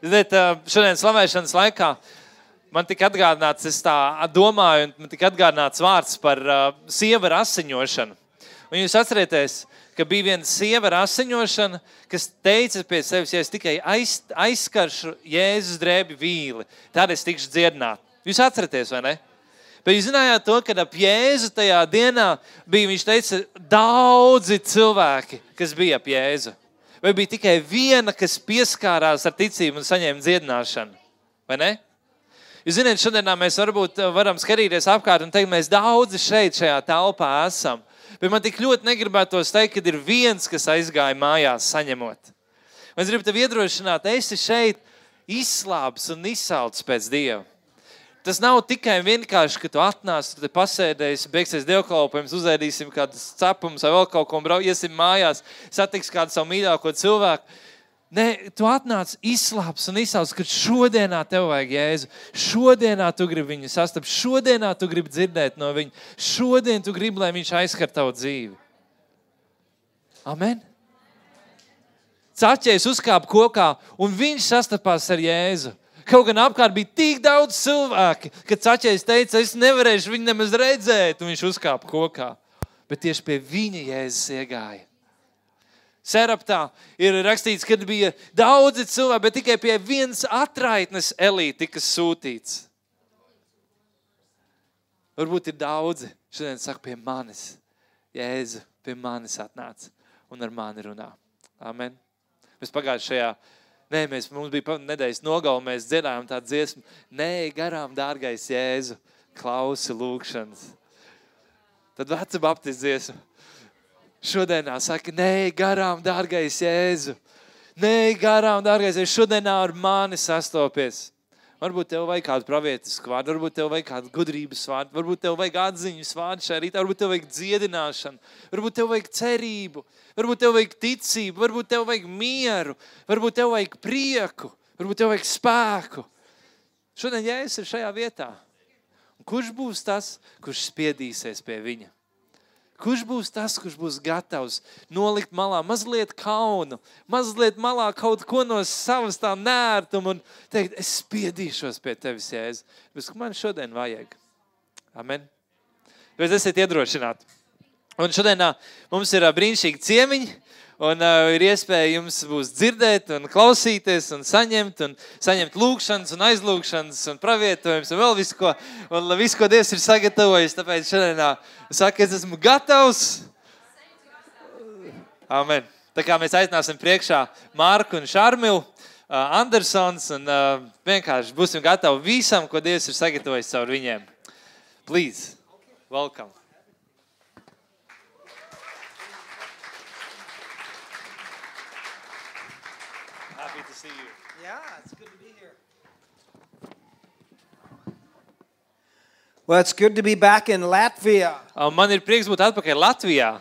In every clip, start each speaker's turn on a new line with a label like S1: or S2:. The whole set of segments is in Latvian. S1: Ziniet, ā, šodien slavēšanas laikā man tika atgādināts, es tā domāju, un man tika atgādināts vārds par ā, sieva rasiņošanu. Un jūs atcerieties, ka bija viena sieva rasiņošana, kas teica pie sevis, ja es tikai aiz, aizskaršu Jēzus drēbi vīli, tad es tikšu dziedināta. Jūs atcerieties, vai ne? Bet jūs zinājāt to, ka ap Jēzu tajā dienā bija, viņš teica, daudzi cilvēki, kas bija ap Jēzu. Vai bija tikai viena, kas pieskārās ar ticību un saņēma dziedināšanu? Vai ne? Jūs zināt, šodienā mēs varbūt eh, varam skatīties apkārt un teikt, mēs daudzi šeit, šajā telpā esam. Bet man tik ļoti negribētos teikt, ka ir viens, kas aizgāja mājās saņemot. Un Es gribu tevi iedrošināt, esi šeit izslābs un izsalcis pēc Dieva. Tas nav tikai vienkārši, ka tu atnāc, tu te pasēdēsi, beigsies dievkalpojums, uzēdīsim kādus cepumus vai vēl kaut ko, brau, iesim mājās, satiks kādu savu mīļāko cilvēku. Nē, tu atnāc izslāps un izsauc, ka šodienā tev vajag jēzu. Šodienā tu gribi viņu sastapt, šodienā tu gribi dzirdēt no viņa. Šodien tu gribi, lai viņš aizskar tavu dzīvi. Amen! Cēķis uzkāpa kokā un viņš sastapās ar Jēzu. Kaut gan apkārt bija tik daudz cilvēku, ka cēķis teica, es nevarēšu viņu nemaz redzēt, un viņš uzkāpa kokā. Bet tieši pie viņa Jēzus iegāja. Seraptā ir rakstīts, ka bija daudzi cilvēki, bet tikai pie vienas atraitnes elīte tika sūtīts. Varbūt ir daudzi šodien saka, pie manis, Jēzu, pie manis atnāca un ar mani runā. Amen. Mēs pagājušajā, nē, mēs, mums bija pa- nedēļas nogalē, mēs dzirdējām tādu dziesmu, nē, garām, dārgais Jēzu, klausi lūgšanas. Tad vecā baptistu dziesma. Šodienā saka, nē, garām, dārgais Jēzu. Nē, garām, dārgais Jēzu, šodienā ar mani sastopies. Varbūt tev vajag kādu pravietisku vārdu, varbūt tev vajag kādu gudrības vārdu, varbūt tev vajag atziņas vārdu šajā rītā, varbūt tev vajag dziedināšanu, varbūt tev vajag cerību, varbūt tev vajag ticību, varbūt tev vajag mieru, varbūt tev vajag prieku, varbūt tev vajag spēku. Šodien jēzus ir šajā vietā. Un Kurš būs tas, kurš spiedīsies pie viņa? Kurš būs tas, kurš būs gatavs nolikt malā mazliet kaunu, mazliet malā kaut ko no savas tā nērtuma un teikt, es spiedīšos pie tevis, Jēzus. Tas, ko man šodien vajag. Amen. Jūs esat iedrošināti. Un šodienā mums ir ā, brīnišķīgi ciemiņi. Un uh, ir iespēja jums būs dzirdēt, un klausīties, un saņemt, un saņemt lūgšanas, un aizlūgšanas, un pravietojumus, un vēl visu, ko, un visu, ko Dievs ir sagatavojis. Tāpēc šodienā saka, es esmu gatavs. Amen. Tā kā mēs aicināsim priekšā Mārku un Šarmilu, uh, Andersons, un uh, vienkārši būsim gatavi visam, ko Dievs ir sagatavojis caur viņiem. Please, welcome. Happy to see you.
S2: Yeah, it's good to be here. Well, it's good to be back in Latvia.
S1: Uh, Man ir prieks būt atpakaļ Latvijā.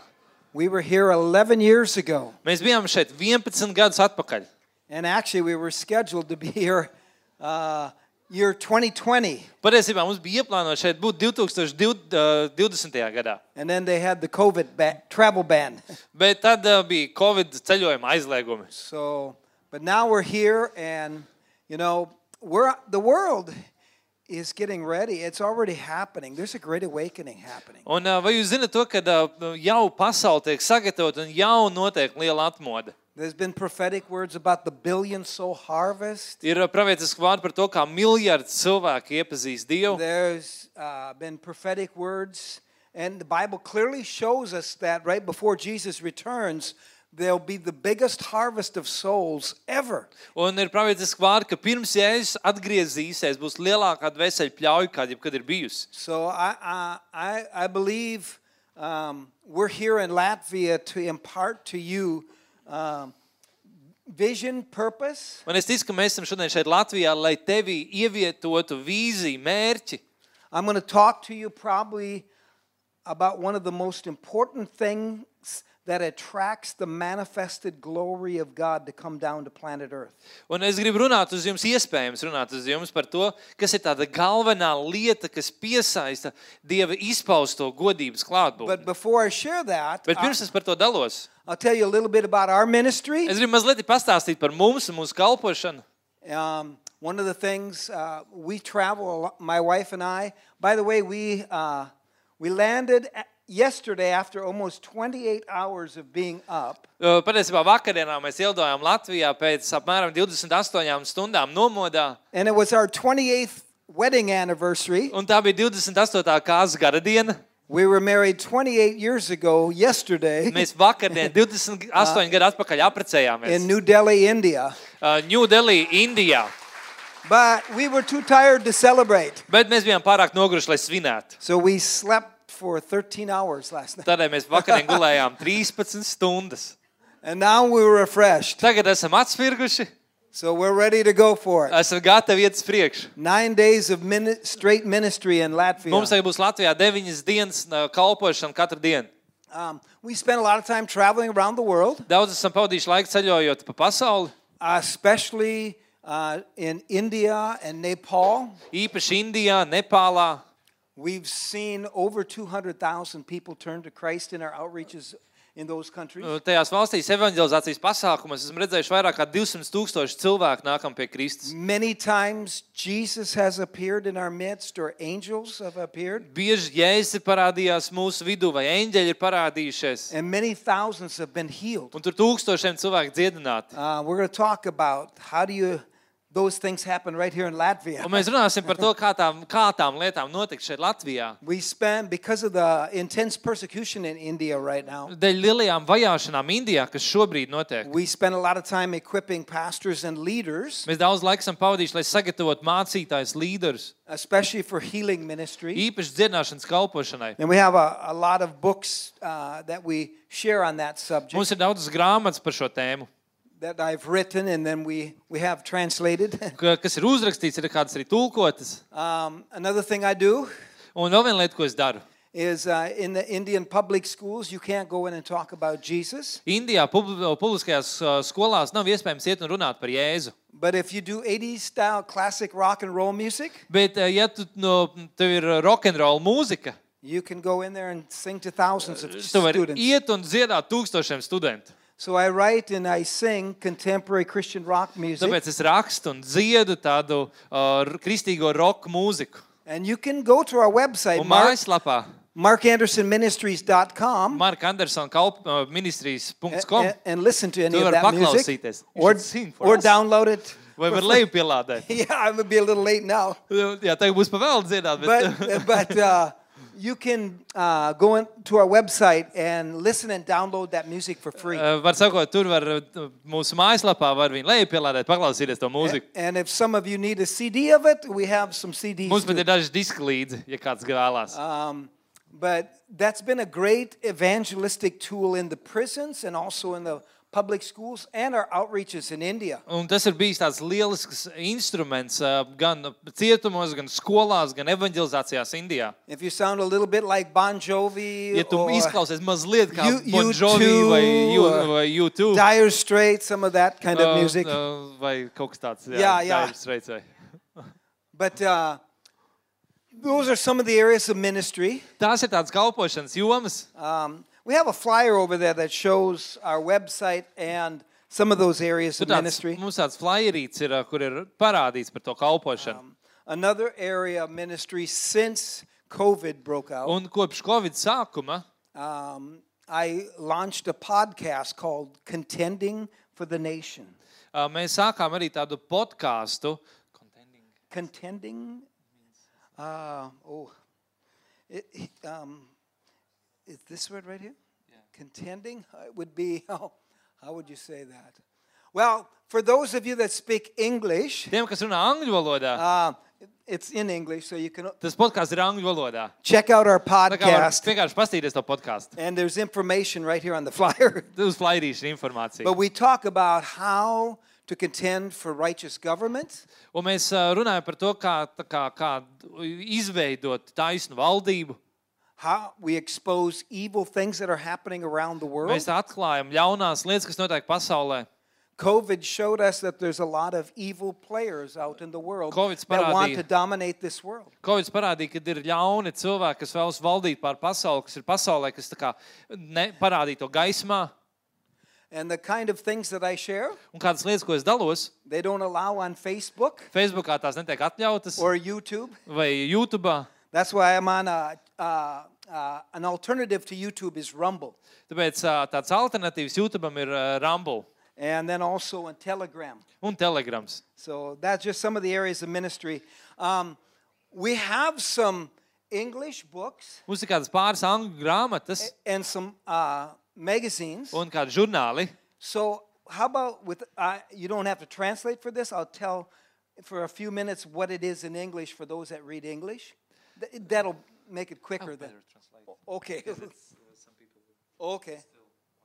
S2: We were here 11 years ago,
S1: Mēs bijām šeit 11 gadus atpakaļ.
S2: and actually, we were scheduled to be here uh, year 2020,
S1: Patiesībā mums bija ieplānota šeit būt 2020. gadā,
S2: and then they had the COVID ba- travel ban.
S1: bet tad uh, bija Covid ceļojuma aizliegumi.
S2: So, but now we're here, and you know, we're the world is getting ready. It's already happening. There's a great awakening happening.
S1: Un, ā, vai jūs zināt, to, ka ā, jau pasaule tiek sagatavota un jau notiek liela atmoda?
S2: There's been prophetic words about the billion soul harvest.
S1: Ir ā, pravietiski vārdi par to, kā miljardi cilvēku iepazīst Dievu.
S2: There's uh, been prophetic words, and the Bible clearly shows us that right before Jesus returns, there'll be the biggest harvest of souls ever.
S1: Un ir pravietiski vārdi, ka pirms Jēzus atgriezīsies, būs lielākā dvēseli pļauja, kāda jebkad ir bijusi.
S2: So I, I, I, I believe um, we're here in Latvia to impart to you um, vision, purpose.
S1: Un es ticu, ka mēs esam šodien šeit Latvijā, lai tevī ievietotu vīziju, mērķi.
S2: I'm going to talk to you probably about one of the most important things that attracts the manifested glory of God to come down to planet Earth.
S1: Un es gribu runāt uz jums, iespējams, runāt uz jums par to, kas ir tāda galvenā lieta, kas piesaista Dieva izpausto godības klātbūtni.
S2: But ah, before I share that,
S1: Bet
S2: I,
S1: pirms es par to dalos,
S2: I'll tell you a little bit about our ministry
S1: es gribu mazliet pastāstīt par mums un mūsu kalpošanu.
S2: Um, one of the things uh, we travel, a lot, my wife and I. By the way, we uh, we landed a- yesterday after almost 28 hours of being up.
S1: Uh, Patiesībā vakarā mēs ielidojām Latvijā pēc apmēram 28 stundām nomodā.
S2: And it was our 28th wedding anniversary.
S1: Un tā bija 28. kāzu gada diena.
S2: We were married 28 years ago yesterday
S1: Mēs vakarā, 28 gadu atpakaļ,
S2: in
S1: apprecējāmies
S2: New Delhi, India.
S1: Ņūdelī, uh, Indijā.
S2: But we were too tired to celebrate.
S1: Bet mēs bijām pārāk noguruši, lai svinētu.
S2: So we slept for 13 hours last night.
S1: Tādēļ mēs vakarā gulējām 13 stundas.
S2: And now we're refreshed.
S1: Tagad esam atspirguši,
S2: So we're ready to go for it.
S1: esam gatavi iet uz priekšu.
S2: Nine days of mini- straight ministry in
S1: Mums
S2: Latvia.
S1: tagad būs Latvijā 9 dienas uh, kalpošana katru dienu.
S2: Um, we spent a lot of time traveling around the world, uh,
S1: Daudz esam pavadījuši laiku ceļojot pa pasauli,
S2: especially uh, in India and Nepal.
S1: īpaši Indijā, Nepālā.
S2: We've seen over 200,000 people turn to Christ in our outreaches in those countries.
S1: Nu, Tajās valstīs evanģelizācijas pasākumos esmu redzējuši vairāk kā 200 tūkstoši cilvēku nākam pie Kristus.
S2: Many times Jesus has appeared in our midst, or angels have appeared,
S1: Bieži jēzus ir parādījās mūsu vidū, vai eņģeļi ir parādījušies.
S2: and many thousands have been healed.
S1: Un tur tūkstošiem cilvēku dziedināti.
S2: Uh, we're going to talk about how do you those things happen right here in
S1: Un
S2: Latvia.
S1: mēs runāsim par to, kā tām, kā tām lietām notika šeit Latvijā.
S2: We spend because of the intense persecution in India right now.
S1: Dēļ lielajām vajāšanām Indijā, kas šobrīd notiek.
S2: We spend a lot of time equipping pastors and leaders,
S1: Mēs daudz laika esam pavadījuši, lai sagatavotu mācītājus, līderus,
S2: especially for healing ministry.
S1: īpaši dziedināšanas kalpošanai.
S2: And we have a, a lot of books uh, that we share on that subject
S1: Mums ir daudzas grāmatas par šo tēmu,
S2: that I've written and then we, we have translated.
S1: ka- kas ir uzrakstīts, ir kādas arī tulkotas.
S2: Um, another thing I do
S1: Un vēl viena lieta, ko es daru.
S2: is uh, in the Indian public schools, you can't go in and talk about Jesus.
S1: Indijā pub- publiskajās uh, skolās nav iespējams iet un runāt par Jēzu.
S2: But if you do 80s style classic rock and roll music,
S1: Bet, uh, ja tu, no, tev ir rock and roll mūzika,
S2: you can go in there and sing to thousands of
S1: tu vari
S2: students.
S1: iet un dziedāt tūkstošiem studentu.
S2: So I write and I sing contemporary Christian rock music.
S1: Tāpēc es rakstu un dziedu tādu uh, r- kristīgo roka mūziku.
S2: And you can go to our website,
S1: Un
S2: Mark,
S1: mājaslapā
S2: markandersonministries.com,
S1: Marka Andersona kalp- uh, ministrijas.com
S2: and, and listen to any
S1: Tu
S2: of
S1: vari
S2: that
S1: paklausīties.
S2: music.
S1: You
S2: Or,
S1: should sing for
S2: or
S1: us.
S2: download it.
S1: vai var
S2: for free.
S1: lejupielādēt.
S2: Yeah, I'm going to be a little late now.
S1: Jā, tagad būs pavēl dziedāt, bet,
S2: but but uh, you can uh, go in to our website and listen and download that music for free.
S1: Uh, var sakot, tur var uh, mūsu mājaslapā var viņu lejupielādēt, paklausīties to mūziku.
S2: and if some of you need a CD of it, we have some CDs.
S1: Mums pat
S2: too.
S1: ir daži diski līdzi, ja kāds vēlās.
S2: Um, but that's been a great evangelistic tool in the prisons and also in the public schools and our outreaches in India.
S1: Un tas ir bijis tāds lielisks instruments uh, gan cietumos, gan skolās, gan evanģelizācijās Indijā.
S2: If you sound a little bit like Bon Jovi
S1: Ja tu
S2: or
S1: izklausies mazliet kā
S2: U-
S1: Bon Jovi
S2: U2,
S1: vai U-
S2: uh,
S1: vai U2,
S2: Dire Straits, some of that kind
S1: uh,
S2: of music.
S1: uh, vai kaut kas tāds,
S2: Jā,
S1: jā,
S2: jā.
S1: Dire Straits vai-
S2: But uh, those are some of the areas of ministry.
S1: Tās ir tādas kalpošanas jomas.
S2: Um, we have a flyer over there that shows our website and some of those areas
S1: Tur
S2: of
S1: Tāds,
S2: ministry.
S1: mums tāds flyerīts ir, uh, kur ir parādīts par to kalpošanu.
S2: Another area of ministry since COVID broke out,
S1: Un kopš Covid sākuma
S2: um, I launched a podcast called Contending for the Nation.
S1: Uh, mēs sākām arī tādu podkāstu.
S2: Contending? Uh, oh. It, it, um, is this word right here? Contending? It would be, oh, how would you say that? Well, for those of you that speak English,
S1: Tiem, kas runā angļu valodā,
S2: Uh, it's in English, so you can
S1: tas podkāsts ir angļu valodā.
S2: check out our
S1: Tā kā var
S2: podcast.
S1: vienkārši paskatīties to podkāstu.
S2: And there's information right here on the flyer.
S1: Uz flyerīšu informāciju.
S2: But we talk about how to contend for righteous government,
S1: Un mēs uh, runājam par to, kā, tā kā, kā izveidot taisnu valdību.
S2: how we expose evil things that are happening around the world.
S1: Mēs atklājam ļaunās lietas, kas notiek pasaulē.
S2: COVID showed us that there's a lot of evil players out in the world
S1: Covid's
S2: that want
S1: parādīja.
S2: to dominate this world.
S1: Covid parādīja, ka ir ļauni cilvēki, kas vēlas valdīt pār pasauli, kas ir pasaulē, kas tā kā ne, parādīja to gaismā.
S2: And the kind of things that I share,
S1: Un kādas lietas, ko es dalos,
S2: they don't allow on Facebook
S1: Facebookā tās netiek atļautas,
S2: or YouTube.
S1: vai YouTube.
S2: That's why I'm on a, uh, uh, an alternative to YouTube is Rumble,
S1: Tāpēc ā, tāds alternatīvs YouTube ir ā, Rumble
S2: and then also on Telegram.
S1: un Telegrams.
S2: So that's just some of the areas of ministry. Um, we have some English books
S1: Mums ir kādas pāris angļu grāmatas
S2: and some uh, magazines.
S1: un kādi žurnāli.
S2: So how about with uh, you don't have to translate for this. I'll tell for a few minutes what it is in English for those that read English. Th- that'll make it quicker then. Okay. okay.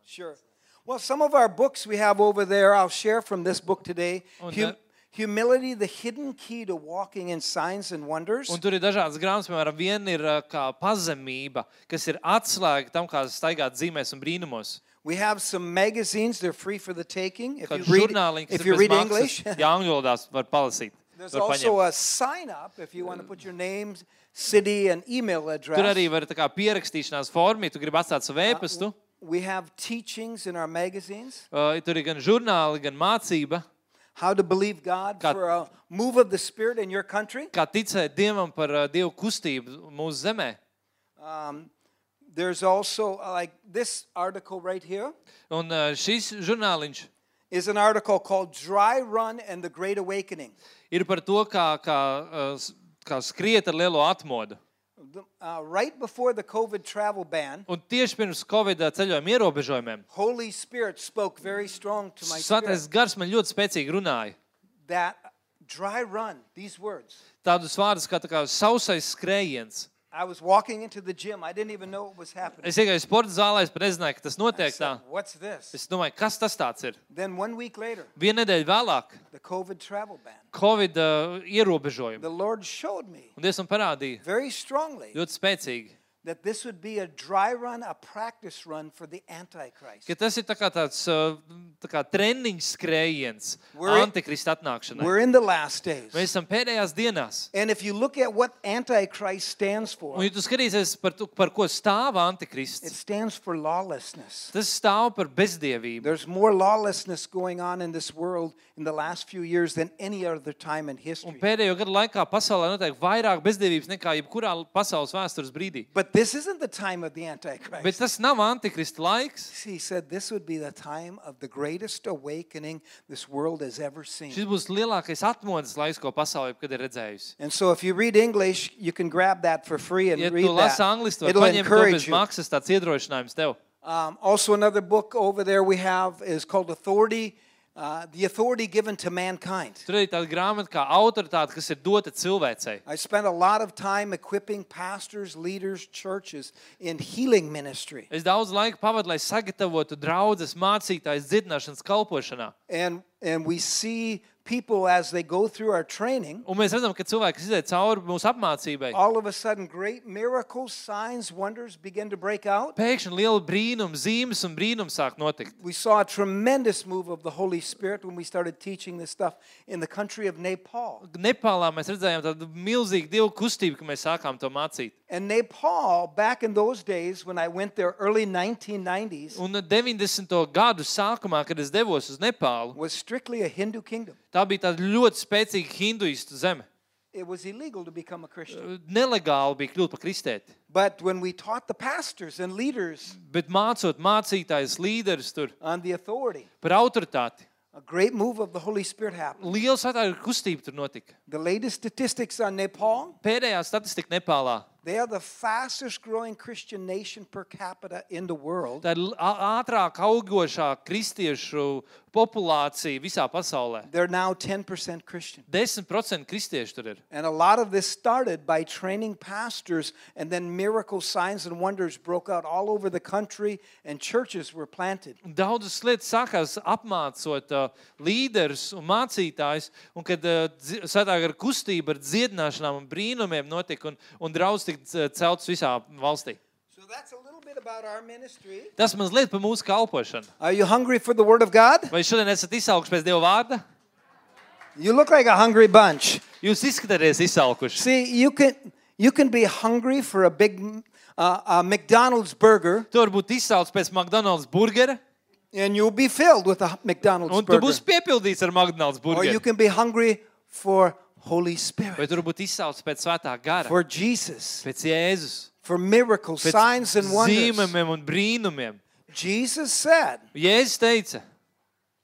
S2: Sure. Well, some of our books we have over there, I'll share from this book today.
S1: Und
S2: Hum-
S1: da-
S2: Humility, the hidden key to walking in signs and wonders.
S1: Un tur ir dažādas grāmatas, piemēram, viena ir ā, kā pazemība, kas ir atslēga tam, kā staigāt zīmēs un brīnumos.
S2: We have some magazines, they're free for the taking. If
S1: Kāds
S2: you read,
S1: žurnāliņi, kas
S2: if
S1: ir
S2: you
S1: bez
S2: read
S1: maksas,
S2: English,
S1: ja angļu valodā var palasīt.
S2: There's
S1: Var
S2: also
S1: paņemt.
S2: a sign up if you want to put your name, city, and email
S1: Tur arī
S2: address.
S1: var tā kā pierakstīšanās forma, ja tu gribi atstāt savu ēpastu.
S2: We have teachings in our magazines
S1: Uh, tur ir gan žurnāli, gan mācība,
S2: how to believe God
S1: Got-
S2: for a move of the Spirit in your country.
S1: kā ticēt Dievam par uh, Dievu kustību mūsu zemē.
S2: Um, there's also, uh, like this article right here,
S1: Un uh, šis žurnāliņš
S2: is an article called Dry Run and the Great Awakening.
S1: ir par to, kā, kā, uh, s- kā skriet ar lielo atmodu.
S2: The- uh, right before the COVID travel ban,
S1: Un tieši pirms Covid uh, ceļojuma ierobežojumiem
S2: Holy Spirit spoke very strong to my
S1: Svētais
S2: spirit
S1: gars man ļoti spēcīgi runāja.
S2: that dry run, these words.
S1: Tādus vārdus kā, tā kā sausais skrējiens.
S2: I was walking into the gym. I didn't even know what was happening.
S1: Es iegāju sporta zālē, es pat nezināju, ka tas notiek tā.
S2: said, What's this?
S1: Es domāju, kas tas tāds ir?
S2: Then one week later,
S1: Vienu nedēļu vēlāk,
S2: the COVID travel ban.
S1: Covid uh, ierobežojumi.
S2: The Lord showed me
S1: Un Dievs man parādīja
S2: very strongly
S1: ļoti spēcīgi,
S2: that this would be a dry run, a practice run for the Antichrist.
S1: ka tas ir tā kā tāds uh, tā kā treniņš skrējiens
S2: We're-
S1: Antikrista atnākšanai.
S2: We're in the last days.
S1: Mēs esam pēdējās dienās.
S2: And if you look at what Antichrist stands
S1: Un,
S2: for,
S1: ja tu skatīsies, par, tu, par ko stāv
S2: it
S1: Antikrists,
S2: stands for lawlessness.
S1: tas stāv par bezdievību.
S2: There's more lawlessness going on in this world in the last few years than any other time in
S1: Un
S2: history.
S1: pēdējo gadu laikā pasaulē notiek vairāk bezdevības nekā jebkurā pasaules vēstures brīdī.
S2: But this isn't the time of the
S1: Bet
S2: Antichrist.
S1: tas nav antikrista laiks.
S2: He said this would be the time of the greatest awakening this world has ever seen.
S1: Šis būs lielākais atmodas laiks, ko pasaulē jebkad ir redzējusi.
S2: And so if you read English, you can grab that for free and
S1: Ja
S2: read
S1: tu lasi
S2: that.
S1: angliski, tad
S2: It'll
S1: paņem to bez
S2: encourage you.
S1: maksas tāds iedrošinājums tev.
S2: Um, also, another book over there we have is called Authority, uh, the authority given to mankind.
S1: Tur ir tāda grāmata kā autoritāte, kas ir dota cilvēcei.
S2: I spent a lot of time equipping pastors, leaders, churches in healing ministry.
S1: Es daudz laika pavadu, lai sagatavotu draugus, mācītājus, dzirdināšanas kalpošanā.
S2: And, and we see people as they go through our training,
S1: Un mēs redzam, ka cilvēki, kas iziet cauri mūsu apmācībai,
S2: all of a sudden great miracles, signs, wonders begin to break out.
S1: pēkšņi liela brīnuma, zīmes un brīnums sāk notikt.
S2: We saw a tremendous move of the Holy Spirit when we started teaching this stuff in the country of Nepal.
S1: Nepālā mēs redzējām tādu milzīgu dievu kustību, ka mēs sākām to mācīt.
S2: And Nepal, back in those days when I went there, early 1990s,
S1: Un eh, 90. gadu sākumā, kad es devos uz Nepālu,
S2: was strictly a Hindu kingdom.
S1: tā bija tāda ļoti spēcīga hinduistu zeme.
S2: It was illegal to become a Christian.
S1: Eh, Nelegāli bija kļūt par kristieti.
S2: But when we taught the pastors and leaders
S1: Bet mācot mācītājus, līderus tur
S2: on the authority,
S1: par autoritāti,
S2: a great move of the Holy Spirit happened.
S1: liela satāra kustība tur notika.
S2: The latest statistics on Nepal,
S1: Pēdējā statistika Nepālā.
S2: they are the fastest growing Christian nation per capita in the world.
S1: Tā ir l- ā- ātrāk augošā kristiešu populācija visā pasaulē.
S2: They're now 10% Christian.
S1: 10% kristiešu tur ir.
S2: And a lot of this started by training pastors, and then miracles, signs, and wonders broke out all over the country, and churches were planted.
S1: Un Daudzas lietas sākās apmācot uh, līderus un mācītājus, un kad uh, satāga ar kustību, ar dziedināšanām un brīnumiem notika, un, un draudz tika c- celts visā valstī.
S2: So that's a little bit about our ministry.
S1: Tas mazliet par mūsu kalpošanu.
S2: Are you hungry for the Word of God?
S1: Vai šodien esat izsalkuši pēc Dieva vārda?
S2: You look like a hungry bunch.
S1: Jūs izskatāties izsalkuši.
S2: See, you can you can be hungry for a big uh, uh, McDonald's burger,
S1: Tu vari būt izsalcis pēc McDonald's burgera,
S2: and you'll be filled with a McDonald's
S1: Un tu
S2: burger.
S1: būsi piepildīts ar McDonald's
S2: Or Oh, you
S1: burgeru.
S2: can be hungry for Holy Spirit,
S1: Vai tu būt izsaucis pēc svētā gara,
S2: for Jesus,
S1: pēc Jēzus,
S2: for miracles,
S1: pēc
S2: signs and wonders.
S1: zīmēm un brīnumiem?
S2: Jesus said,
S1: Jēzus teica,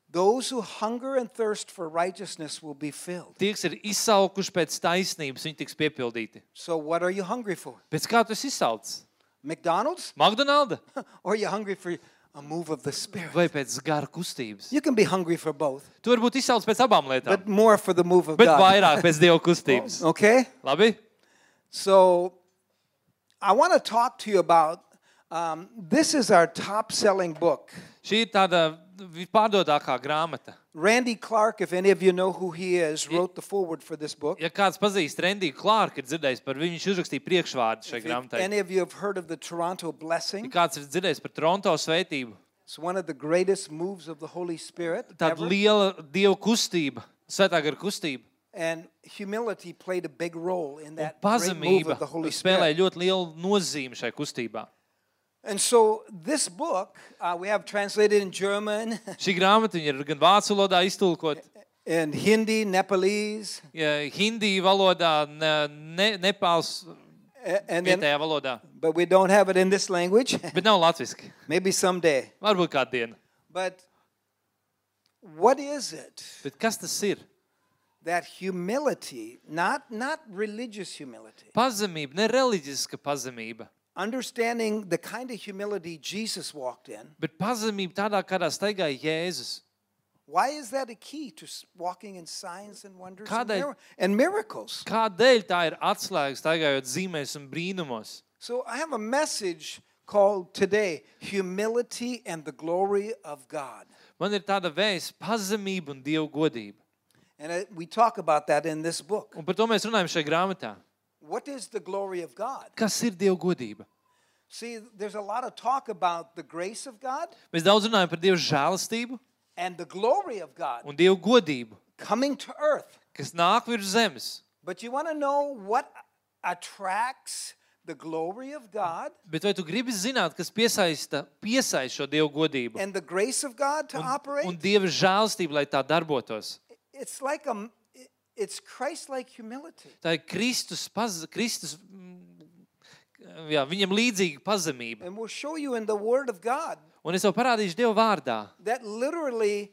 S2: "Those who hunger and thirst for righteousness will be filled."
S1: tie, kas ir izsaukuši pēc taisnības, viņi tiks piepildīti.
S2: So what are you hungry for?
S1: Pēc kā tu esi izsaucis?
S2: McDonald's
S1: McDonald's
S2: or are you hungry for a move of the Spirit?
S1: vai pēc gara kustības?
S2: You can be hungry for both,
S1: Tu vari būt izsaucis pēc abām lietām,
S2: but more for the move of
S1: bet
S2: God.
S1: vairāk pēc Dieva kustības.
S2: Okay?
S1: Labi?
S2: So I want to talk to you about um, this is our top selling book.
S1: Šī ir tāda vispārdotākā grāmata.
S2: Randy Clark, if any of you know who he is, wrote the foreword for this book.
S1: Ja kāds pazīst Rendiju Klārku, ir dzirdējis par viņu, viņš uzrakstīja priekšvārdu šai
S2: If
S1: grāmatai.
S2: any of you have heard of the Toronto Blessing,
S1: Kāds ir dzirdējis par Toronto svētību?
S2: it's one of the greatest moves of the Holy Spirit.
S1: Tāda
S2: ever.
S1: liela dievu kustība, svētā gara kustība.
S2: And humility played a big role in that great move
S1: Pazemība
S2: of the Holy
S1: spēlē
S2: Spirit.
S1: ļoti lielu nozīmi šai kustībā.
S2: And so this book uh, we have translated in German,
S1: Šī grāmata viņa ir gan vācu valodā iztulkot,
S2: in Hindi, Nepalese,
S1: ja, hindi valodā, ne- ne, nepāls
S2: a- and then,
S1: vietējā valodā,
S2: but we don't have it in this language.
S1: bet nav latviski.
S2: Maybe someday.
S1: Varbūt kādu dienu.
S2: But what is it
S1: Bet kas tas ir?
S2: that humility, not not religious humility,
S1: Pazemība, ne reliģiska pazemība,
S2: understanding the kind of humility Jesus walked in?
S1: bet pazemība tādā, kādā staigāja Jēzus.
S2: Why is that a key to s- walking in signs and wonders and,
S1: Kādēļ?
S2: mir- and miracles?
S1: Kādēļ tā ir atslēga staigājot zīmēs un brīnumos?
S2: So I have a message called today humility and the glory of God.
S1: Man ir tāda vēsts, pazemība un dievu godība.
S2: And I, we talk about that in this book.
S1: Un par to mēs runājam šajā grāmatā.
S2: What is the glory of God?
S1: Kas ir dievu godība?
S2: See, there's a lot of talk about the grace of God
S1: Mēs daudz runājam par dievu žēlastību
S2: and the glory of God
S1: un dievu godību,
S2: coming to earth.
S1: kas nāk virs zemes.
S2: But you want to know what attracts the glory of God
S1: Bet vai tu gribi zināt, kas piesaista, piesaista šo dievu godību
S2: and the grace of God to operate?
S1: un dieva žēlstību, lai tā darbotos?
S2: it's like a m- it- it's Christ-like humility.
S1: Tā ir Kristus, paz, Kristus mm, jā, viņam līdzīga pazemība.
S2: And we'll show you in the word of God
S1: Un es tev parādīšu Dieva vārdā,
S2: that literally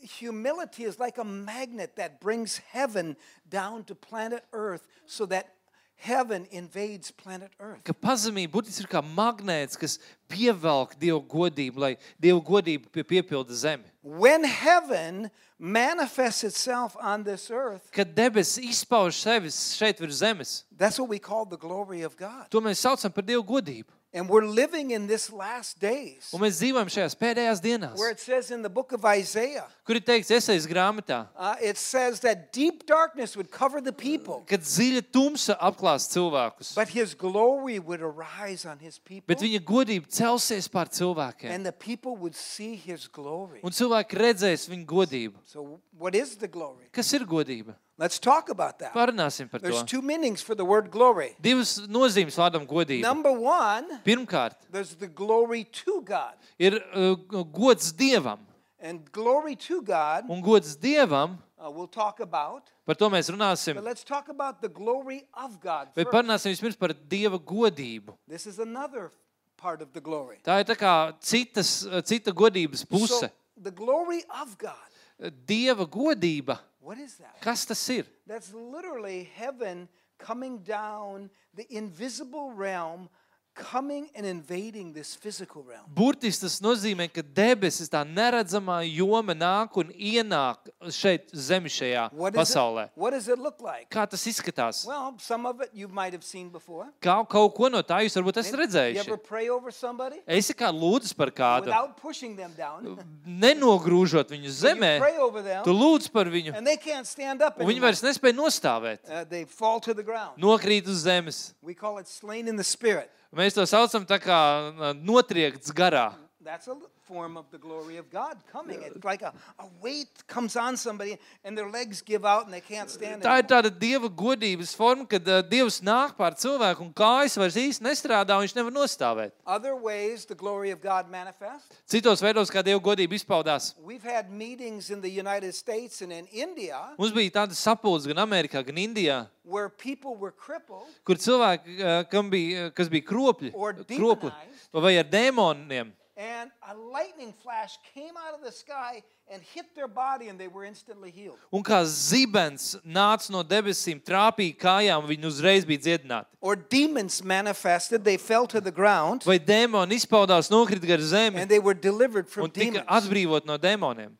S2: humility is like a magnet that brings heaven down to planet earth so that heaven invades planet earth.
S1: ka pazemība būtībā ir kā magnēts, kas pievelk Dieva godību, lai Dieva godība pie piepilda zemi.
S2: When heaven manifests itself on this earth,
S1: Kad debesis izpauž sevi šeit virs zemes,
S2: that's what we call the glory of God.
S1: to mēs saucam par Dieva godību.
S2: And we're living in this last days
S1: Un mēs dzīvojam šajās pēdējās dienās,
S2: where it says in the book of Isaiah,
S1: kur ir teikts esejas grāmatā,
S2: uh, it says that deep darkness would cover the people,
S1: kad dziļa tumsa apklās cilvēkus,
S2: but his glory would arise on his people,
S1: bet viņa godība celsies pār cilvēkiem.
S2: and the people would see his glory.
S1: Un cilvēki redzēs viņa godību.
S2: So, what is the glory?
S1: Kas ir godība?
S2: Let's talk about that.
S1: Parunāsim par
S2: There's
S1: to.
S2: two meanings for the word glory.
S1: Divas nozīmes vārdam godība.
S2: Number one,
S1: Pirmkārt,
S2: there's the glory to God.
S1: ir uh, gods dievam.
S2: And glory to God,
S1: Un gods dievam,
S2: uh, we'll talk about.
S1: par to mēs runāsim.
S2: But let's talk about the glory of God.
S1: Bet
S2: first.
S1: parunāsim vispirms par dieva godību.
S2: This is another part of the glory.
S1: Tā ir tā kā citas, eh, cita godības
S2: So,
S1: puse.
S2: the glory of God.
S1: Dieva godība,
S2: What is that?
S1: kas tas ir?
S2: That's literally heaven coming down the invisible realm, coming and invading this physical realm.
S1: Burtiski tas nozīmē, ka debesis, tā neredzamā joma nāk un ienāk šeit, zemes šajā
S2: What is,
S1: pasaulē.
S2: it, what does it look like?
S1: Kā tas izskatās?
S2: Well, some of it you might have seen before.
S1: Kā, kaut ko no tā jūs varbūt esat
S2: You ever
S1: redzējuši.
S2: pray over somebody
S1: Es kā lūdzu par kādu,
S2: without pushing them down?
S1: nenogrūžot viņu
S2: You
S1: zemē,
S2: pray
S1: tu
S2: over them
S1: lūdz par viņu,
S2: and they can't stand up
S1: un viņi
S2: anymore.
S1: vairs nespēja nostāvēt.
S2: Uh, they fall to the ground.
S1: Nokrīt uz zemes.
S2: We call it slain in the spirit.
S1: Mēs to saucam tā kā uh, notriekts garā.
S2: That's a l- form of the glory of God coming. It's like a, a weight comes on somebody and their legs give out and they can't stand
S1: Tā ir
S2: it.
S1: tāda dieva godības forma, kad uh, dievs nāk pār cilvēku un kājas vairs īsti nestrādā, un viņš nevar nostāvēt.
S2: Other ways the glory of God manifests.
S1: Citos veidos, kā dieva godība izpaudās.
S2: We've had meetings in the United States and in India
S1: Mums bija tāda sapulce gan Amerikā, gan Indijā,
S2: where people were crippled
S1: kur cilvēki, uh, kam bija, uh, kas bija kropļi,
S2: Or
S1: kropli,
S2: demonized.
S1: vai ar dēmoniem,
S2: and a lightning flash came out of the sky and hit their body and they were instantly healed.
S1: un kā zibens nāca no debesīm, trāpīja kājām, viņi uzreiz bija dziedināti.
S2: Or demons manifested, they fell to the ground
S1: Vai dēmoni izpaudās, nokrita gar zemi
S2: and they were delivered
S1: un
S2: from
S1: tika
S2: demons.
S1: atbrīvot no dēmoniem.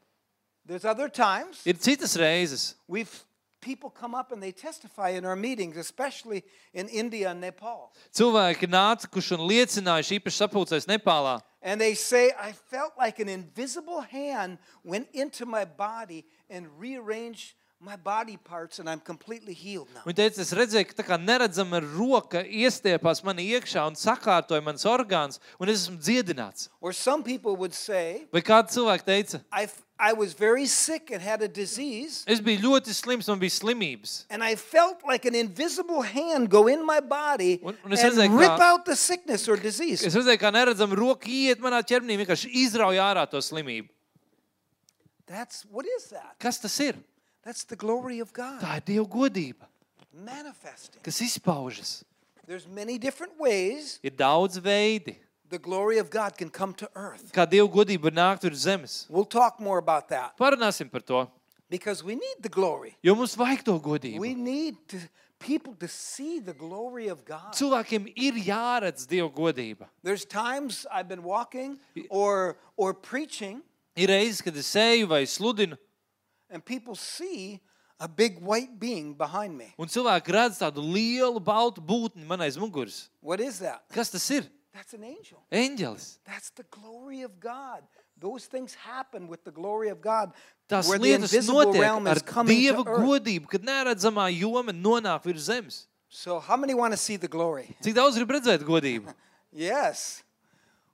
S2: There's other times
S1: Ir citas reizes,
S2: we've people come up and they testify in our meetings, especially in India and Nepal.
S1: cilvēki nākuši un liecinājuši īpaši sapulcēs Nepālā.
S2: And they say, I felt like an invisible hand went into my body and rearranged my body parts, and I'm completely healed now.
S1: Viņa teica, es redzēju, ka tā kā neredzama roka iestiepās man iekšā un sakārtoja mans orgāns, un es esmu dziedināts.
S2: Or some people would say,
S1: Vai kāda cilvēka teica,
S2: I, f- I was very sick and had a disease,
S1: es biju ļoti slims, man bija slimības.
S2: and I felt like an invisible hand go in my body
S1: Un- un es redzēju,
S2: and
S1: kā-
S2: rip out the sickness or disease.
S1: Es redzēju, kā neredzama roka iet manā ķermenī, vienkārši izrauj ārā to slimību.
S2: That's what is that?
S1: Kas tas ir?
S2: That's the glory of God
S1: Tā ir Dieva godība,
S2: manifesting.
S1: kas izpaužas.
S2: There's many different ways
S1: Ir daudz veidi,
S2: the glory of God can come to earth.
S1: kā Dieva godība nāk uz zemes.
S2: We'll talk more about that
S1: Parunāsim par to,
S2: because we need the glory.
S1: jo mums vajag to godību.
S2: We need to, people to see the glory of God.
S1: Cilvēkiem ir jāredz Dieva godība.
S2: There's times I've been walking or or preaching,
S1: Ir reizes, kad es eju vai sludinu,
S2: and people see a big white being behind me.
S1: un cilvēki redz tādu lielu baltu būtni man aiz muguras.
S2: What is that?
S1: Kas tas ir?
S2: That's an angel.
S1: Eņģelis.
S2: That's the glory of God. Those things happen with the glory of God,
S1: Tās
S2: where the
S1: lietas
S2: invisible realm
S1: notiek
S2: is
S1: ar
S2: coming
S1: dieva
S2: to earth.
S1: godību, kad neredzamā joma nonāk virs zemes.
S2: So, how many want to see the glory?
S1: Cik daudz grib redzēt godību?
S2: Yes.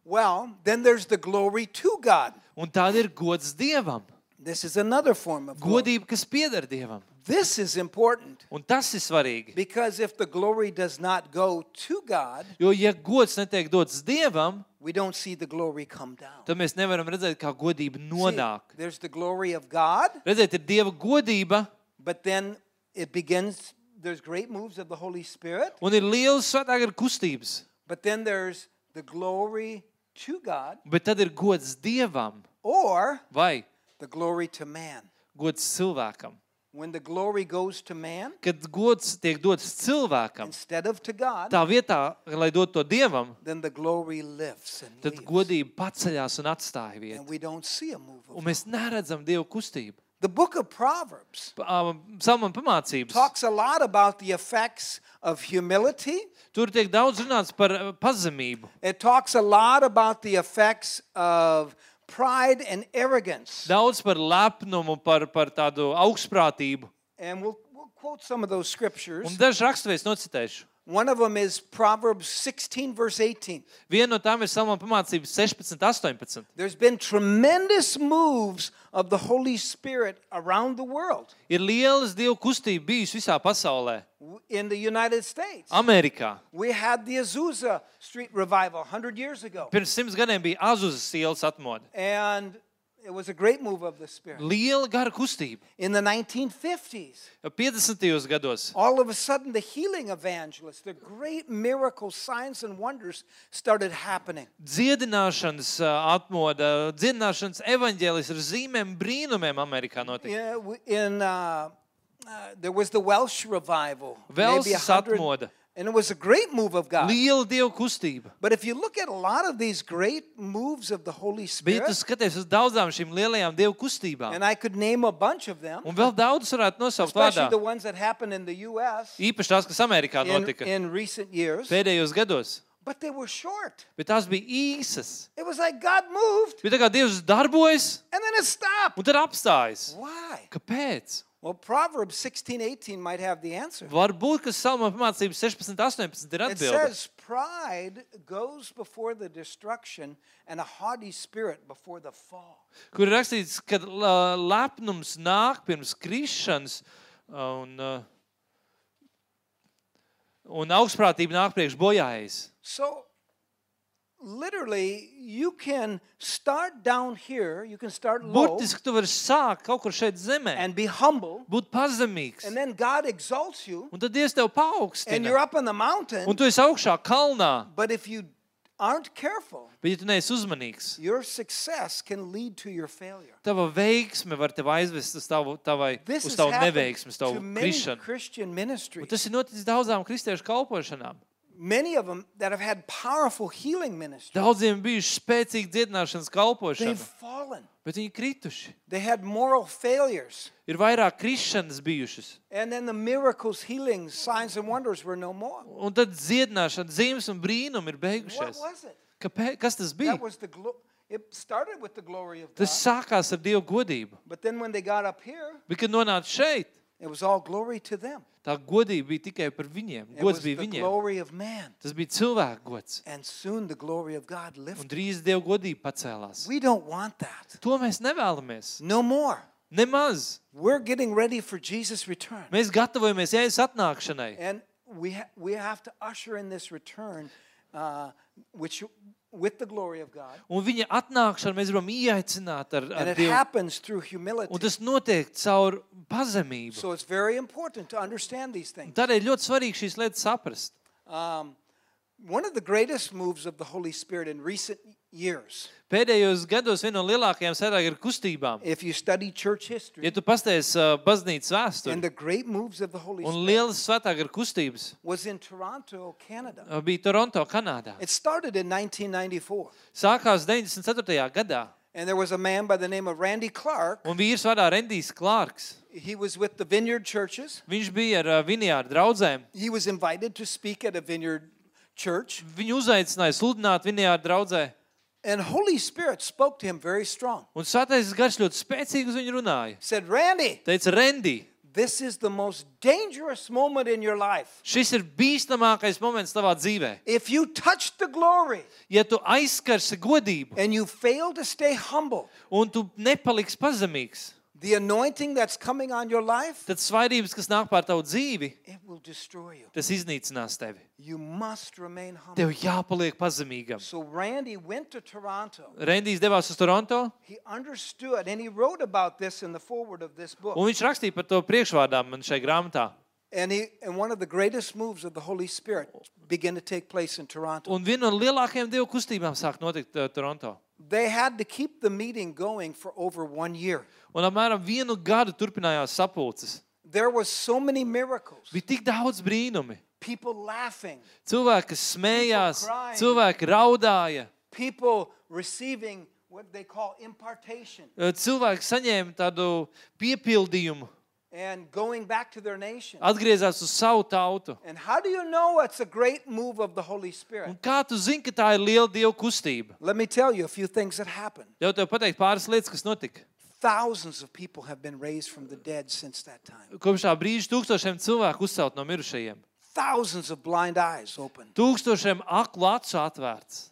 S2: Well, then there's the glory to God.
S1: Un tāda ir gods dievam.
S2: This is another form of glory.
S1: Godība, kas pieder dievam.
S2: This is important.
S1: Un tas ir svarīgi.
S2: Because if the glory does not go to God,
S1: Jo, ja gods netiek dots dievam,
S2: we don't see the glory come down.
S1: tad mēs nevaram redzēt, kā godība nonāk.
S2: See, there's the glory of God,
S1: Redzēt, ir dieva godība,
S2: but then it begins, there's great moves of the Holy Spirit,
S1: un ir liels svētā gara kustības.
S2: but then there's the glory to God
S1: Bet tad ir gods dievam
S2: or
S1: vai
S2: the glory to man.
S1: gods cilvēkam.
S2: When the glory goes to man
S1: Kad gods tiek dots cilvēkam,
S2: instead of to God,
S1: tā vietā, lai dotu to dievam,
S2: then the glory lifts and
S1: tad
S2: leaves,
S1: godība paceļās un atstāja vietu.
S2: and we don't see a move.
S1: Un
S2: Of
S1: mēs neredzam dievu kustību.
S2: the book of Proverbs
S1: Salmāna pamācības.
S2: talks a lot about the effects of humility.
S1: Tur tiek daudz runāts par uh, pazemību.
S2: It talks a lot about the effects of pride and arrogance.
S1: Daudz par lepnumu, par, par tādu augstprātību.
S2: And we'll, we'll quote some of those
S1: Un
S2: scriptures.
S1: dažs rakstvies nocitēšu.
S2: One of them is Proverbs 16, verse 18.
S1: Viena no tām ir salmāna pamācības 16, 18.
S2: There's been tremendous moves of the Holy Spirit around the world,
S1: Ir lielas dievu kustības bijusi visā pasaulē.
S2: W- in the United States.
S1: Um, Amerikā.
S2: We had the Azusa Street revival 100 years ago,
S1: Pirms simts gadiem bija Azuzas ielas atmoda.
S2: and it was a great move of the Spirit.
S1: Liela gara kustība.
S2: In the 1950s,
S1: 50. gados
S2: all of a sudden the healing evangelists the great miracles signs and wonders started happening
S1: dziedināšanas ā, atmoda, dziedināšanas evaņģēlis ar zīmēm, brīnumiem Amerikā notika.
S2: yeah, w- in uh, uh, there was the welsh revival maybe a
S1: Velsas
S2: hundred
S1: atmoda.
S2: and it was a great move of god
S1: Liela dievu kustība.
S2: but if you look at a lot of these great moves of the holy
S1: Bet, ja tu
S2: spirit
S1: skaties uz daudzām šīm lielajām dievu kustībām,
S2: and i could name a bunch of them
S1: un vēl daudz varētu nosaukt
S2: especially
S1: vārdā,
S2: the ones that happened in the us
S1: īpaši tās, kas Amerikā
S2: in,
S1: notika
S2: in recent years
S1: pēdējos gados,
S2: but they were short
S1: bet tās bija īsas.
S2: it was like god moved
S1: Bija tā kā dievs darbojas
S2: and then it stopped
S1: un tad apstājas.
S2: why
S1: Kāpēc?
S2: Well, Proverbs 16, 18 might have the answer.
S1: Varbūt, ka salma apmācības 16, 18 ir atbilde.
S2: It says, Pride goes before the destruction, and a haughty spirit before the fall.
S1: kur ir rakstīts, ka la- lepnums nāk pirms krišanas, un, uh, un augstprātība nāk priekš bojājas.
S2: So, literally, you can start down here, you can start low
S1: Burtiski tu vari sākt kaut kur šeit zemē,
S2: and be humble,
S1: būt pazemīgs,
S2: and then God exalts you,
S1: un tad Dievs tev
S2: and you're
S1: paaugstina.
S2: up on the mountain.
S1: Un tu esi augšā kalnā,
S2: But if you aren't careful,
S1: bet ja tu neesi uzmanīgs,
S2: your success can lead to your failure.
S1: tava veiksme var tevi aizvest uz tavu, tavai,
S2: This
S1: uz
S2: has
S1: tavu
S2: happened
S1: neveiksmi, uz tavu
S2: to many
S1: krišanu.
S2: Christian
S1: Un
S2: ministries.
S1: tas ir noticis daudzām kristiešu kalpošanām.
S2: Many of them that have had powerful healing ministries,
S1: Daudziem bijuši spēcīgi dziedināšanas kalpošana,
S2: they've fallen.
S1: bet viņi krituši.
S2: They had moral failures.
S1: ir vairāk krišanas bijušas.
S2: And then the miracles, healings, signs, and wonders were no more.
S1: Un tad dziedināšana, zīmes un brīnumi ir
S2: What
S1: beigušies.
S2: was it?
S1: Kāpē, kas tas bija?
S2: That was the glo- it started with the glory of God.
S1: Tas sākās ar Dieva godību.
S2: But then when they got up here,
S1: Bet, kad nonāca šeit,
S2: it was all glory to them.
S1: tā godība bija tikai par viņiem.
S2: It
S1: Gods
S2: was
S1: bija
S2: the
S1: viņiem.
S2: glory of man.
S1: Tas bija cilvēku gods.
S2: And soon the glory of God
S1: Un
S2: lifted.
S1: drīz Dieva godība pacēlās.
S2: We don't want that.
S1: To mēs nevēlamies.
S2: No more.
S1: Nemaz.
S2: We're getting ready for Jesus' return.
S1: Mēs gatavojamies Jēzus atnākšanai.
S2: And we, ha- we have to usher in this return uh, which, with the glory of God.
S1: Un viņa atnākšanu mēs varam ieaicināt ar,
S2: And
S1: ar
S2: it
S1: Dievu.
S2: happens through humility.
S1: Un tas notiek caur pazemību.
S2: So it's very important to understand these things.
S1: Tādēļ ļoti svarīgi šīs lietas saprast.
S2: Um, one of the greatest moves of the Holy Spirit in recent years,
S1: Pēdējos gados viena no lielākajām svētākajām kustībām.
S2: if you study church
S1: Ja
S2: history
S1: tu pasties uh, baznīcas vēsturi
S2: and the great moves of the Holy
S1: un
S2: Spirit,
S1: lielas svētākās kustības
S2: was in Toronto, Canada.
S1: uh, bija Toronto, Kanādā.
S2: It started in 1994,
S1: Sākās 94. gadā,
S2: and there was a man by the name of Randy Clark.
S1: un vīrs vārdā Rendijs Klārks.
S2: He was with the Vineyard Churches.
S1: Viņš bija ar uh, Vinjāru draugiem.
S2: He was invited to speak at a Vineyard church,
S1: Viņu uzaicināja sludināt Vinjāru draugē,
S2: and Holy Spirit spoke to him very strong.
S1: un Svētais Gars ļoti spēcīgi uz viņu runāja.
S2: Said, "Randy,
S1: Teica, Rendi,
S2: this is the most dangerous moment in your life."
S1: šis ir bīstamākais moments tavā dzīvē.
S2: If you touch the glory
S1: Ja tu aizskarsi godību
S2: and you fail to stay humble,
S1: un tu nepaliksi pazemīgs,
S2: the anointing that's coming on your life,
S1: tad svaidības, kas nāk pār tavu dzīvi,
S2: it will destroy you.
S1: tas iznīcinās tevi.
S2: You must remain humble.
S1: Tev jāpaliek pazemīgam.
S2: So Randy went to Toronto.
S1: Rendijs devās uz Toronto,
S2: He understood, and he wrote about this in the foreword of this book.
S1: un viņš rakstīja par to priekšvārdā man šajā grāmatā.
S2: And, he, and one of the greatest moves of the Holy Spirit began to take place in Toronto.
S1: Un viena no lielākajām dievu kustībām sāk notikt uh, Toronto.
S2: They had to keep the meeting going for over one year.
S1: Un apmēram vienu gadu turpinājās sapulces.
S2: There was so many miracles,
S1: Bija tik daudz brīnumi.
S2: people laughing,
S1: Cilvēki kas smējās,
S2: People crying.
S1: cilvēki raudāja,
S2: people receiving what they call impartation.
S1: uh, cilvēki saņēma tādu piepildījumu,
S2: and going back to their nation.
S1: atgriezās uz savu tautu.
S2: And how do you know it's a great move of the Holy
S1: Un
S2: Spirit?
S1: kā tu zini, ka tā ir liela dievu kustība?
S2: Let me tell you a few things that happened.
S1: Jau tev pateikt pāris lietas, kas notika.
S2: Thousands of people have been raised from the dead since that time.
S1: Kopš tā brīža tūkstošiem cilvēku uzcelt no mirušajiem.
S2: Thousands of blind eyes open.
S1: Tūkstošiem aklu acu atvērts.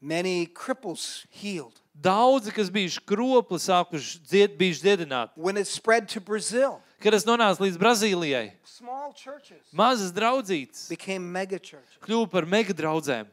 S2: Many cripples healed.
S1: Daudzi, kas bijuši kropli, sākuši dzied, bijuši dziedināti.
S2: When it spread to Brazil,
S1: Kad es nonācu līdz Brazīlijai,
S2: small churches
S1: mazas draudzītes
S2: became mega churches.
S1: kļuva par mega draugiem.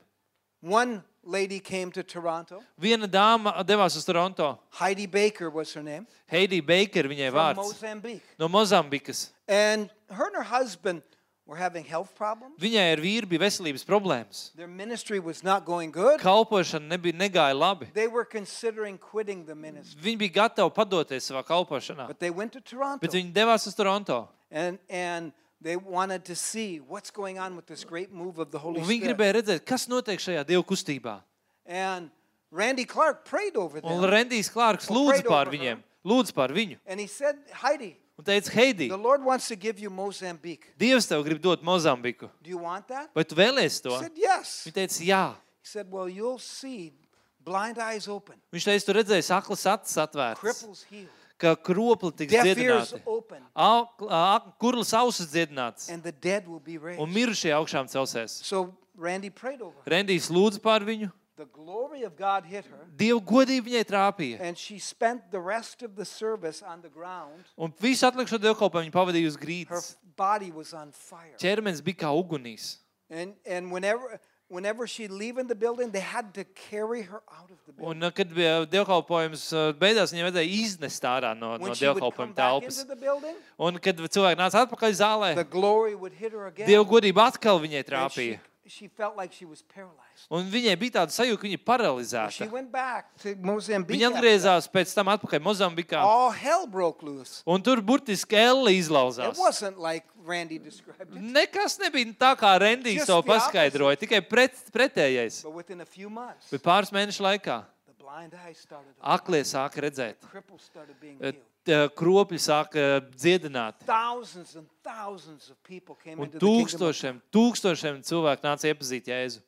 S2: One lady came to Toronto.
S1: Viena dāma devās uz Toronto,
S2: Heidi Baker was her name,
S1: Heidi Baker, viņai
S2: from
S1: vārds
S2: Mozambique.
S1: no Mozambikas.
S2: And her and her husband were having health problems.
S1: Viņai ar vīru bija veselības problēmas.
S2: Their ministry was not going good.
S1: Kalpošana nebija negāja labi.
S2: They were considering quitting the ministry,
S1: Viņi bija gatavi padoties savā kalpošanā,
S2: but they went to Toronto
S1: bet viņi devās uz Toronto.
S2: and, and they wanted to see what's going on with this great move of the Holy
S1: Un viņi
S2: Spirit.
S1: gribēja redzēt, kas notiek šajā dievu kustībā.
S2: And Randy Clark prayed over
S1: Un
S2: them.
S1: Rendijs Klārks
S2: Un
S1: lūdza
S2: prayed
S1: pār
S2: over
S1: viņiem,
S2: her.
S1: lūdza pār viņu.
S2: And he said, Heidi,
S1: Un teica, Heidi,
S2: the Lord wants to give you Mozambique.
S1: Dievs tev grib dot Mozambiku.
S2: Do you want that?
S1: Vai tu vēlēsies to?
S2: He said, Yes.
S1: Viņa teica, jā.
S2: He said, Well, you'll see blind eyes open,
S1: Viņš teica, tu redzēsi aklas acis atvērtas,
S2: cripples healed.
S1: ka kropli tiks
S2: Deaf ears
S1: dziedināti,
S2: open,
S1: auk- ak- kurls ausis dziedināts
S2: and the dead will be raised.
S1: un mirušie augšām celsies.
S2: So Randy prayed over her.
S1: Rendijs lūdza pār viņu,
S2: The glory of God hit her,
S1: Dieva godība viņai trāpīja.
S2: and she spent the rest of the service on the ground.
S1: Un visu atlikušo dievkalpojumu viņa pavadīja uz
S2: Her
S1: grīdas.
S2: body was on fire.
S1: Cermenis bija kā ugunīs.
S2: And, and whenever, whenever she leaving the building, they had to carry her out of the
S1: Un,
S2: building.
S1: uh, kad bija dievkalpojums uh, beidzās, viņai vajadzēja iznest ārā no, no
S2: When she would come
S1: dievkalpojuma
S2: back
S1: telpas.
S2: into the building,
S1: Un, kad cilvēki nāca atpakaļ zālē,
S2: the glory would hit her again.
S1: dieva godība atkal viņai
S2: and she,
S1: trāpīja.
S2: she felt like she was paralyzed.
S1: Un viņai bija tāda sajūta, ka viņa ir
S2: She
S1: paralizēta.
S2: went back to Mozambique.
S1: Viņa
S2: after
S1: atgriezās pēc tam atpakaļ Mozambikā.
S2: that. All hell broke loose.
S1: Un tur burtiski elle
S2: It
S1: izlauzās.
S2: wasn't like Randy described
S1: Mm.
S2: it.
S1: Nekas nebija tā, kā Rendijs
S2: Just
S1: to
S2: the
S1: paskaidroja, tikai pret, pretējais.
S2: But within a few months,
S1: Bet pāris mēnešu laikā
S2: the blind eyes started opening.
S1: aklie sāka redzēt,
S2: Cripples started being
S1: eh,
S2: healed.
S1: eh, kropļi sāka eh, dziedināt.
S2: Thousands and thousands of people came
S1: Un
S2: into the kingdom, of-
S1: tūkstošiem, tūkstošiem cilvēku nāca iepazīt Jēzu.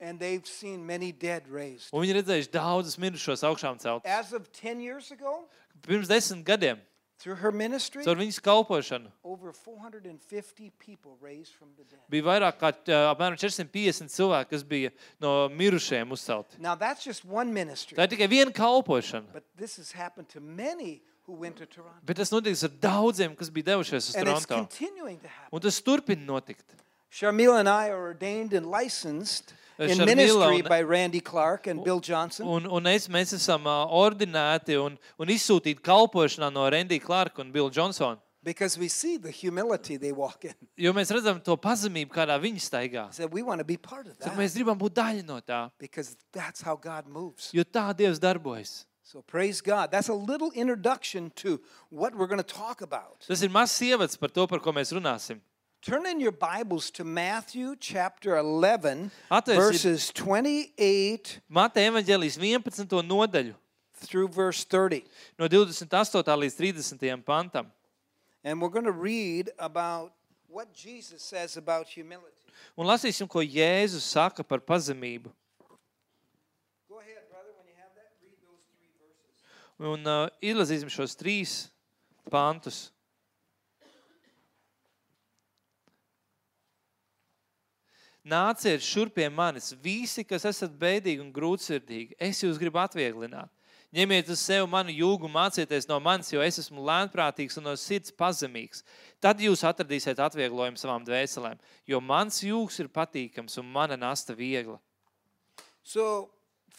S2: and they've seen many dead raised.
S1: Un viņi redzējuši daudzus mirušos augšām celt.
S2: As of 10 years ago,
S1: Pirms desmit gadiem,
S2: through her ministry,
S1: caur viņas kalpošanu,
S2: over 450 people raised from the dead.
S1: bija vairāk kā eh, apmēram 450 cilvēki, kas bija no mirušajiem uzcelti.
S2: Now that's just one ministry,
S1: Tā ir tikai viena kalpošana.
S2: but this has happened to many who went to Toronto.
S1: Bet tas notiks ar daudziem, kas bija devušies uz
S2: And it's
S1: Toronto.
S2: continuing to happen.
S1: Un tas turpina notikt.
S2: Sharmila and I are ordained and licensed
S1: Uh,
S2: in
S1: Sharmila
S2: ministry
S1: un-
S2: by Randy Clark and Bill Johnson.
S1: Un, un es, mēs esam ā, ordinēti un, un izsūtīti kalpošanā no Rendija Clarka un Billa Johnsona.
S2: Because we see the humility they walk in.
S1: Jo mēs redzam to pazemību, kādā viņi staigā.
S2: Said we want to be part of
S1: Tad
S2: that
S1: mēs gribam būt daļa no tā,
S2: because that's how God moves.
S1: jo tā Dievs darbojas.
S2: So praise God. That's a little introduction to what we're going to talk about.
S1: Tas ir mazs ievads par to, par ko mēs runāsim.
S2: Turn in your Bibles to Matthew chapter 11,
S1: Atvērs ir-
S2: verses 28
S1: Mateja evanģēlijas 11. nodaļu,
S2: through verse 30.
S1: no 28. līdz 30. pantam.
S2: And we're going to read about what Jesus says about humility.
S1: Un lasīsim, ko Jēzus saka par pazemību.
S2: Go ahead, brother, when you have that, read those three verses.
S1: Un uh, izlasīsim šos trīs pantus. Nāciet šurp pie manis, visi, kas esat bēdīgi un grūtsirdīgi. Es jūs gribu atvieglināt. Ņemiet uz sevi manu jūgu, mācieties no manis, jo es esmu lēnprātīgs un no sirds pazemīgs. Tad jūs atradīsiet atvieglojumu savām dvēselēm, jo mans jūgs ir patīkams un mana nasta viegla.
S2: So,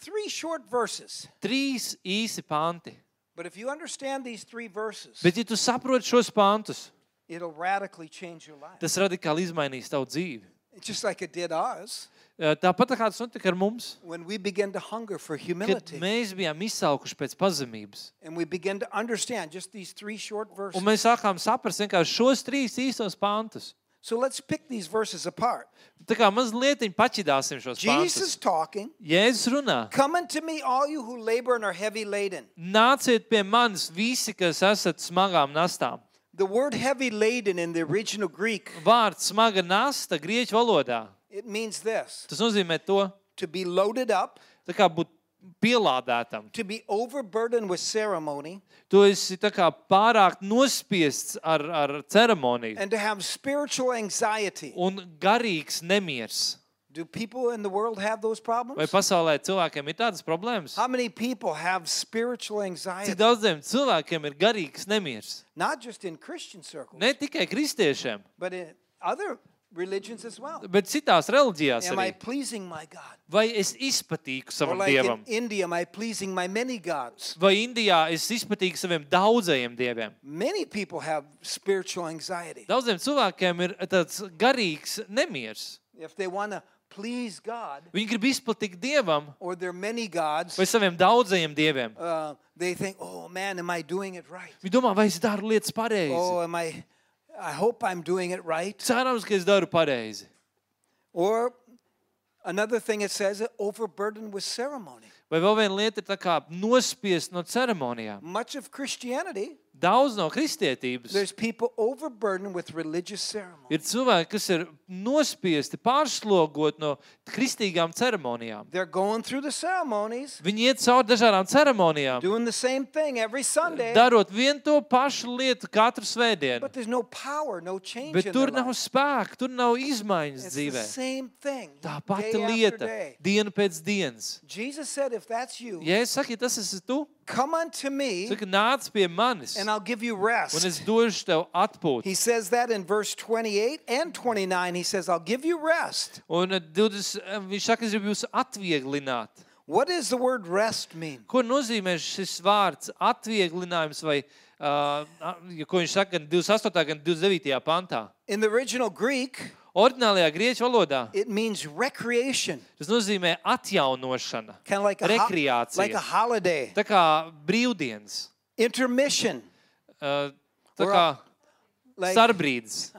S2: three short verses.
S1: Trīs īsi panti.
S2: But if you understand these three verses,
S1: Bet, ja tu saproti šos pantus,
S2: it'll radically change your life.
S1: tas radikāli izmainīs tavu dzīvi.
S2: Just like it did ours
S1: Eh, Tāpat tā kā tas notika ar mums,
S2: when we began to hunger for
S1: kad
S2: humility
S1: mēs bijām izsaukuši pēc pazemības.
S2: and we began to understand just these three short
S1: Un
S2: verses.
S1: mēs sākām saprast vienkārši šos trīs īstos pantus.
S2: So let's pick these verses apart.
S1: Tā kā mazliet paķidāsim šos pantus.
S2: Jesus talking,
S1: Jēzus runā.
S2: Come unto me, all you who labor and are heavy laden.
S1: Nāciet pie manis visi, kas esat smagām nastām.
S2: The word heavy laden in the original Greek,
S1: Vārds smaga nasta grieķu valodā.
S2: it means this
S1: Tas nozīmē to,
S2: to be loaded up,
S1: tā kā būt pielādētam.
S2: to be overburdened with ceremony,
S1: Tu esi tā kā pārāk nospiests ar, ar ceremoniju
S2: and to have spiritual anxiety.
S1: un garīgs nemiers.
S2: Do people in the world have those
S1: Vai
S2: problems?
S1: pasaulē cilvēkiem ir tādas problēmas?
S2: How many people have spiritual
S1: Cik
S2: anxiety?
S1: daudziem cilvēkiem ir garīgs nemiers?
S2: Not just in Christian circles,
S1: Ne tikai kristiešiem,
S2: but in other religions as well.
S1: bet citās reliģijās.
S2: Am I
S1: Arī.
S2: pleasing my God?
S1: Vai es izpatīku
S2: Or
S1: savam
S2: like in
S1: dievam?
S2: India, am I pleasing my many gods?
S1: Vai Indijā es izpatīku saviem daudzajiem dieviem?
S2: Many people have spiritual anxiety.
S1: Daudziem cilvēkiem ir tāds garīgs nemiers.
S2: If they want to please God
S1: Viņi grib izpatikt dievam
S2: or their many gods,
S1: vai saviem daudzajiem dieviem.
S2: uh, they think, oh man, am I doing it right?
S1: Viņi domā, vai es daru lietas pareizi.
S2: Oh, am I, I hope I'm doing it right.
S1: Cerams, ka es daru pareizi.
S2: Or another thing it says, overburdened with ceremony.
S1: Vai vēl viena lieta ir tā kā nospiest no ceremonijām.
S2: Much of Christianity,
S1: Daudz no kristietības
S2: there's people overburdened with religious ceremony.
S1: ir cilvēki, kas ir nospiesti, pārslogot no kristīgām ceremonijām.
S2: They're going through the ceremonies,
S1: Viņi iet cauri dažādām ceremonijām,
S2: doing the same thing every Sunday,
S1: darot vienu to pašu lietu katru svētdienu.
S2: but there's no power, no change
S1: Bet
S2: in
S1: tur
S2: their
S1: nav
S2: life.
S1: spēka, tur nav izmaiņas
S2: It's the
S1: dzīvē.
S2: same thing.
S1: Tā
S2: day
S1: pati
S2: after
S1: lieta,
S2: day.
S1: diena pēc dienas.
S2: Jesus said, if that's you,
S1: Ja es saku, ja tas esi tu,
S2: come unto me
S1: saka, nāc pie manis,
S2: and
S1: un
S2: I'll give you rest.
S1: es došu tev atpūtu.
S2: He says that in verse 28 and 29. He says, I'll give you rest.
S1: Un eh, 20, eh, viņš saka, es gribu jūs atvieglināt.
S2: What does the word rest mean?
S1: Ko nozīmē šis vārds atvieglinājums, vai uh, ko viņš saka gan 28. gan 29. pantā?
S2: In the original Greek,
S1: Ordinālajā grieķu valodā
S2: it means recreation,
S1: tas nozīmē atjaunošana,
S2: kind of like a, ho-
S1: Rekreācija.
S2: like a holiday,
S1: tā kā brīvdienas,
S2: intermission,
S1: uh, tā
S2: Or
S1: kā
S2: a- like,
S1: starbrīdis,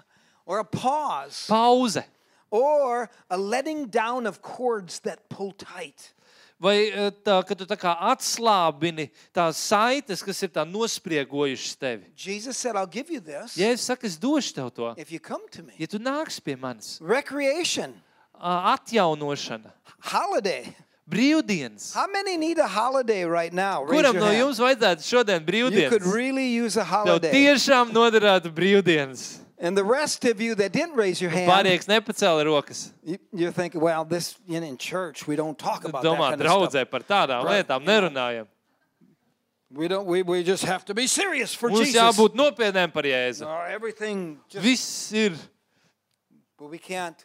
S2: or a pause,
S1: pauze.
S2: or a letting down of cords that pull tight.
S1: Vai eh, tā, kad tu tā kā atslābini tās saites, kas ir tā nospriegojušas tevi?
S2: Jesus said, I'll give you this
S1: Ja es saku, es došu tev to,
S2: if you come to me.
S1: ja tu nāks pie manis,
S2: Recreation,
S1: Ā, atjaunošana,
S2: holiday.
S1: brīvdienas.
S2: How many need a holiday right now? Raise
S1: Kuram
S2: your
S1: no
S2: hand.
S1: jums vajadzētu šodien
S2: You could
S1: brīvdienas?
S2: really use a
S1: Tev
S2: holiday.
S1: tiešām noderētu brīvdienas.
S2: And the rest of you that didn't raise your hand,
S1: Pārējais nepacēla rokas.
S2: you- you're thinking, well, this you know, in church we don't talk about that
S1: Domā,
S2: kind of stuff.
S1: draudzē par tādām
S2: Right.
S1: lietām nerunājam.
S2: We don't. We, we just have to be serious for
S1: Mums
S2: Jesus.
S1: jābūt nopietniem par jēzu.
S2: Or everything, just,
S1: Viss ir,
S2: but we can't.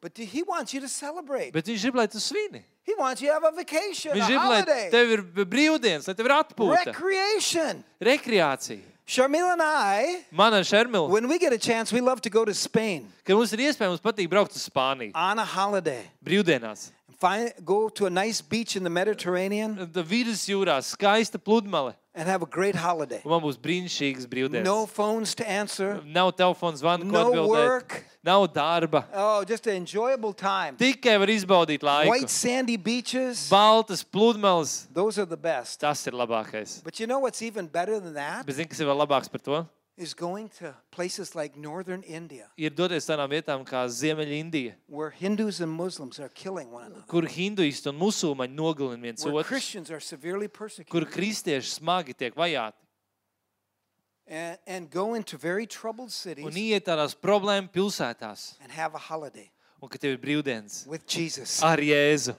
S2: But he wants you to celebrate.
S1: bet viņš grib, lai tu svini.
S2: He wants you to have a vacation, a
S1: Viņš grib, lai
S2: holiday,
S1: tev ir brīvdienas, lai tev ir atpūta,
S2: recreation.
S1: rekreācija.
S2: Sharmila and I,
S1: Man ar Šermilu,
S2: when we get a chance, we love to go to Spain
S1: ka mums ir iespēja, mums patīk braukt uz Spāniju
S2: on a holiday.
S1: brīvdienās.
S2: Find, go to a nice beach in the Mediterranean
S1: Tad Vidus jūrā skaista pludmale,
S2: and have a great holiday.
S1: un man būs brīnišķīgas brīvdienas.
S2: No phones to answer.
S1: Nav telefona zvana, ko
S2: No
S1: atbildēt.
S2: work.
S1: Nav darba.
S2: Oh, just an enjoyable time.
S1: Tikai var izbaudīt laiku.
S2: White sandy beaches,
S1: Baltas pludmales,
S2: those are the best.
S1: tas ir labākais.
S2: But you know what's even better than that?
S1: Bet zini, kas ir vēl labāks par to?
S2: Is going to places like northern India,
S1: Ir doties tādām vietām kā Ziemeļindija,
S2: where Hindus and Muslims are killing one another,
S1: kur hinduisti un musulmaņi nogalina viens
S2: where
S1: otru,
S2: Christians are severely
S1: kur
S2: persecuted,
S1: kristieši smagi tiek vajāti
S2: and, and go into very troubled
S1: un
S2: cities
S1: iet tādās problēmu pilsētās,
S2: and have a holiday
S1: un ka tev ir brīvdienas
S2: with Jesus.
S1: ar Jēzu.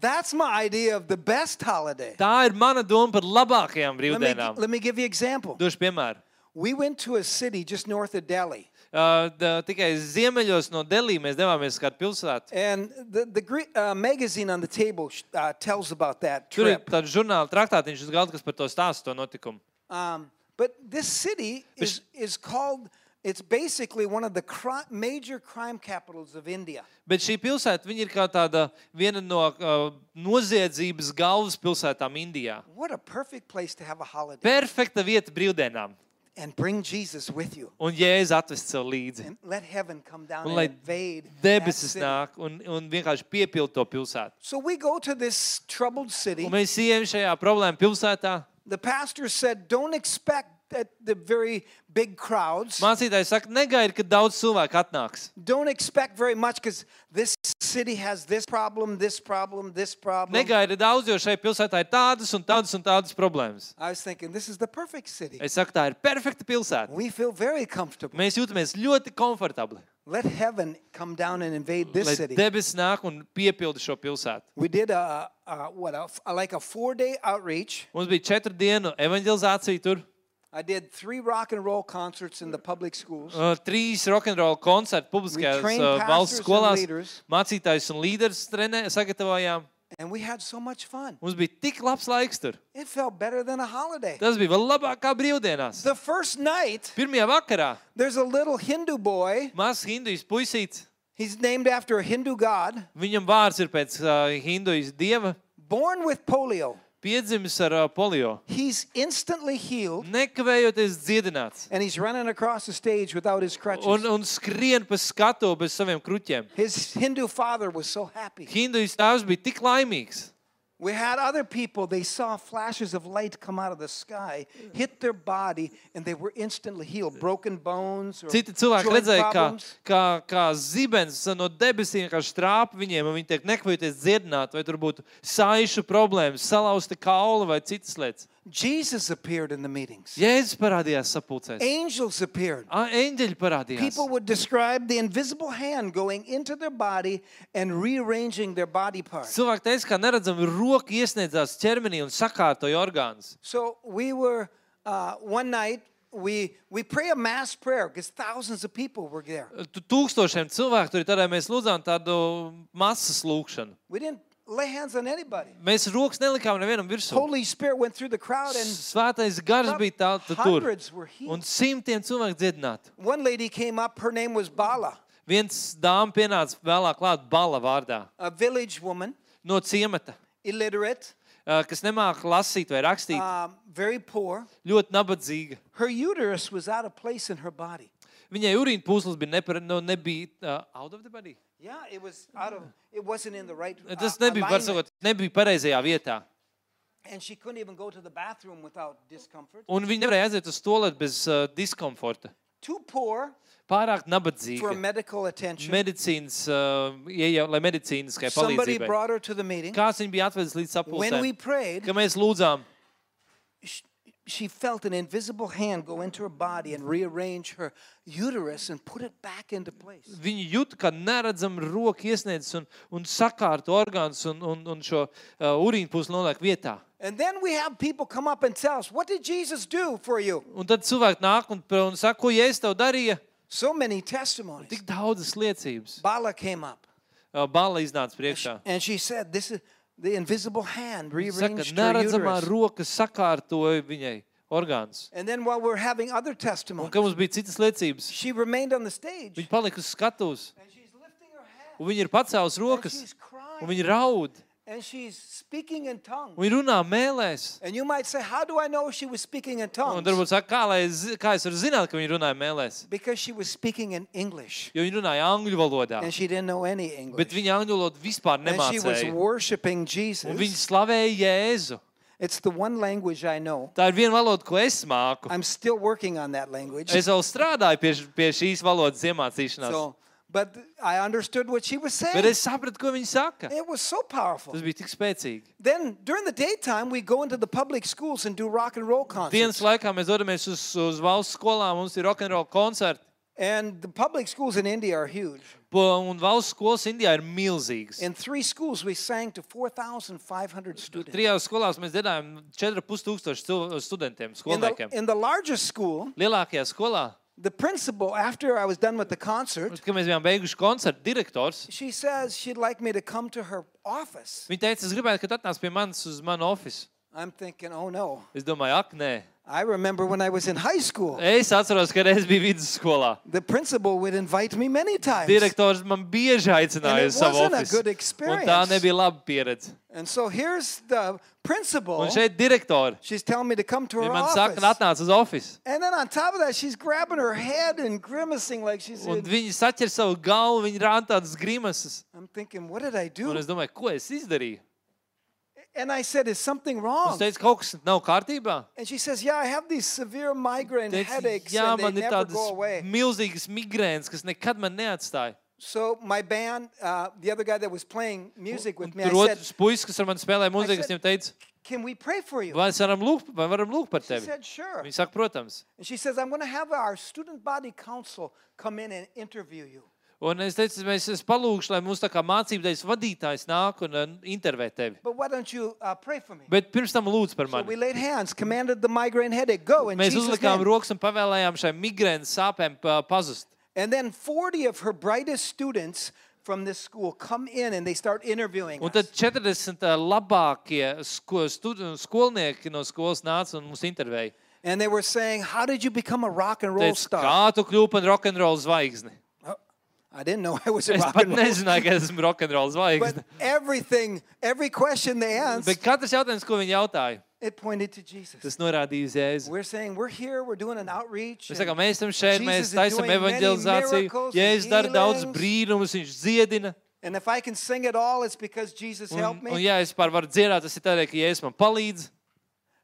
S2: That's my idea of the best holiday.
S1: Tā ir mana doma par labākajām
S2: Let me,
S1: brīvdienām.
S2: let me give you an example.
S1: Došu piemēru.
S2: We went to a city just north of Delhi.
S1: Uh, tā- tikai ziemeļos no Delī mēs devāmies uz kādu pilsētu.
S2: And the, the Greek, uh, magazine on the table sh- uh, tells about that
S1: Tur ir
S2: trip.
S1: tāds žurnāla traktātiņš uz galda, kas par to stāsta, to notikumu.
S2: Um, but this city is, is called, it's basically one of the cri- major crime capitals of India.
S1: Bet šī pilsēta viņa ir kā tāda viena no uh, noziedzības galvaspilsētām Indijā.
S2: What a perfect place to have a holiday
S1: Perfekta vieta brīvdienām.
S2: and bring Jesus with you.
S1: Un Jēzus atvest sev līdzi.
S2: And let heaven come down
S1: Un
S2: and
S1: lai
S2: invade that
S1: debesis
S2: city.
S1: nāk un, un vienkārši piepild to pilsētu.
S2: So we go to this troubled city.
S1: Un mēs ejam šajā problēmu pilsētā.
S2: The pastor said, Don't expect that the very big crowds.
S1: Mācītājs saka, negaidi, ka daudz cilvēku atnāks.
S2: Don't expect very much because this city has this problem, this problem, this problem.
S1: Negaidi daudz, jo šai pilsētā ir tādas un tādas un tādas problēmas.
S2: I was thinking, this is the perfect city.
S1: Es saku, tā ir perfekta pilsēta.
S2: We feel very comfortable.
S1: Mēs jūtamies ļoti komfortabli.
S2: Let heaven come down and invade
S1: Lai
S2: this city.
S1: debesis nāk un piepilda šo pilsētu.
S2: We did a, a what a, like a four-day outreach.
S1: Mums bija četru dienu evanģelizācija tur.
S2: I did three rock and roll concerts in the public schools.
S1: Uh, trīs rokenrola koncerti
S2: We
S1: publiskajās
S2: trained
S1: uh, valsts
S2: pastors and
S1: skolās.
S2: leaders.
S1: Mācītājus un līderus trenē, sagatavojām.
S2: And we had so much fun.
S1: Mums bija tik labs laiks tur.
S2: It felt better than a holiday.
S1: Tas bija vēl labāk kā brīvdienās.
S2: The first night,
S1: Pirmajā vakarā
S2: there's a little Hindu boy.
S1: mazs hinduis puisīts,
S2: He's named after a Hindu god,
S1: viņam vārds ir pēc uh, hinduis dieva,
S2: born with polio.
S1: piedzimis ar uh, polio.
S2: He's instantly healed
S1: Nekavējoties dziedināts.
S2: and he's running across the stage without his crutches.
S1: Un, un skrien pa skatu bez saviem kruķiem.
S2: His Hindu father was so happy.
S1: Hinduis tēvs bija tik laimīgs.
S2: We had other people, they saw flashes of light come out of the sky, hit their body, and they were instantly healed. Broken bones or
S1: Citi cilvēki
S2: joint
S1: redzēja, kā,
S2: problems.
S1: kā, kā zibens no debesīm vienkārši trāpa viņiem, un viņi tiek nekvajoties dziedināti, vai tur būtu saišu problēmas, salauzta kaula vai citas lietas.
S2: Jesus appeared in the meetings.
S1: Jēzus parādījās sapulcēs.
S2: Angels appeared.
S1: Ā, Eņģeļi parādījās.
S2: People would describe the invisible hand going into their body and rearranging their body parts.
S1: Cilvēki teica, ka neredzami roka iesniedzās ķermenī un sakārtoja orgānus.
S2: So we were uh, one night. We we pray a mass prayer because thousands of people were there.
S1: Tu- Tūkstošiem cilvēku tur ir tādēļ mēs lūdzām tādu masas lūgšanu.
S2: We didn't lay hands on anybody.
S1: Mēs rokas nelikām nevienam virsū.
S2: Holy Spirit went through the crowd and
S1: Svētais gars bija tā, tu, tur.
S2: hundreds were healed.
S1: Un simtiem cilvēku dziedināti.
S2: One lady came up. Her name was Bala,
S1: Viens dāmas pienāca vēlāk klāt bala vārdā
S2: a village woman,
S1: no ciemata,
S2: illiterate,
S1: eh, kas nemāk lasīt vai rakstīt.
S2: um, very poor.
S1: Ļoti nabadzīga.
S2: Her uterus was out of place in her body.
S1: Viņai urīna pūslis bija nepar, no, nebija uh, out of the body.
S2: Yeah, it was out of. It wasn't in the right. Uh,
S1: Tas nebija, var
S2: alignment.
S1: sakot, nebija pareizajā vietā.
S2: and she couldn't even go to the bathroom without discomfort.
S1: Un viņi nevarēja aiziet uz toaleti bez uh, diskomforta.
S2: Too poor
S1: Pārāk
S2: for
S1: nabadzīga.
S2: medical attention.
S1: Medicīnas, uh, iejau, lai medicīniskai
S2: Somebody
S1: palīdzībai.
S2: brought her to the meeting.
S1: Kāds viņu bija atvedis līdz
S2: When we
S1: sapulcēm?
S2: prayed,
S1: Ka mēs lūdzām,
S2: sh- she felt an invisible hand go into her body and rearrange her uterus and put it back into place.
S1: Viņi jūt, ka neredzam roka iesniedzas un, un sakārto orgānus un, un, un šo uh, urīnu pusi noliek vietā.
S2: And then we have people come up and tell us, What did Jesus do for you?
S1: Un tad cilvēki nāk un, un saka, ko Jēzus tev darīja?
S2: So many testimonies.
S1: Tik daudzas liecības.
S2: Bala came up
S1: Uh, Bala iznāca priekšā.
S2: and she said, This is the invisible hand
S1: Saka,
S2: rearranged her
S1: neredzamā
S2: uterus.
S1: roka sakārtoja viņai orgānus.
S2: And then while we're having other
S1: Un
S2: testimonies,
S1: ka mums bija citas liecības.
S2: she remained on the stage
S1: Viņa palika uz skatuves,
S2: and she's lifting her hand
S1: un viņa ir pacēlus
S2: and
S1: rokas,
S2: she's
S1: un
S2: crying
S1: viņa raud,
S2: and she's speaking in tongues.
S1: un viņa runā mēlēs.
S2: And you might say, How do I know she was speaking in
S1: Un
S2: tongues?
S1: varbūt saka, kā, lai, es zi- kā es varu zināt, ka viņa runāja mēlēs?
S2: Because she was speaking in English
S1: Jo viņa runāja angļu valodā.
S2: and she didn't know any
S1: Bet
S2: English.
S1: viņa angļu valodu vispār
S2: And she was
S1: nemācīja.
S2: worshiping
S1: Un viņa
S2: Jesus.
S1: slavēja Jēzu.
S2: It's the one language I know.
S1: Tā ir viena valoda, ko es māku.
S2: I'm still working on that language.
S1: Es vēl strādāju pie, š- pie šīs valodas iemācīšanās.
S2: So, but I understood what she was
S1: Bet
S2: saying.
S1: es sapratu, ko viņa saka.
S2: It was so powerful.
S1: Tas bija tik spēcīgi.
S2: Then during the daytime, we go into the public schools and do rock and roll
S1: Dienas
S2: concerts.
S1: laikā mēs dodamies uz, uz valsts skolām, mums ir rokenrola koncerti.
S2: And the public schools in India are huge.
S1: Po- Un valsts skolas Indijā ir milzīgas.
S2: In three schools, we sang to 4,500 students.
S1: Trijās skolās mēs dziedājām 4,500 cil- studentiem,
S2: In the,
S1: skolniekiem.
S2: in the largest school,
S1: Lielākajā skolā,
S2: the principal, after I was done with the concert,
S1: kad mēs bijām beiguši koncertu, direktors
S2: she says she'd like me to come to her office.
S1: viņa teica, es gribētu, ka tu atnāc pie manis uz manu ofisu.
S2: I'm thinking, oh no.
S1: Es domāju, ak, nē.
S2: I remember when I was in high school,
S1: Es atceros, ka reiz biju vidusskolā.
S2: the principal would invite me many times.
S1: Direktors man bieži aicināja
S2: And
S1: uz
S2: it
S1: savu
S2: wasn't a
S1: ofisu.
S2: good
S1: un Tā
S2: experience.
S1: nebija laba pieredze.
S2: And so here's the principal.
S1: Un šeit direktori
S2: She's telling me to come to her
S1: viņi man saka,
S2: Oh. office.
S1: atnāc uz ofisu.
S2: And then on top of that, she's grabbing her head and grimacing like she's
S1: Un
S2: in.
S1: viņi saķer savu galvu, viņi rāda tādas grimases.
S2: I'm thinking, what did I
S1: Un
S2: do?
S1: es domāju, ko es izdarīju?
S2: And I said, is something
S1: Es
S2: wrong?
S1: teicu, kaut kas nav kārtībā.
S2: And she says, yeah, I have these severe migraine
S1: Teicu,
S2: headaches
S1: jā,
S2: and they
S1: man ir
S2: never
S1: tādas
S2: go away.
S1: milzīgas migrēnas, kas nekad man neatstāja.
S2: So my band, uh, the other guy that was playing music
S1: Un
S2: with me, I
S1: Tur
S2: said,
S1: otrs puisis, kas ar mani spēlēja
S2: I
S1: muziku, es
S2: said-
S1: viņam teicu,
S2: "Can we pray for you?"
S1: vai mēs varam lūgt, vai varam lūgt par
S2: She
S1: tevi?
S2: said, "Sure."
S1: Viņi saka, protams.
S2: And she says, "I'm going to have our student body council come in and interview you."
S1: Un es teicu, mēs es palūgšu, lai mūsu tā kā mācību dēļ vadītājs nāk un eh, intervē tevi.
S2: But why don't you uh, pray for me?
S1: Bet pirms tam lūdzu par
S2: So
S1: mani.
S2: we laid hands, commanded the migraine headache go in
S1: Mēs
S2: Jesus'
S1: uzlikām
S2: name.
S1: rokas un pavēlējām šai migrēnas sāpēm pa- pazust.
S2: And then 40 of her brightest students from this school come in and they start interviewing
S1: Un
S2: us.
S1: tad 40 labākie sko, stud- skolnieki no skolas nāca un mūs intervēja.
S2: And they were saying, "How did you become a rock and roll
S1: Teic,
S2: star?"
S1: kā tu kļūsi par rokenrola zvaigzni?
S2: I didn't know I was a
S1: Es
S2: rock
S1: pat
S2: and roll.
S1: nezināju, ka esmu rokenrola
S2: But
S1: zvaigzne.
S2: everything, every question they
S1: Bet
S2: asked,
S1: katrs jautājums, ko viņi jautāja,
S2: it pointed to Jesus.
S1: tas norādīja uz Jēzu.
S2: We're saying we're here, we're doing an outreach.
S1: Mēs
S2: and
S1: sakām, mēs esam šeit,
S2: Jesus
S1: mēs
S2: is
S1: taisam
S2: doing many
S1: evanģelizāciju.
S2: miracles and
S1: Jēzus dara daudz
S2: healings.
S1: brīnumus, viņš dziedina.
S2: And if I can sing at all, it's because Jesus
S1: Un,
S2: helped me.
S1: un ja es pār varu dziedāt, tas ir tādēļ, ka Jēzus man palīdz.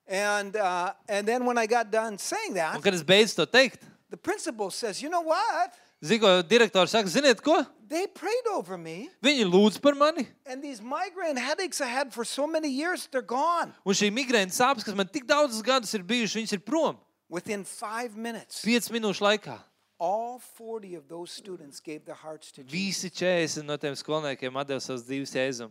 S2: And uh, and then when I got done
S1: Un
S2: saying that,
S1: kad es beidzu to teikt,
S2: the principal says, "You know what?
S1: Zigo direktors saka, ziniet ko?
S2: They prayed over me,
S1: Viņi lūdz par mani.
S2: and these migraine headaches I had for so many years, they're gone
S1: Un šī migrēna sāpes, kas man tik daudzus gadus ir bijušas, viņas ir prom.
S2: within 5 minutes."
S1: 5 minūšu laikā.
S2: All 40 of those students gave their hearts to Jesus.
S1: Visi 40 no tiem skolniekiem atdeva savas dzīves jēzum.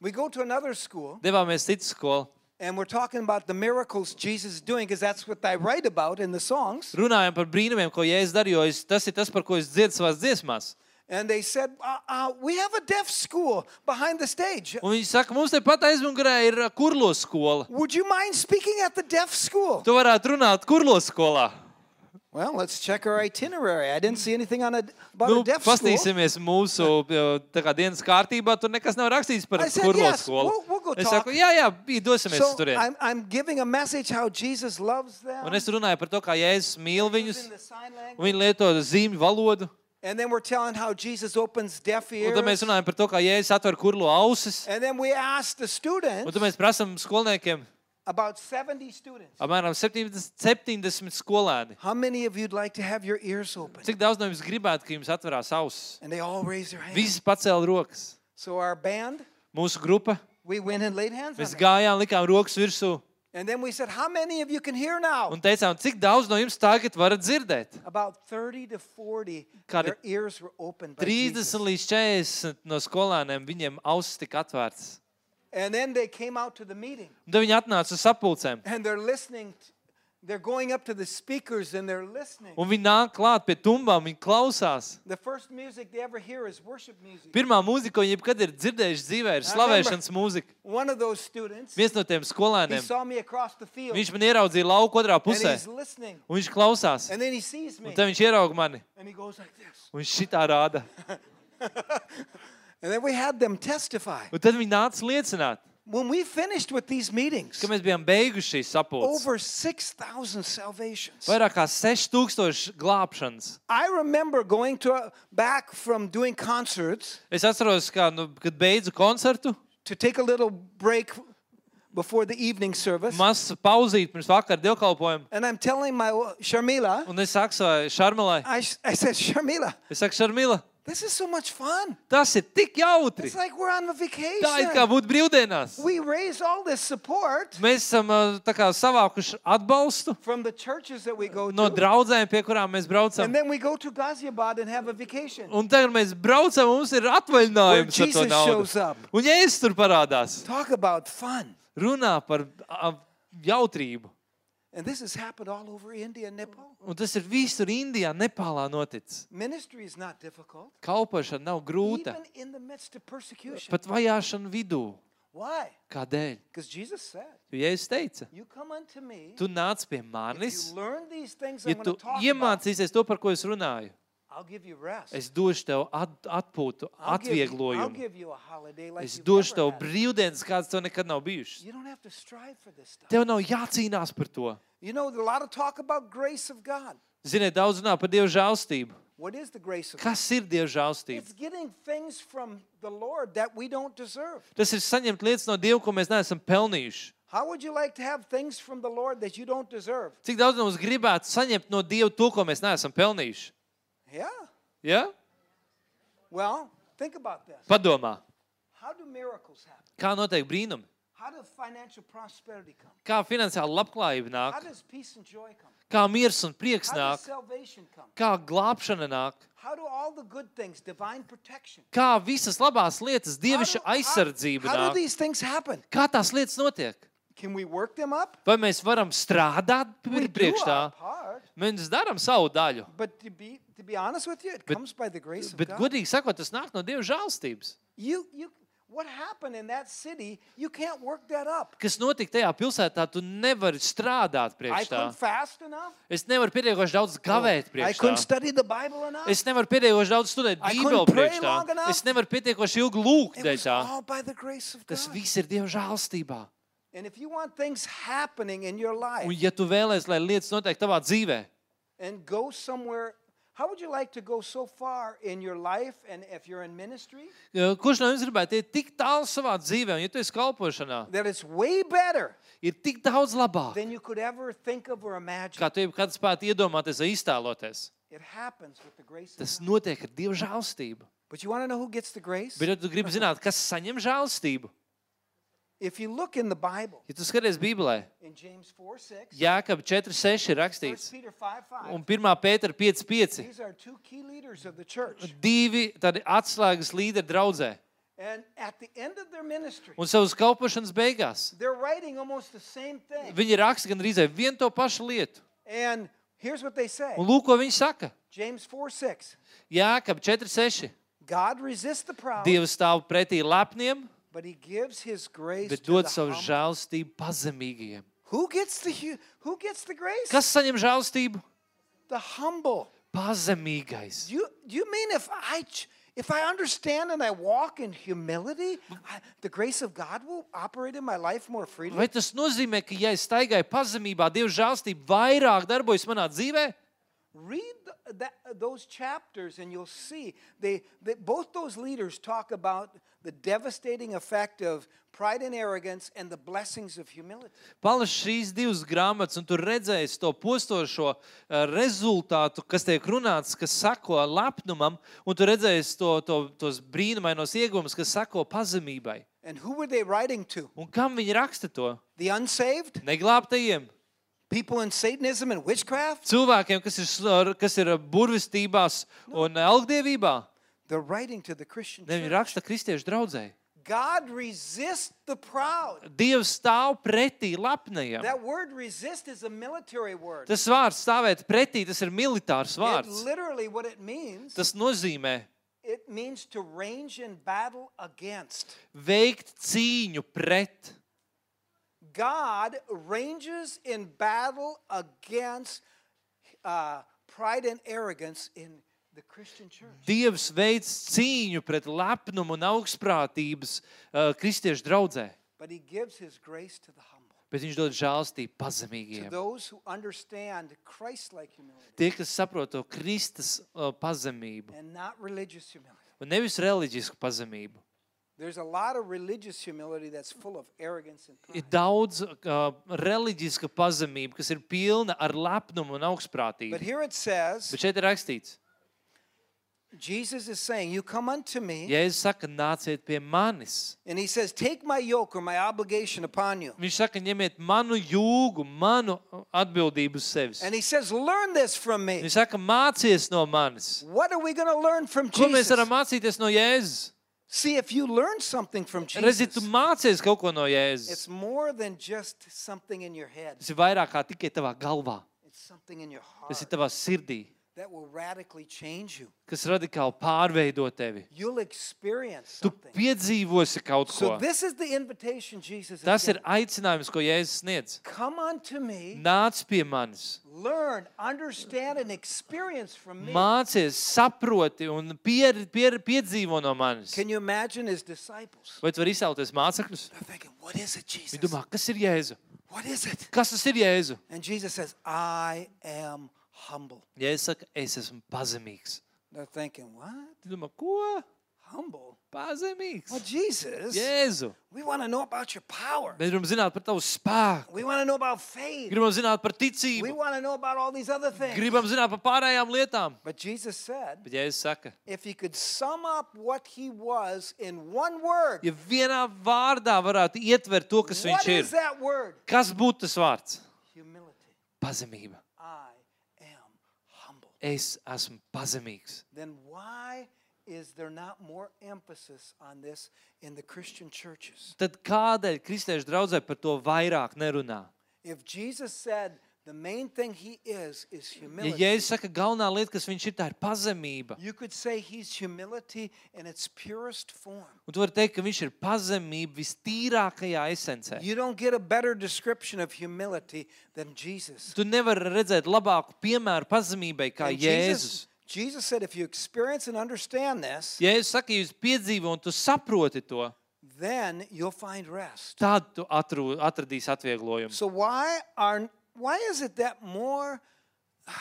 S2: We go to another school
S1: Devāmies citu skolu.
S2: and we're talking about the miracles Jesus is doing because that's what I write about in the songs.
S1: Runājam par brīnumiem, ko Jēzus darīja. jo es- Tas ir tas, par ko es dziedu savās dziesmās.
S2: And they said, uh, uh, We have a deaf school behind the stage.
S1: Un viņi saka, mums te pat aizmugurē ir ā, kurlo skola.
S2: Would you mind speaking at the deaf school?
S1: Tu varētu runāt kurlo skolā.
S2: Well, let's check our itinerary. I didn't see anything on a, about
S1: Nu,
S2: a deaf school.
S1: pastīsimies mūsu ā, tā kā, dienas kārtībā. Tur nekas nav rakstīts par
S2: I said,
S1: kurlo
S2: "Yes,
S1: skolu.
S2: we'll- we'll go
S1: es
S2: talk."
S1: saku, jā, jā, dosimies
S2: So
S1: tur.
S2: I'm, I'm giving a message how Jesus loves them.
S1: Un es runāju par to, kā Jēzus mīl
S2: using
S1: viņus.
S2: the sign
S1: un
S2: language.
S1: Viņi lieto zīmju valodu.
S2: And then we're telling how Jesus opens deaf
S1: Un tad mēs
S2: ears.
S1: runājam par to, kā Jēzus atver kurlo ausis.
S2: And then we asked the
S1: Un
S2: students,
S1: tad mēs prasām skolniekiem,
S2: about 70 students,
S1: apmēram 70, 70 skolēni,
S2: how many of you'd like to have your ears open?
S1: cik daudz no jums gribētu, ka jums atverās ausis.
S2: And they all raised their hands.
S1: Visi pacēla rokas.
S2: So our band,
S1: Mūsu grupa,
S2: we went and laid hands on
S1: mēs
S2: them.
S1: gājām, likām rokas virsū
S2: And then we said, how many of you can hear now?
S1: un teicām, cik daudz no jums tagad varat dzirdēt.
S2: About 30 to 40,
S1: Kādi-
S2: their ears were opened by
S1: 30
S2: Jesus.
S1: līdz 40 no skolēniem viņiem ausis tika atvērtas.
S2: And then they came out to the meeting
S1: Un tad viņi atnāca uz sapulcēm.
S2: and they're listening. t- They're going up to the speakers and they're listening.
S1: Un viņi nāk klāt pie tumbām, viņi klausās.
S2: The first music they ever hear is worship music.
S1: Pirmā mūzika, ko viņi jebkad ir dzirdējuši dzīvē, ir slavēšanas mūzika.
S2: One of those students,
S1: Viens no tiem
S2: he
S1: skolēniem,
S2: saw me across the field
S1: viņš man ieraudzīja lauku otrā
S2: and
S1: pusē,
S2: he's listening.
S1: un viņš klausās.
S2: And then he sees me
S1: Un tad viņš ieraudzīja mani,
S2: and he goes like this.
S1: un viņš šitā rāda.
S2: And then we had them testify.
S1: Un tad viņi nāca liecināt,
S2: When we finished with these meetings,
S1: ka mēs bijām beiguši šīs sapulces.
S2: over 6,000 salvations.
S1: Vairāk kā 6000 glābšanas.
S2: I remember going to back from doing concerts
S1: Es atceros, kā, nu, kad beidzu koncertu,
S2: to take a little break before the evening service.
S1: mazs pauzīt pirms vakara dievkalpojuma.
S2: and I'm telling my wa- Sharmila,
S1: Un es saku savai Šarmilai,
S2: I, s- I said, Sharmila,
S1: es saku, Šarmila,
S2: this is so much fun.
S1: tas ir tik jautri.
S2: It's like we're on a vacation.
S1: Tā ir kā būtu brīvdienās.
S2: we raise all this support
S1: Mēs esam ā, tā kā, savākuši atbalstu
S2: from the churches that we go
S1: no
S2: to.
S1: draudzēm, pie kurām mēs braucam.
S2: and then we go to Ghaziabad and have a vacation.
S1: Un tagad mēs braucam, mums ir atvaļinājums.
S2: Where
S1: ar to
S2: Jesus
S1: naudu.
S2: shows up.
S1: Un Jēzus tur parādās.
S2: Talk about fun.
S1: Runā par ā, jautrību.
S2: And this has happened all over India and Nepal.
S1: Un tas ir visur Indijā, Nepālā noticis.
S2: Ministry is not difficult,
S1: Kalpošana nav grūta.
S2: even in the midst of persecution.
S1: Pat vajāšana vidū.
S2: Why?
S1: Kādēļ?
S2: Because Jesus said,
S1: Jo Jēzus teica,
S2: You come unto me,
S1: tu nāc pie
S2: if
S1: manis.
S2: you learn these things
S1: Ja
S2: I'm
S1: tu
S2: going to talk about,
S1: iemācīsies to, par ko es runāju,
S2: I'll give you rest.
S1: es došu tev at, atpūtu,
S2: I'll give, you, I'll
S1: atvieglojumu.
S2: give you a holiday like
S1: Es
S2: you've
S1: došu tev
S2: never had.
S1: brīvdienas, kādas tev nekad nav bijušas.
S2: You don't have to strive for this stuff.
S1: Tev nav jācīnās par to.
S2: You know, there's a lot of talk about grace of God.
S1: Ziniet, daudz runā par Dieva žēlstību.
S2: What is the grace of God?
S1: Kas ir Dieva žēlstība?
S2: It's getting things from the Lord that we don't deserve.
S1: Tas ir saņemt lietas no Dieva, ko mēs neesam pelnījuši.
S2: How would you like to have things from the Lord that you don't deserve?
S1: Cik daudz no mums gribētu saņemt no Dieva to, ko mēs neesam pelnījuši?
S2: Yeah.
S1: Ja?
S2: Well, think about this.
S1: Padomā,
S2: How do miracles happen?
S1: kā notiek brīnumi?
S2: How does financial prosperity come?
S1: Kā finansiāla labklājība
S2: How
S1: nāk,
S2: does peace and joy come?
S1: kā miers un prieks
S2: How does
S1: nāk,
S2: salvation come?
S1: kā glābšana nāk,
S2: How do all the good things, divine protection?
S1: kā visas labās lietas,
S2: How
S1: dievišķa
S2: do-
S1: aizsardzība
S2: how, how do
S1: nāk.
S2: these things happen?
S1: Kā tās lietas notiek?
S2: Can we work them up?
S1: Vai mēs varam strādāt
S2: We
S1: pri-
S2: do
S1: priekš tā?
S2: our part,
S1: Mēs darām savu daļu.
S2: but to be to be honest with you, it comes by the grace of
S1: Bet,
S2: God.
S1: godīgi sakot, tas nāk no Dieva žēlstības.
S2: You you what happened in that city? You can't work that up.
S1: Kas notika tajā pilsētā, tu nevari strādāt
S2: I
S1: priekš tā.
S2: couldn't fast enough.
S1: Es nevaru pietiekoši daudz gavēt
S2: I
S1: priekš
S2: couldn't
S1: tā.
S2: study the Bible enough.
S1: Es nevaru pietiekoši daudz studēt
S2: I
S1: Bībeli
S2: couldn't pray
S1: priekš tā.
S2: long enough.
S1: Es nevaru pietiekoši ilgi lūgt
S2: it
S1: dēļ
S2: was
S1: tā.
S2: all by the grace of God.
S1: Tas viss ir Dieva žēlstībā.
S2: And if you want things happening in your life,
S1: Un ja tu vēlēsies, lai lietas notiek tavā dzīvē,
S2: and go somewhere. How would you like to go so far in your life and if you're in ministry
S1: Ja, Kurš no jums gribētu iet tik tālu savā dzīvē, un ja tu esi kalpošanā,
S2: that it's way better
S1: ir tik daudz labāk,
S2: than you could ever think of or imagine?
S1: kā tu jebkad spētu iedomāties vai iztēloties.
S2: It happens with the grace of
S1: Tas
S2: God.
S1: notiek ar Dieva žēlstību.
S2: But you want to know who gets the grace?
S1: Bet ja tu gribi zināt, kas saņem žēlstību,
S2: If you look in the Bible,
S1: ja tu skaties Bībelē,
S2: in James 4 6,
S1: Jēkab 4,6 ir
S2: 1
S1: rakstīts,
S2: Peter 5 5,
S1: un 1. Pētera 5,5.
S2: these are two key leaders of the church.
S1: Divi tādi atslēgas līderi draudzē.
S2: And at the end of their ministry,
S1: Un savas kalpošanas beigās
S2: they're writing almost the same thing.
S1: viņi raksta gandrīz vai vienu to pašu lietu.
S2: And here's what they say
S1: Un lūk, ko viņi saka.
S2: James 4 6.
S1: Jēkab 4,6.
S2: God resists the proud,
S1: Dievs stāv pretī lepniem,
S2: but he gives his grace
S1: bet
S2: to the
S1: dod savu
S2: humble.
S1: žēlstību pazemīgiem.
S2: Who gets the hu- who gets the grace?
S1: Kas saņem žēlstību?
S2: The humble.
S1: Pazemīgais.
S2: Do you, do you mean if I ch- if I understand and I walk in humility, I, the grace of God will operate in my life more freely?
S1: Vai tas nozīmē, ka, ja es staigāju pazemībā, Dieva žēlstība vairāk darbojas manā dzīvē?
S2: Read th- that, those chapters and you'll see they, they both those leaders talk about the devastating effect of pride and arrogance and the blessings of humility.
S1: Palas šīs divas grāmatas, un tur redzēs to postošo eh, rezultātu, kas tiek runāts, kas sako lepnumam, un tur redzēs to, to, tos brīnumainos iegūmus, kas sako pazemībai.
S2: And who were they writing to?
S1: Un kam viņi raksta to?
S2: The unsaved?
S1: Neglābtajiem,
S2: People in Satanism and witchcraft?
S1: cilvēkiem, kas ir, s- kas ir eh, burvestībās un elgdevībā.
S2: They're writing to the Christian
S1: Ne, viņi
S2: church.
S1: raksta kristiešu draugai.
S2: God resists the proud.
S1: Dievs stāv pretī lepnajam.
S2: That word resist is a military word.
S1: Tas vārds stāvēt pretī, tas ir militārs
S2: It
S1: vārds.
S2: literally what it means,
S1: Tas nozīmē
S2: it means to range in battle against.
S1: veikt cīņu pret.
S2: God ranges in battle against uh, pride and arrogance in the Christian church.
S1: Dievs veids cīņu pret lepnumu un augstprātības uh, kristiešu draudzē,
S2: But he gives his grace to the humble,
S1: bet viņš dod žēlstību
S2: to
S1: pazemīgiem.
S2: those who understand Christ like humility.
S1: Tie, kas saprot to Kristus uh, pazemību,
S2: and not religious humility.
S1: un nevis reliģisku pazemību,
S2: There's a lot of religious humility that's full of arrogance and pride.
S1: ir daudz uh, reliģiska pazemība, kas ir pilna ar lepnumu un
S2: But
S1: augstprātību.
S2: here it says,
S1: Bet šeit ir rakstīts,
S2: Jesus is saying, You come unto me,
S1: ja es saku, nāciet pie manis,
S2: and he says, Take my yoke or my obligation upon you.
S1: Viņš saka, ņemiet manu jūgu, manu atbildību uz sevis.
S2: And he says, Learn this from me.
S1: Viņš saka, mācies no manis.
S2: What are we going to learn from
S1: Ko mēs
S2: Jesus?
S1: varam mācīties no Jēzus?
S2: See, if you learn something from
S1: Redzi, tu
S2: Jesus,
S1: mācies kaut ko no Jēzus.
S2: it's more than just something in your head,
S1: Tas ir vairāk kā tikai tavā galvā.
S2: it's something in your
S1: Tas ir
S2: heart
S1: tavā sirdī,
S2: that will radically change you.
S1: kas radikāli pārveido tevi.
S2: You'll experience
S1: Tu
S2: something.
S1: piedzīvosi kaut ko.
S2: So, this is the invitation Jesus is
S1: Tas ir
S2: giving.
S1: aicinājums, ko Jēzus sniedz.
S2: Come unto me,
S1: Nāc pie manis,
S2: learn, understand, and experience from me.
S1: mācies, saproti un pier, pier, piedzīvo no manis.
S2: Can you imagine his disciples?
S1: Vai tu vari izcelties mācekļus?
S2: They're thinking, What is it, Jesus?
S1: Viņi domā, kas ir Jēzu?
S2: What is it?
S1: Kas tas ir Jēzu?
S2: And Jesus says, I am humble.
S1: Ja es saku, es esmu pazemīgs,
S2: They're thinking, What?
S1: tad domā, ko?
S2: Humble?
S1: Pazemīgs.
S2: Well, Jesus,
S1: Jēzu.
S2: we want to know about your power.
S1: Mēs gribam zināt par tavu spēku,
S2: We want to know about faith.
S1: gribam zināt par
S2: We
S1: ticību,
S2: want to know about all these other things.
S1: gribam zināt par pārējām lietām.
S2: But Jesus said,
S1: Bet, ja es saku,
S2: if he could sum up what he was in one word,
S1: ja vienā vārdā varētu ietvert to, kas
S2: what
S1: viņš
S2: is
S1: ir,
S2: that word?
S1: kas būtu tas vārds?
S2: Humility.
S1: Pazemība.
S2: I am humble.
S1: Es esmu pazemīgs.
S2: Then why is there not more emphasis on this in the Christian churches?
S1: Tad kādēļ kristiešu draudzē par to vairāk nerunā?
S2: If Jesus said the main thing he is is
S1: Ja
S2: humility,
S1: Jēzus saka, galvenā lieta, kas viņš ir, tā ir pazemība.
S2: you could say he's humility in its purest form.
S1: Un tu vari teikt, ka viņš ir pazemība vistīrākajā esencē.
S2: You don't get a better description of humility than Jesus.
S1: Tu nevari redzēt labāku piemēru pazemībai kā
S2: And
S1: Jēzus.
S2: Jesus, Jesus said, if you experience and understand this,
S1: Jēzus saka, ja jūs piedzīvot un tu saproti to,
S2: then you'll find rest.
S1: tad tu atru, atradīsi atvieglojumu.
S2: So why are why is it that more uh,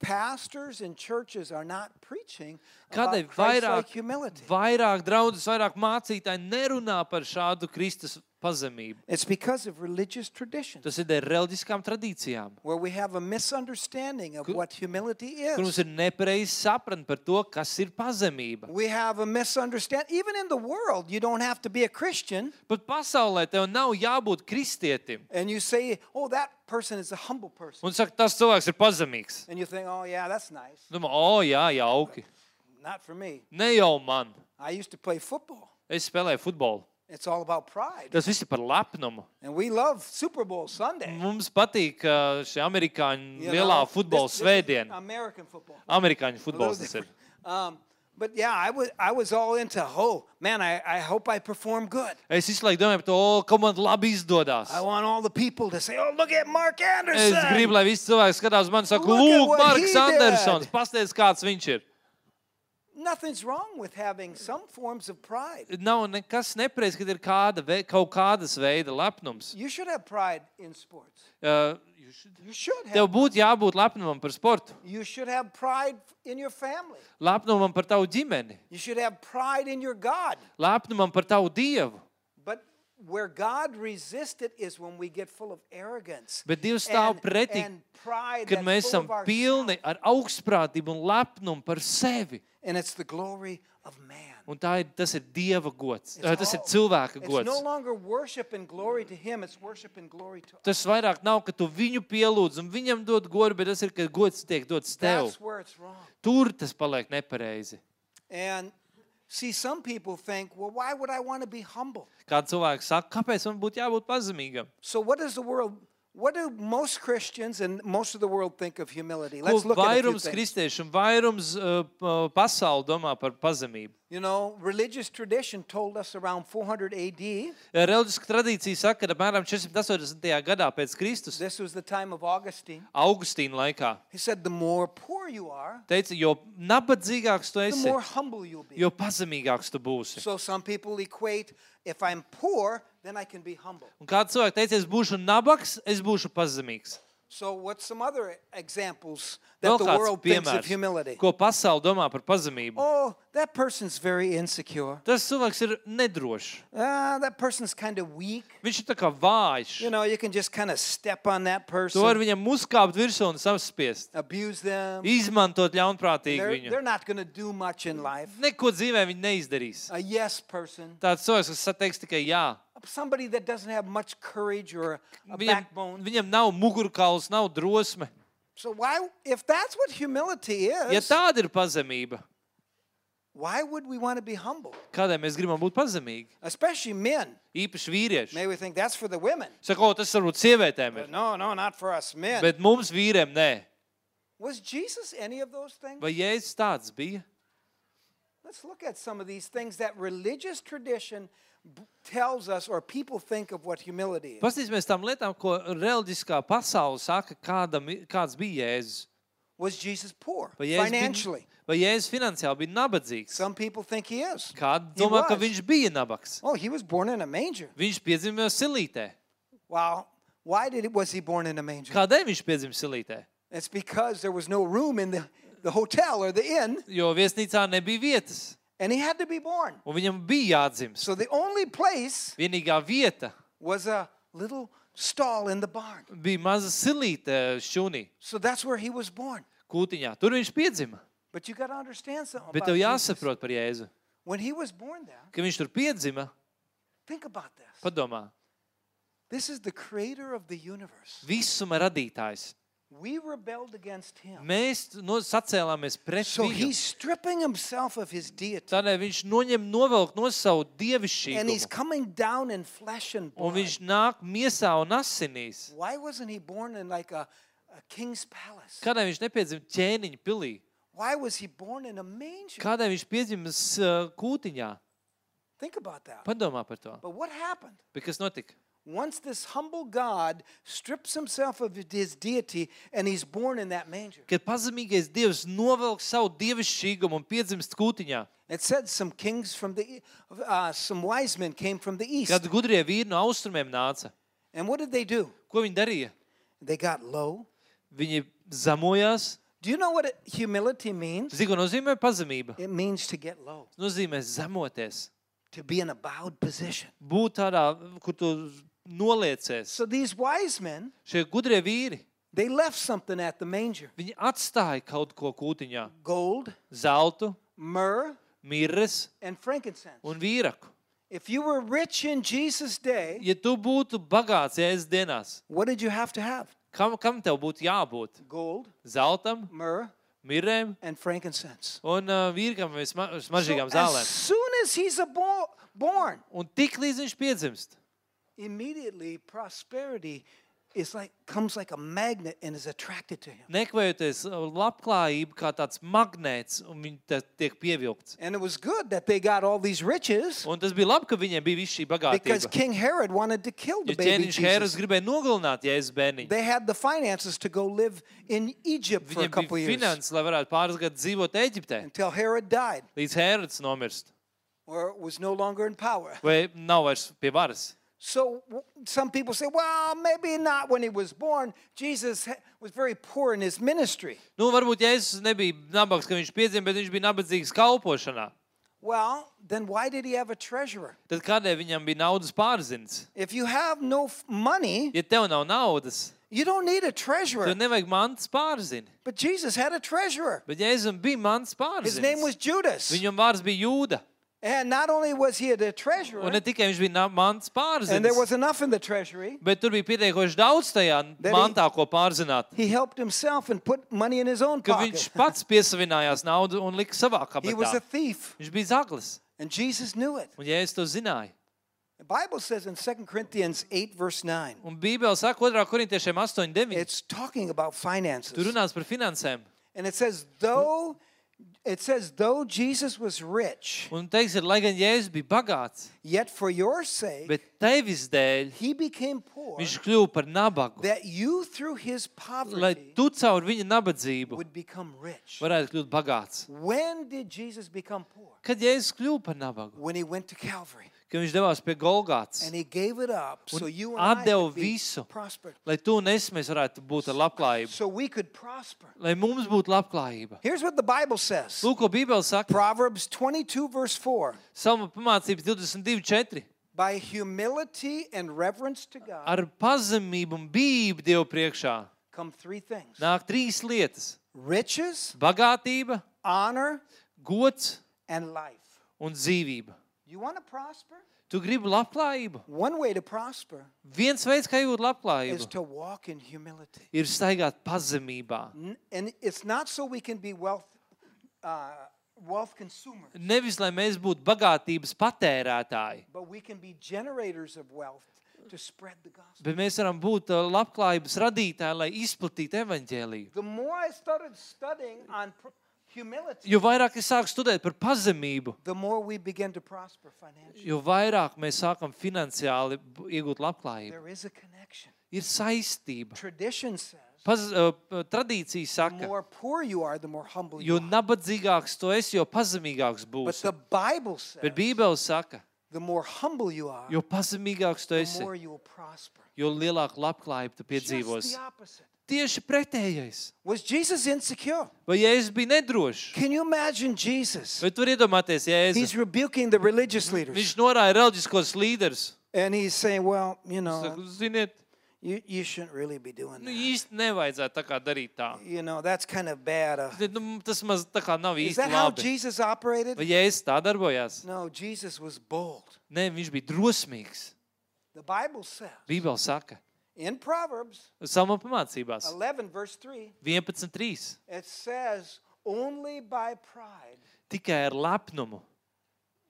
S2: pastors and churches are not preaching
S1: Kādēļ
S2: about Christ-like
S1: vairāk,
S2: humility.
S1: vairāk draudzes, vairāk mācītāji nerunā par šādu Kristus pazemību?
S2: It's because of religious tradition,
S1: Tas ir dēļ reliģiskām tradīcijām,
S2: where we have a misunderstanding of what humility
S1: kur mums
S2: is.
S1: ir nepareizi sapratni par to, kas ir pazemība.
S2: We have a misunderstanding. Even in the world, you don't have to be a Christian.
S1: Pat pasaulē tev nav jābūt kristietim.
S2: And you say, oh, that person is a humble person.
S1: Un saka, tas cilvēks ir pazemīgs.
S2: And you think, oh, yeah, that's nice.
S1: Domā, o, jā, jauki.
S2: Not for me.
S1: Ne jau man.
S2: I used to play football.
S1: Es spēlēju futbolu.
S2: It's all about pride.
S1: Tas viss ir par lepnumu.
S2: And we love Super Bowl Sunday.
S1: Mums patīk ā, šī amerikāņu
S2: you
S1: lielā
S2: know.
S1: futbola
S2: This- this is
S1: svētdiena.
S2: American football.
S1: Amerikāņu
S2: A
S1: futbols
S2: little
S1: tas ir.
S2: different. Um, but yeah, I was, I was all into, oh, man, I, I hope I perform good.
S1: Es visu laiku domāju par to, o, kā man labi izdodas.
S2: I want all the people to say, oh, look at Mark
S1: Es
S2: Anderson.
S1: gribu, lai visi cilvēki skatās uz mani un saka,
S2: Look at
S1: lūk,
S2: what
S1: Marks
S2: he did."
S1: Andersons, pastāstiet, kāds viņš ir.
S2: Nothing's wrong with having some forms of pride.
S1: Nav nekas nepareizi, kad ir kāda, vei- kaut kādas veida lepnums.
S2: You should have pride in sports.
S1: Ā,
S2: You should
S1: Tev
S2: have.
S1: būtu jābūt lepnumam par sportu,
S2: You should have pride in your family.
S1: lepnumam par tavu ģimeni,
S2: You should have pride in your God.
S1: lepnumam par tavu dievu.
S2: But where God resists it is when we get full of arrogance.
S1: Bet Dievs stāv pretī,
S2: and pride
S1: Kad mēs
S2: that's full
S1: esam
S2: of ourselves.
S1: pilni ar augstprātību un lepnumu par sevi,
S2: And it's the glory of man.
S1: un tā ir, tas ir dieva gods,
S2: It's
S1: Ā, tas ir
S2: all-
S1: cilvēka
S2: It's no
S1: gods.
S2: longer worship and glory to him, it's worship and glory to us.
S1: Tas vairāk nav, ka tu viņu pielūdz un viņam dod godu, bet tas ir, ka gods tiek dots tev.
S2: That's where it's wrong.
S1: Tur tas paliek nepareizi.
S2: And see, some people think, well, why would I want to be humble?
S1: Kā cilvēks saka, kāpēc man būtu jābūt pazemīgam?
S2: So, what does the world, what do most Christians and most of the world think of humility?
S1: Ko
S2: Let's look at a few
S1: vairums
S2: things.
S1: kristiešu un vairums uh, pa- pasauli domā par pazemību?
S2: You know, religious tradition told us around 400 AD,
S1: Reliģiska tradīcija saka, ka apmēram 480. gadā pēc Kristus,
S2: this was the time of Augustine.
S1: Augustīna laikā,
S2: He said, the more poor you are,
S1: teica, jo nabadzīgāks tu
S2: the
S1: esi,
S2: more humble you'll be.
S1: jo pazemīgāks tu būsi.
S2: So some people equate, if I'm poor, then I can be humble.
S1: Un kāds cilvēks teica, es būšu nabaks, es būšu pazemīgs.
S2: So what's some other examples that
S1: Vēl
S2: the
S1: kāds
S2: world thinks of
S1: piemērs,
S2: humility?
S1: ko pasauli domā par pazemību.
S2: Oh, that person's very insecure.
S1: Tas cilvēks ir nedrošs.
S2: Ah, that person's kind of weak.
S1: Viņš ir tā kā vājš.
S2: You know, you can just kind of step on that
S1: Tu vari
S2: person,
S1: viņam uzkāpt virsū un saspiest,
S2: abuse them.
S1: izmantot ļaunprātīgi
S2: Um, They're,
S1: viņu.
S2: they're not going to do much in life.
S1: Neko dzīvē viņi neizdarīs.
S2: A yes person,
S1: Tāds cilvēks, kas sateiks tikai jā.
S2: somebody that doesn't have much courage or a
S1: Viņam,
S2: backbone.
S1: viņam nav mugurkauls, nav drosme.
S2: So why, if that's what humility
S1: Ja
S2: is,
S1: tāda ir pazemība,
S2: why would we want to be humble?
S1: kādai mēs gribam būt pazemīgi,
S2: Especially men.
S1: īpaši vīrieši,
S2: Maybe we think that's for the women.
S1: saka, o, tas varbūt sievietēm ir,
S2: But no, no, not for us men.
S1: bet mums vīriem nē.
S2: Was Jesus any of those things?
S1: Vai jēzus tāds bija?
S2: Let's look at some of these things that religious tradition b- tells us or people think of what humility is.
S1: Paskatīsimies tam lietām, ko reliģiskā pasaule saka, kādam, i- kāds bija jēzus.
S2: Was Jesus poor
S1: Vai jēzus,
S2: financially?
S1: bija, vai jēzus finansiāli bija nabadzīgs?
S2: Some people think he is.
S1: Kādi
S2: He
S1: domā, ka
S2: was.
S1: viņš bija nabaks?
S2: Oh, he was born in a manger.
S1: Viņš piedzimta silītē.
S2: Wow. Why did it, was he born in a manger?
S1: Kādēļ viņš piedzimta silītē?
S2: It's because there was no room in the, the hotel or the inn,
S1: Jo viesnīcā nebija vietas,
S2: and he had to be born.
S1: un viņam bija jādzimst.
S2: So the only place
S1: Vienīgā vieta
S2: was a little stall in the barn.
S1: bija maza silīte eh, šūnī,
S2: So that's where he was born.
S1: kūtiņā. Tur viņš piedzima.
S2: But you got to understand something.
S1: Bet
S2: about
S1: tev
S2: Jesus.
S1: jāsaprot par jēzu,
S2: When he was born there,
S1: ka viņš tur piedzima.
S2: Think about this.
S1: Padomā,
S2: This is the creator of the universe.
S1: visuma radītājs.
S2: We rebelled against him.
S1: Mēs no, sacēlāmies pret
S2: So
S1: viņu.
S2: he's stripping himself of his deity
S1: Tādēļ viņš noņem, novelk no savu
S2: and he's
S1: dievišķīgumu.
S2: coming down in flesh and
S1: Un
S2: blood.
S1: viņš nāk miesā un asinīs.
S2: Why wasn't he born in like a, a king's palace?
S1: Kādēļ viņš nepiedzima ķēniņa pilī?
S2: Why was he born in a manger?
S1: Kādēļ viņš piedzima s- ā, kūtiņā?
S2: Think about that.
S1: Padomā par to.
S2: But what happened?
S1: Bet kas notika?
S2: Once this humble God strips himself of his deity and he's born in that manger.
S1: Kad pazemīgais dievs novelk savu dievišķīgumu un piedzimst kūtiņā,
S2: It said some kings from the, e- uh, some wise men came from the east.
S1: kad gudrie vīri no austrumiem nāca,
S2: And what did they do?
S1: ko viņi darīja?
S2: They got low.
S1: Viņi zamojās.
S2: Do you know what it, humility means?
S1: Zini, ko nozīmē pazemība?
S2: It means to get low,
S1: Tas nozīmē zemoties,
S2: to be in a bowed position.
S1: būt tādā, kur tu noliecies.
S2: So these wise men,
S1: Šie gudrie vīri,
S2: they left something at the manger
S1: viņi atstāja kaut ko kūtiņā -
S2: gold,
S1: zeltu,
S2: myrrh,
S1: mirres
S2: and frankincense.
S1: un vīraku.
S2: If you were rich in Jesus' day,
S1: Ja tu būtu bagāts jēzus dienās,
S2: what did you have to have?
S1: kam, kam tev būtu jābūt?
S2: Gold,
S1: Zeltam,
S2: myrrh,
S1: mirrēm
S2: and frankincense.
S1: un uh, vīrkam vai sma,
S2: So
S1: smažīgām
S2: as
S1: zālēm.
S2: soon as he's a bo- born,
S1: Un tik līdz viņš piedzimst,
S2: immediately prosperity is like comes like a magnet and is attracted to him.
S1: nekvējoties, uh, labklājība kā tāds magnēts, un viņi te- tiek pievilkts.
S2: And it was good that they got all these riches
S1: Un tas bija labi, ka viņiem bija viss šī
S2: because
S1: bagātība.
S2: King Herod wanted to kill the
S1: Jo
S2: baby
S1: ķēniņš Hēras
S2: Jesus.
S1: gribēja nogalināt Jēzus bērniņu.
S2: They had the finances to go live in Egypt for a
S1: Viņam
S2: couple
S1: bija
S2: years
S1: finanses, lai varētu pāris gadus dzīvot Eģiptē,
S2: until Herod died
S1: līdz Hērods nomirst,
S2: or was no longer in power.
S1: vai nav vairs pie varas.
S2: So w- some people say, well, maybe not when he was born. Jesus ha- was very poor in his ministry.
S1: Nu, varbūt Jēzus nebija nabaks, ka viņš piedzima, bet viņš bija nabadzīgs kalpošanā.
S2: Well, then why did he have a treasurer?
S1: Tad kādēļ viņam bija naudas pārzins?
S2: If you have no f- money,
S1: Ja tev nav naudas,
S2: You don't need a
S1: tev
S2: treasurer.
S1: nevajag mantas pārzini.
S2: But Jesus had a treasurer.
S1: Bet Jēzum bija mans
S2: His name was
S1: pārzins.
S2: Judas.
S1: Viņam vārds bija Jūda.
S2: And not only was he a
S1: Un
S2: treasurer,
S1: ne tikai viņš bija na- mans
S2: and there was
S1: pārzins,
S2: enough in the treasury,
S1: bet tur bija pietiekoši daudz tajā
S2: he-
S1: mantā, ko pārzināt.
S2: he helped himself and put money in his own
S1: Ka viņš
S2: pocket.
S1: pats piesavinājās naudu un lika savā
S2: He was a
S1: kabatā.
S2: thief,
S1: Viņš bija zaglis.
S2: and Jesus knew it.
S1: Un Jēzus to zināja.
S2: The Bible says in 2 Corinthians 8, verse 9,
S1: Un Bībelē saka 2. korintiešiem 8.9.
S2: it's talking about
S1: Tur
S2: finances.
S1: runās par finansēm.
S2: And it says, though it says, though Jesus was rich,
S1: Un teiks, ir, lai gan Jēzus bija bagāts,
S2: yet for your sake
S1: bet tevis dēļ
S2: he became poor,
S1: viņš kļuva par nabagu.
S2: that you through his
S1: Lai
S2: poverty
S1: tu caur viņa nabadzību
S2: would become rich.
S1: varētu kļūt bagāts.
S2: When did Jesus become poor?
S1: Kad Jēzus kļuva par nabagu,
S2: When he went to Calvary
S1: kad viņš devās pie Golgāts,
S2: and he gave it up so you and I
S1: atdeva
S2: could be
S1: visu.
S2: prospered.
S1: lai tu un es mēs varētu būt ar labklājību,
S2: So we could prosper.
S1: lai mums būtu labklājība.
S2: Here's what the Bible says.
S1: Lūk, ko Bībele saka,
S2: Proverbs 22 verse 4.
S1: Salma pamācības 22.4.
S2: By humility and reverence to God
S1: Ar pazemību un bību Dievu priekšā
S2: come three things.
S1: nāk trīs lietas
S2: Riches,
S1: - bagātība,
S2: honor,
S1: gods
S2: and life.
S1: un dzīvība.
S2: You want to prosper?
S1: Tu gribi labklājību?
S2: One way to prosper
S1: Viens veids, kā iegūt
S2: is
S1: labklājību,
S2: to walk in humility.
S1: ir staigāt pazemībā.
S2: N- And it's not so we can be wealth uh, wealth consumers.
S1: Nevis, lai mēs būtu bagātības patērētāji,
S2: but we can be generators of wealth to spread the gospel.
S1: Bet mēs varam būt ā, labklājības radītāji, lai izplatītu evaņģēliju.
S2: The more I started studying on pr- humility,
S1: Jo vairāk es sāku studēt par pazemību,
S2: the more we begin to prosper financially.
S1: jo vairāk mēs sākam finansiāli bu- iegūt labklājību.
S2: There is a connection.
S1: Ir saistība.
S2: Tradition says
S1: Paz, ā, p- tradīcija
S2: the
S1: saka,
S2: more poor you are, the more humble you
S1: jo
S2: are.
S1: nabadzīgāks tu esi, jo pazemīgāks
S2: But
S1: būsi.
S2: the Bible says
S1: Bet Bībele saka,
S2: the more humble you are,
S1: jo pazemīgāks tu
S2: the
S1: esi,
S2: more you will prosper.
S1: jo lielāku labklājību tu
S2: Just
S1: piedzīvosi.
S2: the opposite.
S1: Tieši pretējais.
S2: Was Jesus insecure?
S1: Vai Jēzus bija nedrošs?
S2: Can you imagine Jesus?
S1: Vai tu vari iedomāties, Jēzus?
S2: He's rebuking the religious leaders
S1: Viņš norāja reliģiskos līderus.
S2: and he's saying, Well, you
S1: Saka,
S2: know,
S1: Ziniet,
S2: you, you shouldn't really be doing
S1: Nu,
S2: that.
S1: īsti nevajadzētu tā kā darīt tā.
S2: you know, that's kind of bad. uh,
S1: Bet, Nu, tas maz tā kā nav
S2: is
S1: īsti
S2: that how
S1: labi.
S2: Jesus operated?
S1: Vai Jēzus tā darbojās?
S2: No, Jesus was bold.
S1: Nē, viņš bija drosmīgs.
S2: The Bible says
S1: Bībeli saka,
S2: in Proverbs
S1: samā pamācībās
S2: 11, verse 3,
S1: 11.3.
S2: it says, only by pride,
S1: Tikai ar lepnumu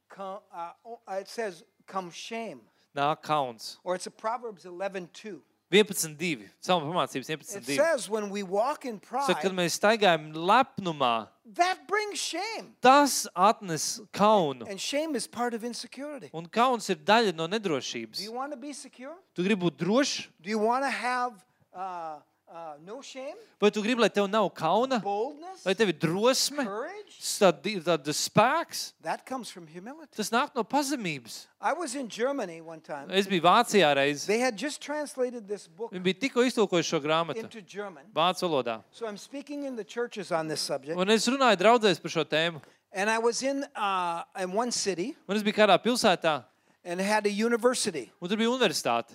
S2: come, uh, o- uh, it says, come shame.
S1: nāk kauns.
S2: Or it's a Proverbs 11, 2.
S1: 11.2. Samā pamācības
S2: It
S1: 11.2.
S2: says, when we walk in
S1: Saka, kad
S2: pride,
S1: mēs staigājam lepnumā,
S2: that brings shame.
S1: tas atnes kaunu.
S2: And shame is part of insecurity.
S1: Un kauns ir daļa no
S2: Do
S1: nedrošības.
S2: you want to be secure?
S1: Tu gribi būt drošs,
S2: Do you want to have uh, uh, no shame,
S1: Vai tu gribi, lai tev nav kauna,
S2: boldness,
S1: lai tev ir drosme,
S2: courage.
S1: tāda spēks?
S2: That comes from humility.
S1: Tas nāk no pazemības.
S2: I was in Germany one time.
S1: Es biju Vācijā reiz.
S2: They had just translated this book
S1: Viņi bija tikko iztulkojuši šo grāmatu
S2: into German.
S1: vācu valodā.
S2: So I'm speaking in the churches on this subject.
S1: Un es runāju draudzēs par šo tēmu.
S2: And I was in, uh, in one city
S1: Un es biju kādā pilsētā,
S2: and had a university.
S1: un tur bija universitāte.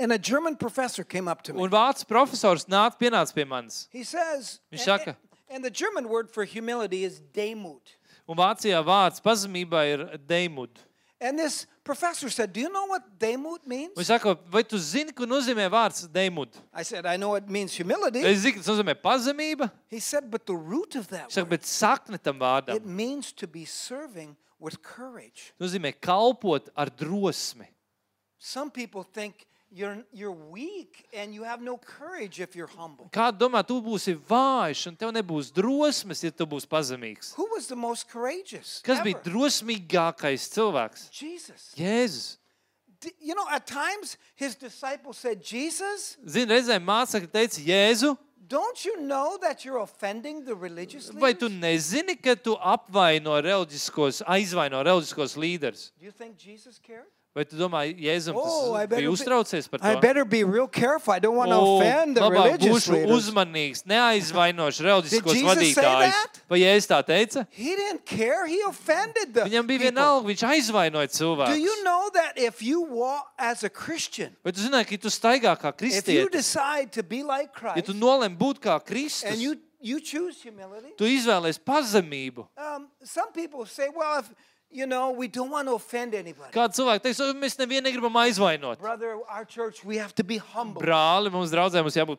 S2: And a German professor came up to me.
S1: Un vācu profesors nāca pienāca pie manis.
S2: He says,
S1: Viņš
S2: and,
S1: saka-
S2: and the German word for humility is Demut.
S1: Un Vācijā vārds pazemībā ir deimud.
S2: And this professor said, Do you know what Demut means?
S1: Viņš saka, vai tu zini, ko nozīmē vārds deimud?
S2: I said, I know it means humility.
S1: Es zinu, ka tas nozīmē pazemība.
S2: He said, But the root of that
S1: Viņš saka,
S2: word,
S1: bet sakne tam
S2: it
S1: vārdam
S2: means to be serving with courage.
S1: nozīmē kalpot ar drosmi.
S2: Some people think you're, you're weak and you have no courage if you're humble.
S1: Kāda domā, tu būsi vājš un tev nebūs drosmes, ja tu būsi pazemīgs?
S2: Who was the most courageous?
S1: Kas bija
S2: ever?
S1: drosmīgākais cilvēks?
S2: Jesus.
S1: Jēzus.
S2: D- You know, at times his disciples said, Jesus,
S1: Zini, reizēm mācekļi teica, Jēzu,
S2: don't you know that you're offending the religious
S1: vai
S2: leaders?
S1: tu nezini, ka tu apvaino reliģiskos, aizvaino reliģiskos līderus?
S2: Do you think Jesus cared?
S1: Vai tu domā, Jēzum,
S2: Oh, I
S1: tas bija
S2: better be-
S1: uztraucies par
S2: I
S1: to? Oh,
S2: better be real careful. I don't want to
S1: O,
S2: offend the
S1: labāk būšu
S2: religious leaders.
S1: uzmanīgs, neaizvainošu reliģiskos
S2: Jesus say
S1: vadītājus.
S2: that?
S1: Vai Jēzus tā teica?
S2: He didn't care. He offended the
S1: Viņam bija
S2: people.
S1: vienalga, viņš aizvainoja
S2: Do you
S1: cilvēku.
S2: know that if you walk as a Christian,
S1: Bet tu zināji, ka ja tu staigā kā
S2: if you
S1: kristietis,
S2: decide to be like Christ,
S1: ja tu nolem būt kā
S2: and
S1: Kristus,
S2: you, you choose humility,
S1: tu izvēlies pazemību.
S2: um, some people say, well, if, you know, we don't want to offend anybody.
S1: Kāds cilvēks teiks, "O, mēs nevienu negribam aizvainot.
S2: Brother, our church, we have to be humble.
S1: Brāli, mums draudzē mums jābūt
S2: We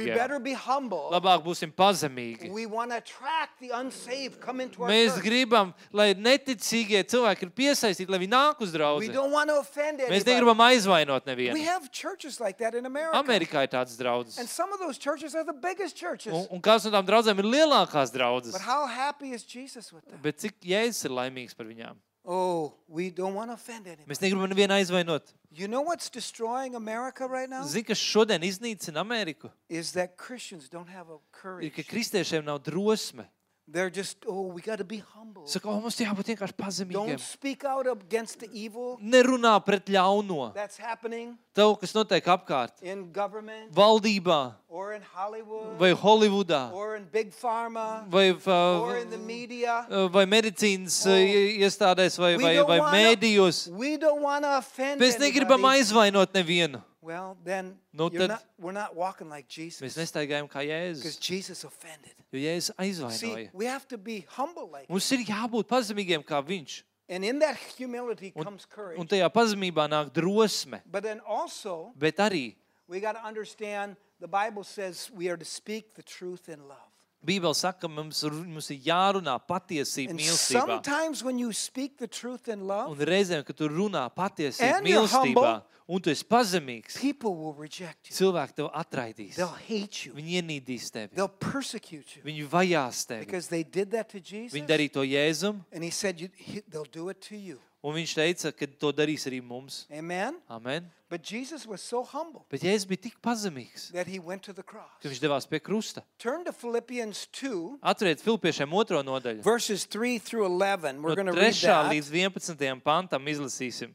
S1: pazemīgiem.
S2: better be humble.
S1: Labāk būsim pazemīgi.
S2: We want to attract the unsaved coming to our
S1: Mēs
S2: church.
S1: gribam, lai neticīgie cilvēki ir piesaistīti, lai viņi nāk uz
S2: We
S1: draugu.
S2: don't want to offend
S1: Mēs
S2: anybody.
S1: negribam aizvainot
S2: We
S1: nevienu.
S2: have churches like that in America.
S1: Amerikā ir tādas
S2: And
S1: draudzes.
S2: some of those churches are the biggest
S1: Un,
S2: churches.
S1: un kāds no tām draudzēm ir lielākās draudzes?
S2: But how happy is Jesus with them?
S1: Bet cik jēzus ir laimīgs par viņām?
S2: Oh, we don't want to offend anybody.
S1: Mēs negribam nevienu aizvainot.
S2: You know what's destroying America right now?
S1: Zini, kas šodien iznīcina Ameriku?
S2: Is that Christians don't have a
S1: Ir,
S2: courage.
S1: ka kristiešiem nav drosme.
S2: They're just, oh, we got to be humble.
S1: Saka, o, mums jābūt vienkārši
S2: Don't
S1: pazemīgiem.
S2: speak out against the evil
S1: Nerunā pret ļauno,
S2: that's happening
S1: to, kas notiek apkārt.
S2: in government
S1: Valdībā,
S2: or in Hollywood
S1: vai Holivudā,
S2: or in big pharma
S1: vai,
S2: or in the
S1: uh,
S2: media.
S1: vai medicīnas uh, i- iestādēs, vai,
S2: We
S1: vai,
S2: don't
S1: vai
S2: wanna-
S1: mēdījos.
S2: We don't want to offend
S1: Mēs negribam
S2: anybody.
S1: aizvainot nevienu.
S2: Well, then
S1: Nu tad-
S2: you're not, we're not walking like Jesus
S1: Mēs nestaigājam kā
S2: because
S1: Jēzus.
S2: Jesus offended.
S1: Jo Jēzus
S2: See,
S1: aizvainoja.
S2: we have to be humble like
S1: Mums ir jābūt pazemīgiem kā viņš.
S2: And in that humility comes
S1: Un
S2: courage.
S1: tajā pazemībā nāk drosme.
S2: But then also,
S1: Bet arī
S2: we got to understand the Bible says we are to speak the truth in love.
S1: Bībele saka, ka mums, ru- mums ir jārunā patiesība
S2: And
S1: mīlestībā.
S2: sometimes when you speak the truth in love,
S1: Un reizēm, kad tu runā patiesību
S2: And you're
S1: mīlestībā,
S2: humble.
S1: un tu esi pazemīgs,
S2: people will reject you.
S1: cilvēki tev atraidīs.
S2: They'll hate you.
S1: Viņi ienīdīs tevi.
S2: They'll persecute you
S1: Viņi vajās tevi.
S2: because they did that to Jesus.
S1: Viņi darīja to Jēzum,
S2: And he said, you, he, They'll do it to you.
S1: un viņš teica, ka to darīs arī mums.
S2: Amen?
S1: Amen.
S2: But Jesus was so humble
S1: Bet Jēzus bija tik pazemīgs,
S2: that he went to the cross.
S1: ka viņš devās pie krusta.
S2: Turn to Philippians 2,
S1: Atveriet Filipīšiem otro nodaļu.
S2: verses 3 through 11. We're
S1: No
S2: going to read
S1: 3.
S2: that.
S1: līdz 11. pantam izlasīsim.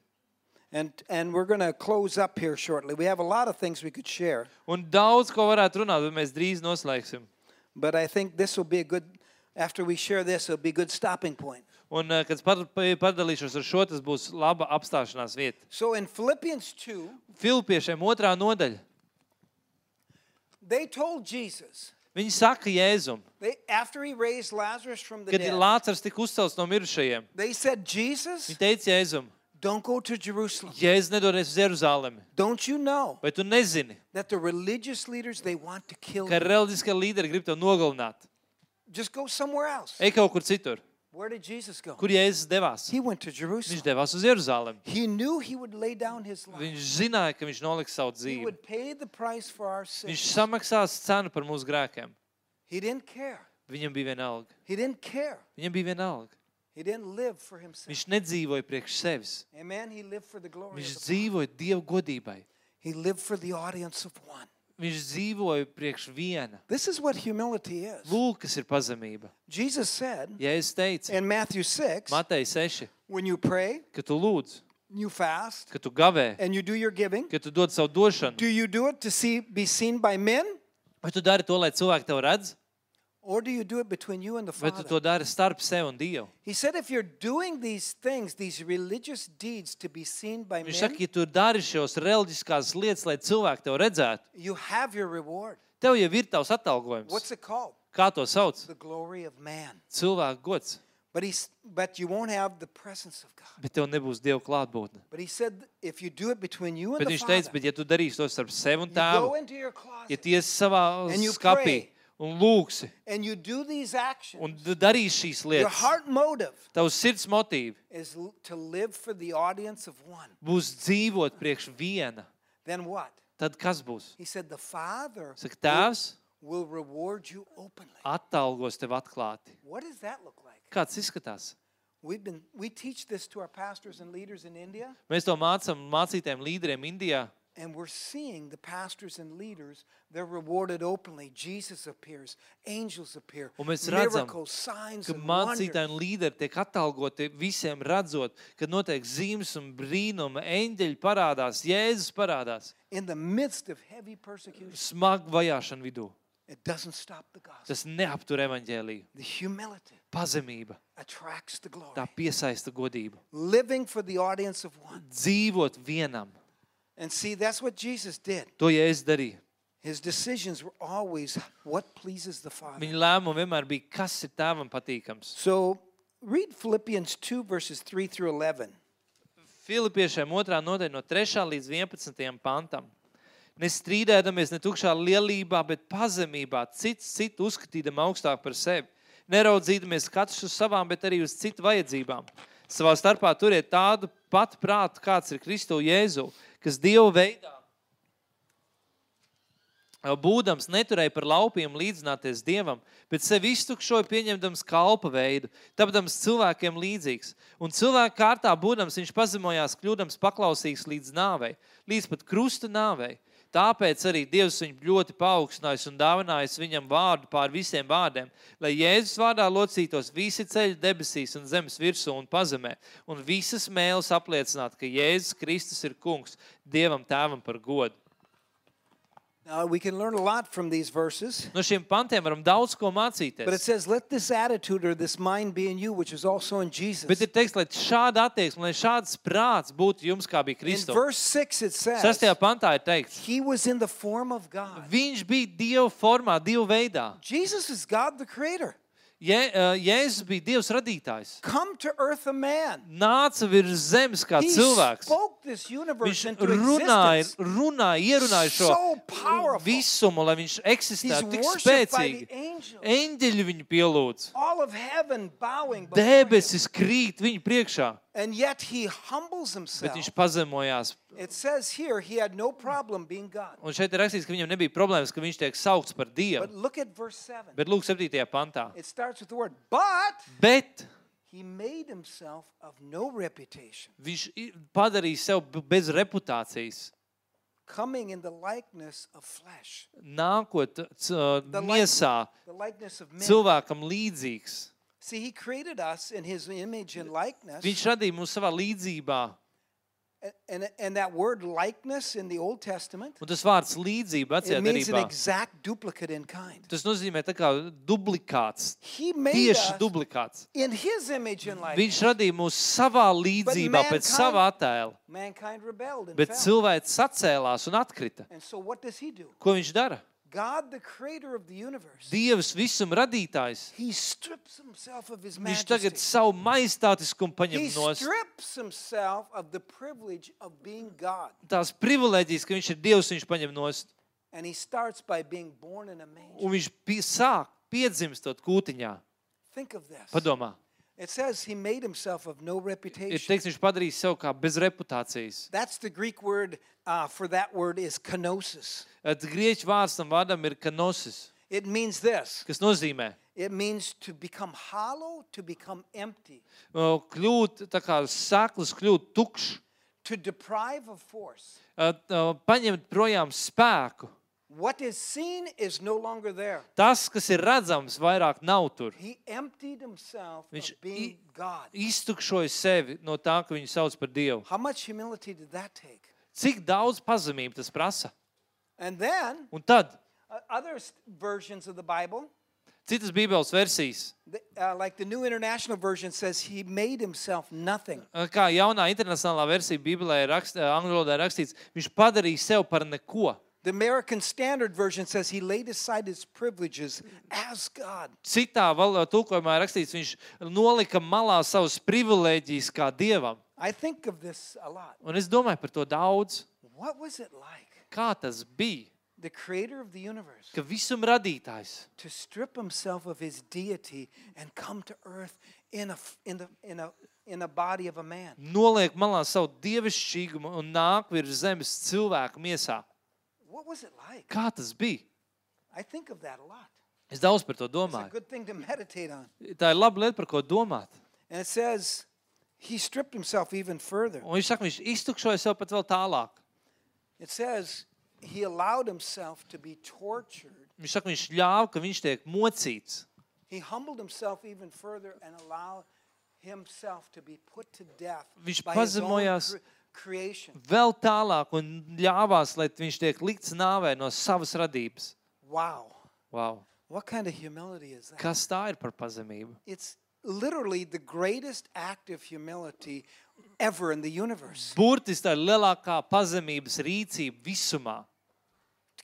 S2: And, and we're going to close up here shortly. We have a lot of things we could share,
S1: Un daudz ko varētu runāt, bet mēs drīz noslēgsim.
S2: but I think this will be a good, after we share this, it'll be a good stopping point.
S1: Un, eh, kad es par- pa- padalīšos ar šo, tas būs laba apstāšanās vieta.
S2: So in Philippians 2,
S1: Filipiešiem otrā nodaļa.
S2: they told Jesus,
S1: Viņi saka Jēzum,
S2: they, after he raised Lazarus from the
S1: kad ir
S2: dead,
S1: Lācars tika uzcelts no mirušajiem.
S2: they said, Jesus,
S1: Viņi teica Jēzum,
S2: don't go to Jerusalem.
S1: Jēzus nedodies uz Jeruzalemi.
S2: Don't you know
S1: Vai tu nezini,
S2: that the religious leaders, they want to kill
S1: ka
S2: you?
S1: reliģiskie līderi grib tevi nogalināt?
S2: Just go somewhere else.
S1: Ej kaut kur citur.
S2: Where did Jesus go?
S1: Kur Jēzus devās?
S2: He went to
S1: Viņš
S2: Jerusalem.
S1: devās uz Jeruzalemi.
S2: He knew he would lay down his life.
S1: Viņš zināja, ka viņš noliks savu
S2: He
S1: dzīvi.
S2: would pay the price for our
S1: Viņš
S2: sins.
S1: samaksās cenu par mūsu grēkiem.
S2: He didn't care.
S1: Viņam bija vienalga.
S2: He didn't care.
S1: Viņam bija vienalga.
S2: He didn't live for himself.
S1: Viņš nedzīvoja priekš sevis.
S2: Amen. He lived for the glory
S1: Viņš
S2: of the
S1: dzīvoja Dieva godībai.
S2: He lived for the audience of one.
S1: Viņš dzīvoja priekš viena.
S2: This is what humility is.
S1: Lūk, kas ir pazemība.
S2: Jesus said
S1: Ja es teicu,
S2: in Matthew 6
S1: Matei 6,
S2: when you pray,
S1: ka tu lūdz,
S2: you fast,
S1: ka tu gavē,
S2: and you do your giving,
S1: ka tu dod savu došanu,
S2: do you do it to see, be seen by men,
S1: vai tu dari to, lai cilvēki tevi redz,
S2: or do you do it between you and the
S1: vai tu to
S2: Father?
S1: dari starp sevi un Dievu.
S2: He said if you're doing these things, these religious deeds to be seen by
S1: Viņš
S2: men,
S1: saka, ja tu dari šos reliģiskās lietas, lai cilvēki tevi redzētu,
S2: you have your reward.
S1: tev jau ir tavs
S2: What's
S1: atalgojums.
S2: it called?
S1: Kā to sauc?
S2: The glory of man.
S1: Cilvēku gods,
S2: But he's but you won't have the presence of God.
S1: bet tev nebūs Dieva klātbūtne.
S2: But he said if you do it between you and
S1: Bet
S2: the
S1: viņš teica,
S2: Father,
S1: bet ja tu darīsi to starp sevi un
S2: you go
S1: tēvu,
S2: into your
S1: ja
S2: closet
S1: tiesi savā
S2: And you
S1: skapī
S2: pray.
S1: un lūksi
S2: and you do these actions.
S1: un d- darīsi šīs
S2: Your
S1: lietas,
S2: heart motive
S1: tavs sirds motīvi
S2: is l- to live for the audience of one.
S1: būs dzīvot priekš viena,
S2: Then what?
S1: tad kas būs?
S2: He said the Father
S1: Saka, tēvs
S2: will reward you openly.
S1: atalgos tev atklāti.
S2: What does that look like?
S1: Kāds izskatās?
S2: We've been we teach this to our pastors and leaders in India,
S1: Mēs to mācām mācītēm līderiem Indijā.
S2: and we're seeing the pastors and leaders, they're rewarded openly. Jesus appears, angels appear,
S1: Un mēs redzam,
S2: miracles, signs,
S1: ka
S2: and wonders.
S1: mācītāji un līderi tiek atalgoti visiem redzot, kad notiek zīmes un brīnumi, eņģeļi parādās, Jēzus parādās,
S2: in the midst of heavy persecution.
S1: smagu vajāšanu vidū.
S2: It doesn't stop the gospel.
S1: Tas neaptur evaņģēlīju.
S2: The humility
S1: Pazemība,
S2: attracts the glory.
S1: tā piesaista godību.
S2: Living for the audience of one.
S1: Dzīvot vienam,
S2: And see, that's what Jesus did.
S1: to Jēzus darīja.
S2: His decisions were always what pleases the Father.
S1: Viņa lēmumi vienmēr bija, kas ir tēvam patīkams.
S2: So read Philippians 2, verses 3 through 11.
S1: Filipiešiem 2. nodaļa no 3. līdz 11. pantam. Nestrīdēdamies ne tukšā lielībā, bet pazemībā, cits citu uzskatīdam augstāk par sevi. Neraudzīdamies katrs uz savām, bet arī uz citu vajadzībām. Savā starpā turiet tādu pat prātu, kāds ir Kristo Jēzu, kas Dievu veidā būdams neturēja par laupiem līdzināties dievam, bet sevi iztukšoja, pieņemdams kalpa veidu, tapdams cilvēkiem līdzīgs. Un cilvēka kārtā būdams, viņš pazemojās, kļūdams paklausīgs līdz nāvei, līdz pat krusta nāvei. Tāpēc arī Dievs viņu ļoti paaugstinājis un dāvinājis viņam vārdu pār visiem vārdiem, lai Jēzus vārdā locītos visi ceļi debesīs un zemes virsū un pazemē, un visas mēles apliecināt, ka Jēzus Kristus ir kungs, Dievam tēvam par godu.
S2: Now, we can learn a lot from these verses,
S1: No šiem pantiem varam daudz ko mācīties.
S2: but it says, Let this attitude or this mind be in you, which is also in
S1: Bet
S2: Jesus.
S1: ir teikts, lai šāda attieksme, lai šāds prāts būtu jums, kā bija
S2: In
S1: Kristus.
S2: verse 6, it says,
S1: Sastajā pantā ir teikts,
S2: He was in the form of God.
S1: viņš bija Dieva formā, Dieva veidā.
S2: Jesus is God the Creator,
S1: Je, eh, Jēzus bija Dievs radītājs.
S2: come to earth a man.
S1: Nāca virs zemes kā
S2: He
S1: cilvēks.
S2: spoke this universe
S1: Viņš
S2: into
S1: runāja,
S2: existence.
S1: runāja ierunāja šo
S2: So powerful.
S1: visumu, lai viņš
S2: He's
S1: eksistētu tik
S2: worshipped by the
S1: spēcīgi.
S2: angels.
S1: Eņģeļi viņu pielūdz,
S2: All of heaven bowing before him.
S1: debesis krīt viņa priekšā,
S2: And yet he humbles
S1: bet
S2: himself.
S1: viņš pazemojās
S2: It says here he had no problem being God.
S1: Un šeit ir rakstīts, ka viņam nebija problēmas, ka viņš tiek saukts par
S2: But
S1: Dievu.
S2: look at verse 7.
S1: Bet lūk, 7. pantā.
S2: It starts with the word, but
S1: Bet
S2: he made himself of no reputation,
S1: viņš i- padarīja sev b- bez reputācijas,
S2: coming in the likeness of flesh,
S1: nākot c- uh, miesā,
S2: the likeness of man.
S1: cilvēkam līdzīgs.
S2: See, he created us in his image and likeness.
S1: Viņš radīja mūs savā līdzībā.
S2: And, and, and that word likeness in the Old Testament,
S1: Un tas vārds līdzība
S2: it means an
S1: atcerībā.
S2: exact duplicate in kind.
S1: Tas nozīmē tā kā dublikāts,
S2: He made
S1: tieši
S2: us
S1: dublikāts.
S2: in his image and likeness.
S1: Viņš radīja mūs savā līdzībā,
S2: mankind-
S1: pēc sava attēla.
S2: Mankind rebelled and
S1: Bet
S2: fell.
S1: cilvēks sacēlās un atkrita.
S2: and so what does he do?
S1: Ko viņš dara?
S2: God, the creator of the universe,
S1: Dievs visuma radītājs.
S2: he strips himself of his
S1: Viņš
S2: majesty.
S1: tagad savu majestātiskumu
S2: He
S1: paņem no
S2: strips himself of the privilege of being God.
S1: tās privilēģijas, ka viņš ir Dievs, viņš paņem no savas.
S2: And he starts by being born in a manger.
S1: Un viņš pi- sāk piedzimstot kūtiņā.
S2: Think of this.
S1: Padomā,
S2: It says he made himself of no
S1: ir
S2: reputation.
S1: teiks, viņš padarīs sev kā bez reputācijas.
S2: That's the Greek word uh, for that word is kenosis.
S1: Et Grieķu vārds tam vārdam ir kanosis,
S2: It means this.
S1: kas nozīmē
S2: It means to become hollow, to become empty,
S1: uh, kļūt tā kā saklis, kļūt tukšs,
S2: to deprive of force.
S1: uh, uh, paņemt projām spēku.
S2: What is seen is no longer there.
S1: Tas, kas ir redzams, vairāk nav tur.
S2: He emptied himself of
S1: Viņš i-
S2: being God.
S1: Iztukšoja sevi no tā, ka viņu sauc par Dievu.
S2: How much humility did that take?
S1: Cik daudz pazemību tas prasa?
S2: And then
S1: Un tad
S2: uh, other s- versions of the Bible,
S1: citas Bībeles versijas,
S2: the, uh, like the New International Version, says he made himself nothing.
S1: kā jaunā internacionālā versija Bībelē ir rakst, angļu valodā ir rakstīts, viņš padarīja sevi par neko.
S2: The American Standard Version says he laid aside his privileges as God.
S1: Citā val- tulkojumā ir rakstīts, viņš nolika malā savas privilēģijas kā dievam.
S2: I think of this a lot.
S1: Un es domāju par to daudz,
S2: What was it like,
S1: kā tas bija,
S2: the creator of the universe,
S1: ka visuma radītājs
S2: to strip himself of his deity and come to earth in a, f- in the, in a, in a body of a man?
S1: noliek malā savu dievišķīgumu un nāk virs zemes cilvēku miesā.
S2: What was it like?
S1: Kā tas bija?
S2: I think of that a lot.
S1: Es daudz par to
S2: It's a
S1: domāju.
S2: good thing to meditate on.
S1: Tā ir laba lieta, par ko domāt.
S2: And it says he stripped himself even further.
S1: Un viņš saka, viņš iztukšoja sev pat vēl tālāk.
S2: It says he allowed himself to be tortured.
S1: Viņš saka, viņš ļāva, ka viņš tiek mocīts.
S2: He humbled himself even further and allowed himself to be put to death
S1: Viņš
S2: by his own
S1: pazemojās.
S2: cre- creation.
S1: Vēl tālāk un ļāvās, lai viņš tiek likts nāvē no savas radības.
S2: Wow.
S1: Wow.
S2: What kind of humility is that?
S1: Kas tā ir par pazemību?
S2: It's literally the greatest act of humility ever in the universe.
S1: Burtiski tā ir lielākā pazemības rīcība visumā.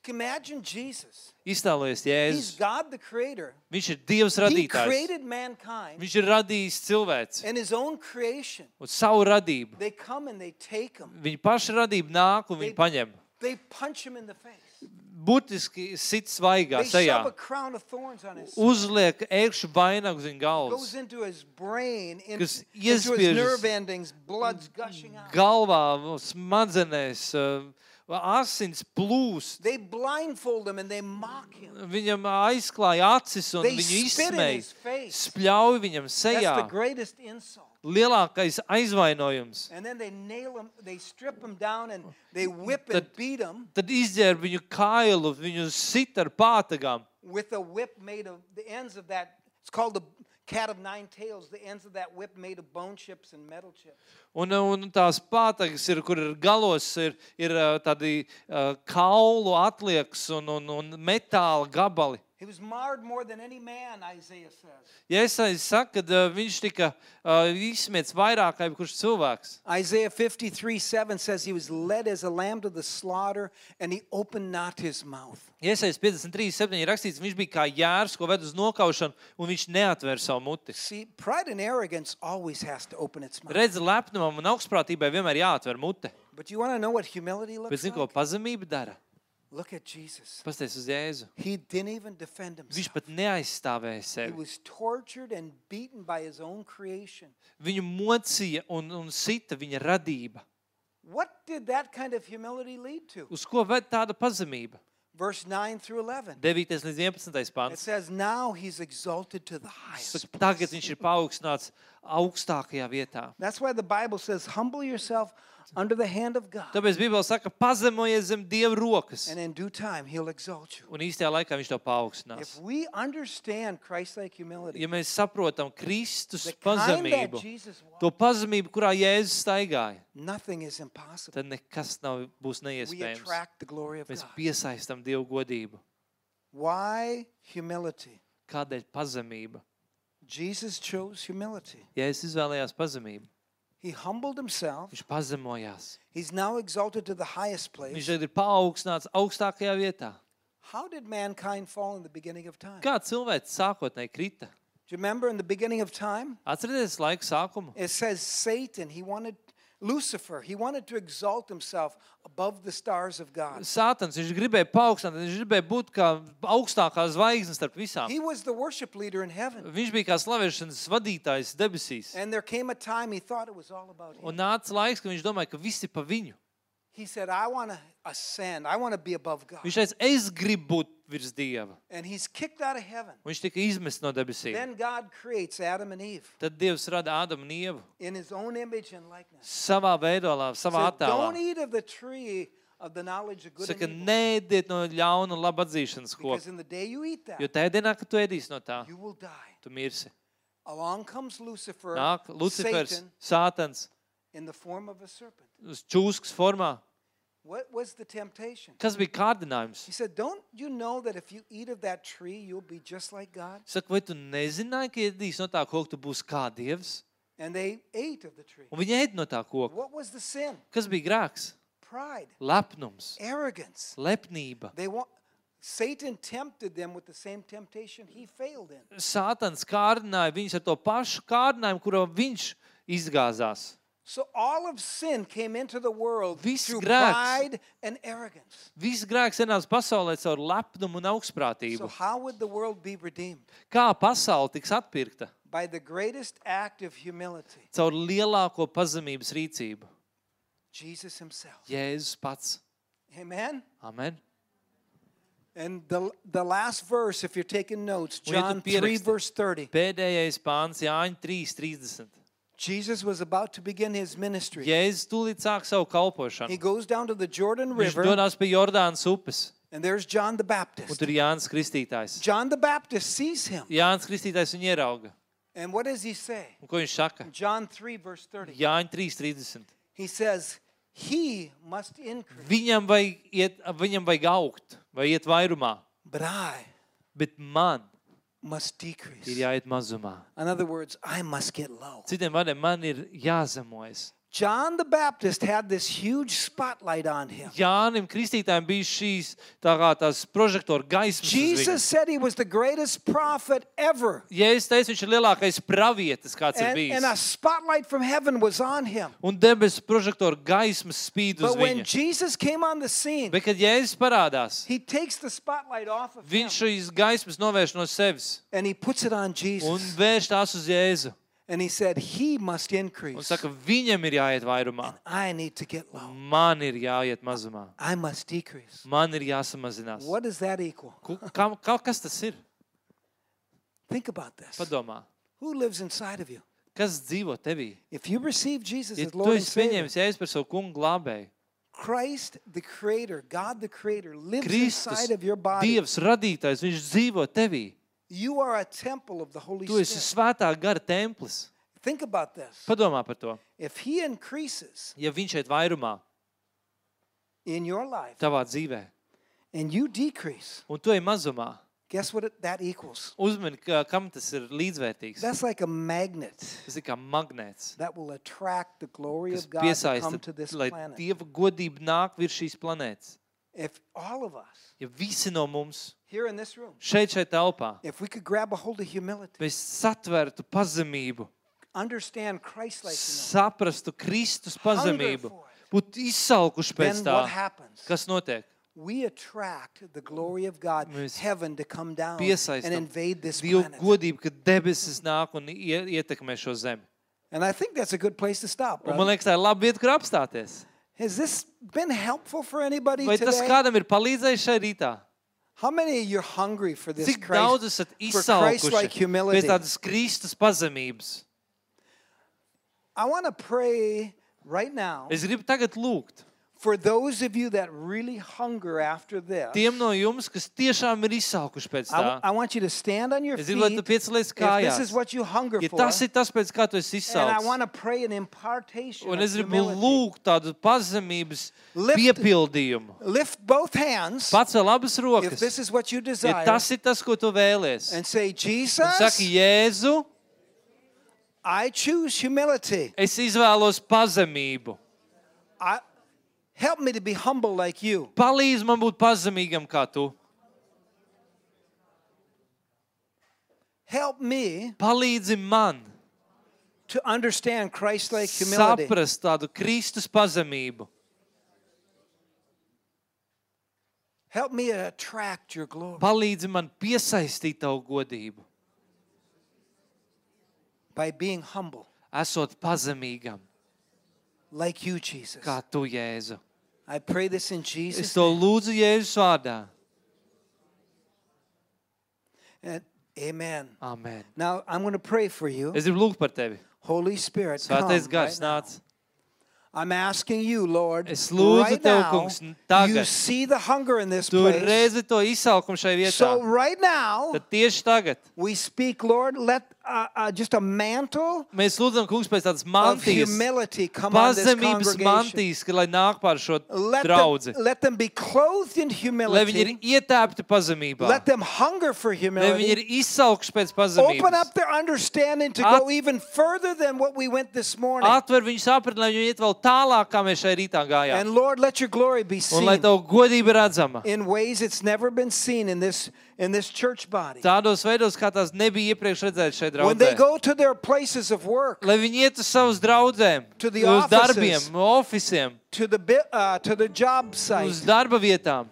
S2: Imagine Jesus.
S1: Iztēlojies,
S2: He's
S1: Jēzus.
S2: God the creator.
S1: Viņš ir Dievs
S2: He
S1: radītājs.
S2: created mankind
S1: Viņš ir radījis cilvēci
S2: and his own creation.
S1: un savu radību.
S2: They come and they take him.
S1: Viņa paša radība nāk un viņa paņem.
S2: They punch him in the face.
S1: Burtiski sit svaigā
S2: They
S1: sejā.
S2: shove a crown of thorns on his
S1: Uzliek ērkšķu vainagu zem galvas.
S2: goes into his brain, in-
S1: Kas
S2: into his
S1: iespiežas.
S2: nerve endings, blood's gushing out.
S1: Galvā, nu, smadzenēs, uh, asins plūst.
S2: They blindfold him and they mock him.
S1: Viņam aizklāja acis un
S2: They
S1: viņu
S2: spit in
S1: izsmēja.
S2: his face.
S1: Spļauj viņam
S2: That's
S1: sejā.
S2: the greatest insult.
S1: Lielākais aizvainojums.
S2: And then they nail him, they strip him down and they whip and
S1: Tad-
S2: beat him
S1: Tad izģērba viņu kailu, viņu sit ar pātagām.
S2: with a whip made of the ends of that. It's called the cat of nine tails, the ends of that whip made of bone chips and metal chips.
S1: Un, uh, un tās pātagas, ir, kur ir galos, ir, ir ā, tādi ā, kaulu atliekas un, un, un metāla gabali.
S2: He was marred more than any man, Isaiah says.
S1: Ja es aiz saku, ka viņš tika ā, izsmiets vairāk kā jebkurš cilvēks.
S2: Isaiah 53 7 says, He was led as a lamb to the slaughter, and he opened not his mouth.
S1: Iesaistīts 53, 7 ir rakstīts, viņš bija kā jērs, ko ved uz nokaušanu, un viņš neatver savu muti.
S2: See, pride and arrogance always has to open its mouth.
S1: Redzi, lepnumam un augstprātībai vienmēr jāatver mute.
S2: But you want to know what humility
S1: Bet
S2: looks
S1: zini, ko
S2: like?
S1: pazemība dara?
S2: Look at Jesus.
S1: Pastāstiet uz Jēzu.
S2: He didn't even defend
S1: Viņš
S2: himself.
S1: pat neaizstāvēja
S2: He
S1: sevi.
S2: was tortured and beaten by his own creation.
S1: Viņu mocīja un, un sita viņa radība.
S2: What did that kind of humility lead to?
S1: Uz ko ved tāda pazemība?
S2: Verse 9 through 11.
S1: 9 līdz 11
S2: It
S1: pāns.
S2: says, Now he's exalted to the highest.
S1: Saka, Tagad viņš ir paaugstināts augstākajā vietā.
S2: That's why the Bible says, Humble yourself under the hand of God,
S1: Tāpēc Bībelē saka, pazemojies zem dieva rokas.
S2: and in due time he'll exalt you.
S1: Un īstajā laikā viņš to paaugstinās.
S2: If we understand Christ like humility,
S1: Ja mēs saprotam Kristus
S2: the kind that
S1: pazemību,
S2: Jesus walked,
S1: to pazemību, kurā Jēzus staigāja,
S2: nothing is impossible.
S1: tad nekas nav, būs
S2: we
S1: neiespējams.
S2: attract the glory of
S1: Mēs
S2: God.
S1: piesaistām Dievu godību.
S2: Why humility?
S1: Kādēļ pazemība?
S2: Jesus chose humility.
S1: Ja es izvēlējos pazemību,
S2: He humbled himself.
S1: viņš pazemojās.
S2: He's now exalted to the highest
S1: Viņš
S2: place.
S1: tagad ir paaugstināts augstākajā vietā.
S2: How did mankind fall in the beginning of time? Do
S1: Kā cilvēks sākotnēji krita?
S2: you remember in the beginning of time?
S1: Atcerieties laika sākumu.
S2: It says Satan, he wanted Lucifer, he wanted to exalt himself above the stars of God.
S1: Sātans, viņš gribēja paaugstināt, viņš gribēja būt kā augstākā zvaigzne starp visām.
S2: He was the worship leader in heaven.
S1: Viņš bija kā slavēšanas vadītājs debesīs.
S2: And there came a time he thought it was all about him.
S1: Un nāca laiks, kad viņš domāja, ka visi pa viņu.
S2: He said, I want to ascend. I want to be above God.
S1: Viņš teica, es gribu būt virs dieva.
S2: And he's kicked out of heaven.
S1: Un Viņš tika izmests no debesīm.
S2: Then God creates Adam and Eve
S1: Tad Dievs rada Ādamu un Ievu
S2: in his own image and likeness.
S1: savā veidolā, savā
S2: Said,
S1: attēlā.
S2: Don't eat of the tree of the knowledge of good
S1: Saka,
S2: and evil.
S1: neidiet no ļauna un laba atzīšanas
S2: Because
S1: koka.
S2: in the day you eat that,
S1: Jo tajā dienā, kad tu ēdīsi no tā,
S2: you will die.
S1: tu mirsi.
S2: Along comes Lucifer,
S1: Nāk Lucifers,
S2: Satan,
S1: Sātans,
S2: in the form of a serpent.
S1: uz čūskas formā.
S2: What was the temptation?
S1: Kas bija kārdinājums?
S2: He said, Don't you know that if you eat of that tree, you'll be just like God?
S1: Saka, vai tu nezināji, ka ēdīsi no tā koka, tu būsi kā dievs?
S2: And they ate of the tree.
S1: Un viņi ēd no tā koka.
S2: What was the sin?
S1: Kas bija grēks?
S2: Pride,
S1: Lepnums,
S2: arrogance.
S1: lepnība.
S2: They want Satan tempted them with the same temptation he failed in.
S1: Sātans kārdināja viņus ar to pašu kārdinājumu, kuru viņš izgāzās.
S2: So all of sin came into the world
S1: Viss
S2: through
S1: grēks.
S2: pride and arrogance.
S1: Viss grēks senās pasaulē caur lepnumu un
S2: So
S1: augstprātību.
S2: how would the world be redeemed?
S1: Kā pasaule tiks atpirkta?
S2: By the greatest act of humility,
S1: Caur lielāko pazemības rīcību.
S2: Jesus himself.
S1: Jēzus pats.
S2: Amen.
S1: Amen.
S2: And the, the last verse, if you're taking notes,
S1: Un, ja tu
S2: John 3,
S1: pieraksti.
S2: verse 30.
S1: Pēdējais pāns, Jāņa 3.30.
S2: Jesus was about to begin his ministry.
S1: Jēzus tūlīt sāk savu
S2: He
S1: kalpošanu.
S2: goes down to the Jordan
S1: Viņš
S2: River,
S1: dodas pie Jordānas upes,
S2: and there's John the
S1: un
S2: Baptist.
S1: tur ir Jānis Kristītājs.
S2: John the Baptist sees him.
S1: Jānis Kristītājs viņu ierauga.
S2: And what does he say?
S1: Un ko viņš saka?
S2: John 3, verse 30.
S1: Jāņa 3.30.
S2: He says, He must increase,
S1: Viņam vajag, iet, viņam vajag augt, vai iet vairumā,
S2: but I
S1: bet man
S2: must
S1: ir
S2: decrease.
S1: jāiet mazumā.
S2: In other words, I must get low.
S1: Citiem vārdiem, man ir jāzemojas.
S2: John the Baptist had this huge spotlight on him.
S1: Jānis Kristītājam bija šīs tā kā tās prožektora gaismas.
S2: Jesus said he was the greatest prophet ever.
S1: Ja es teicu, viņš ir lielākais pravietis, kāds ir
S2: And, and a
S1: bijis.
S2: spotlight from heaven was on him.
S1: Un debesu prožektora gaismas spīd uz
S2: But when
S1: viņu.
S2: Jesus came on the scene,
S1: Bet, kad Jēzus parādās,
S2: he takes the spotlight off of him
S1: viņš šīs gaismas novērš no sevis
S2: and he puts it on
S1: un
S2: Jesus.
S1: vērš tās uz Jēzu.
S2: And he said, He must
S1: Un
S2: increase.
S1: saka, viņam ir jāiet vairumā,
S2: I need to get low.
S1: man ir jāiet mazumā,
S2: I must decrease.
S1: man ir jāsamazinās.
S2: What does that equal?
S1: Ku- Kā, kā, kas tas ir?
S2: Think about this.
S1: Padomā,
S2: Who lives inside of you?
S1: kas dzīvo tevī?
S2: If you receive Jesus
S1: Ja
S2: as
S1: tu
S2: Lord and
S1: esi
S2: Savior,
S1: pieņēmis Jēzus par savu kungu glābēju,
S2: Christ, the Creator, God the Creator, lives
S1: Kristus,
S2: inside of your body.
S1: Dievs, radītājs, viņš dzīvo tevī.
S2: You are a temple of the Holy
S1: Tu esi
S2: Spirit.
S1: svētā gara templis.
S2: Think about this.
S1: Padomā par to.
S2: If He increases
S1: Ja viņš šeit vairumā,
S2: in your life
S1: tavā dzīvē,
S2: and you decrease,
S1: un tu ej mazumā,
S2: guess what it- that equals?
S1: uzmini, ka- kam tas ir līdzvērtīgs.
S2: That's like a magnet
S1: Tas ir kā magnēts,
S2: that will attract the glory
S1: kas
S2: of God to come
S1: piesaista,
S2: to this
S1: lai
S2: planet.
S1: Dieva godība nāk virs šīs planētas.
S2: If all of us
S1: Ja visi no mums
S2: here in this room,
S1: šeit, šeit telpā,
S2: if we could grab a hold of humility,
S1: mēs satvertu pazemību,
S2: understand Christ like
S1: saprastu Kristus
S2: Hunger
S1: pazemību,
S2: for
S1: būtu izsalkuši pēc
S2: then
S1: tā,
S2: what happens?
S1: kas notiek.
S2: We attract the glory of God,
S1: Mēs
S2: heaven to come down and
S1: Piesaistam
S2: invade this
S1: Dieva
S2: planet.
S1: godību, ka debesis nāk un ie- ietekmē šo zemi.
S2: And I think that's a good place to stop.
S1: Un
S2: brother.
S1: man liekas, tā ir laba vieta, kur apstāties.
S2: Has this been helpful for anybody
S1: Vai tas
S2: today?
S1: kādam ir palīdzējis šai rītā?
S2: How many of you are hungry for this
S1: Cik daudz
S2: Christ,
S1: esat
S2: for Christ
S1: izsalkuši pēc
S2: like humility?
S1: tādas Kristus pazemības?
S2: I want to pray right now
S1: Es gribu tagad lūgt
S2: for those of you that really hunger after this.
S1: tiem no jums, kas tiešām ir izsalkuši pēc
S2: I,
S1: tā.
S2: I want you to stand on your
S1: Es
S2: feet.
S1: gribu, lai tu piecelēs
S2: If this is
S1: kājās.
S2: what you hunger
S1: Ja
S2: for,
S1: tas ir tas, pēc kā tu esi
S2: and I
S1: izsalcis,
S2: want to pray an impartation
S1: un
S2: of
S1: es gribu
S2: humility.
S1: lūgt tādu pazemības
S2: Lift-
S1: piepildījumu,
S2: Lift both hands
S1: pacel abas
S2: if
S1: rokas.
S2: this is what you
S1: Ja
S2: desire,
S1: tas ir tas, ko tu vēlies,
S2: and say,
S1: un saki,
S2: Jesus,
S1: Jēzu,
S2: I choose humility.
S1: es izvēlos pazemību.
S2: I, help me to be humble like you.
S1: Palīdz man būt pazemīgam kā tu.
S2: Help me
S1: Palīdzi man
S2: to understand Christ like humility.
S1: saprast tādu Kristus pazemību.
S2: Help me to attract your glory.
S1: Palīdzi man piesaistīt tavu godību,
S2: by being humble,
S1: esot pazemīgam,
S2: like you, Jesus.
S1: kā tu, Jēzu.
S2: I pray this in
S1: Es
S2: Jesus.
S1: to lūdzu Jēzus vārdā.
S2: And amen.
S1: Amen.
S2: Now I'm going to pray for you.
S1: Es gribu lūgt par tevi.
S2: Holy Spirit, come
S1: Svētais gars
S2: right now.
S1: nāc.
S2: I'm asking you, Lord,
S1: Es lūdzu
S2: right
S1: Tev,
S2: now,
S1: kungs, n- tagad.
S2: you see the hunger in this
S1: Tu
S2: place.
S1: redzi to izsalkumu šai vietā.
S2: So right now,
S1: Tad tieši tagad
S2: we speak, Lord, let uh, uh, just a mantle
S1: mēs lūdzam, kungs, pēc tādas
S2: of
S1: mantijas,
S2: humility come on this
S1: pazemības
S2: congregation.
S1: mantijas, ka, lai nāk pār šo
S2: Let
S1: draudzi.
S2: them, let them be clothed in
S1: Lai viņi ir
S2: humility.
S1: ietēpti pazemībā.
S2: Let them hunger for
S1: Lai viņi ir
S2: humility.
S1: izsaukti pēc
S2: Open
S1: pazemības.
S2: up their understanding to
S1: At-
S2: go even further than what we went this morning.
S1: Atver viņu sapratni, lai viņi iet vēl tālāk, kā mēs šai rītā gājām.
S2: And Lord, let your glory be
S1: Un lai
S2: seen
S1: tavu godība redzama.
S2: in ways it's never been seen in this in this church body.
S1: Tādos veidos, kā tās nebija iepriekš redzētas šeit
S2: When they
S1: draudzē.
S2: go to their places of work,
S1: Lai viņi iet uz savus draugiem,
S2: To the
S1: uz darbiem,
S2: offices.
S1: ofisiem,
S2: to the bi- uh, to the job
S1: uz
S2: site,
S1: darba vietām,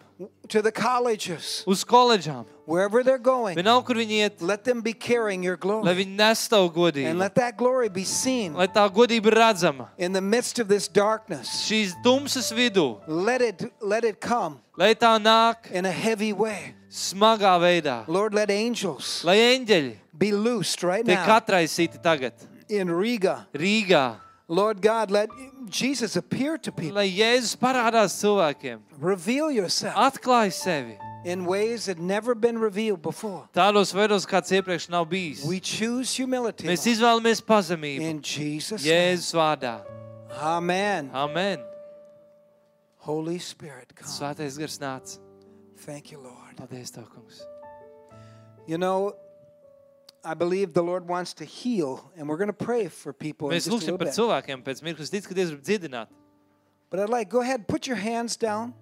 S2: to the colleges,
S1: uz koledžām.
S2: wherever they're going,
S1: Vienalga, kur viņi iet,
S2: let them be carrying your
S1: lai
S2: glory,
S1: viņi nes tavu
S2: and
S1: godību,
S2: let that glory be seen
S1: lai tā godība ir redzama.
S2: in the midst of this darkness.
S1: Šīs tumsas vidū,
S2: Let it let it come
S1: lai tā nāk
S2: in a heavy way.
S1: smagā veidā,
S2: Lord, let angels
S1: lai eņģeļi
S2: be loosed right
S1: tiek
S2: now
S1: atraisīti tagad
S2: in Riga.
S1: Rīgā,
S2: Lord God, let Jesus appear to people.
S1: lai Jēzus parādās cilvēkiem,
S2: Reveal
S1: Ah.
S2: yourself
S1: atklāj sevi
S2: in ways that never been revealed before.
S1: tādos veidos, kāds iepriekš nav bijis.
S2: We choose humility
S1: Mēs
S2: Lord,
S1: izvēlamies pazemību
S2: in Jesus. name.
S1: Jēzus vārdā. Ah.
S2: Amen.
S1: Amen!
S2: Holy Spirit, come.
S1: Svētais gars nāca.
S2: Thank you, Lord.
S1: Paldies, tev, kungs.
S2: You know, I believe the Lord wants to heal, and we're going to pray for people.
S1: Mēs
S2: in just a
S1: lūgsim
S2: little
S1: par
S2: bit.
S1: cilvēkiem pēc mirkļa. Es ticu, ka Dievs grib dziedināt.
S2: But I'd like go ahead, put your hands down,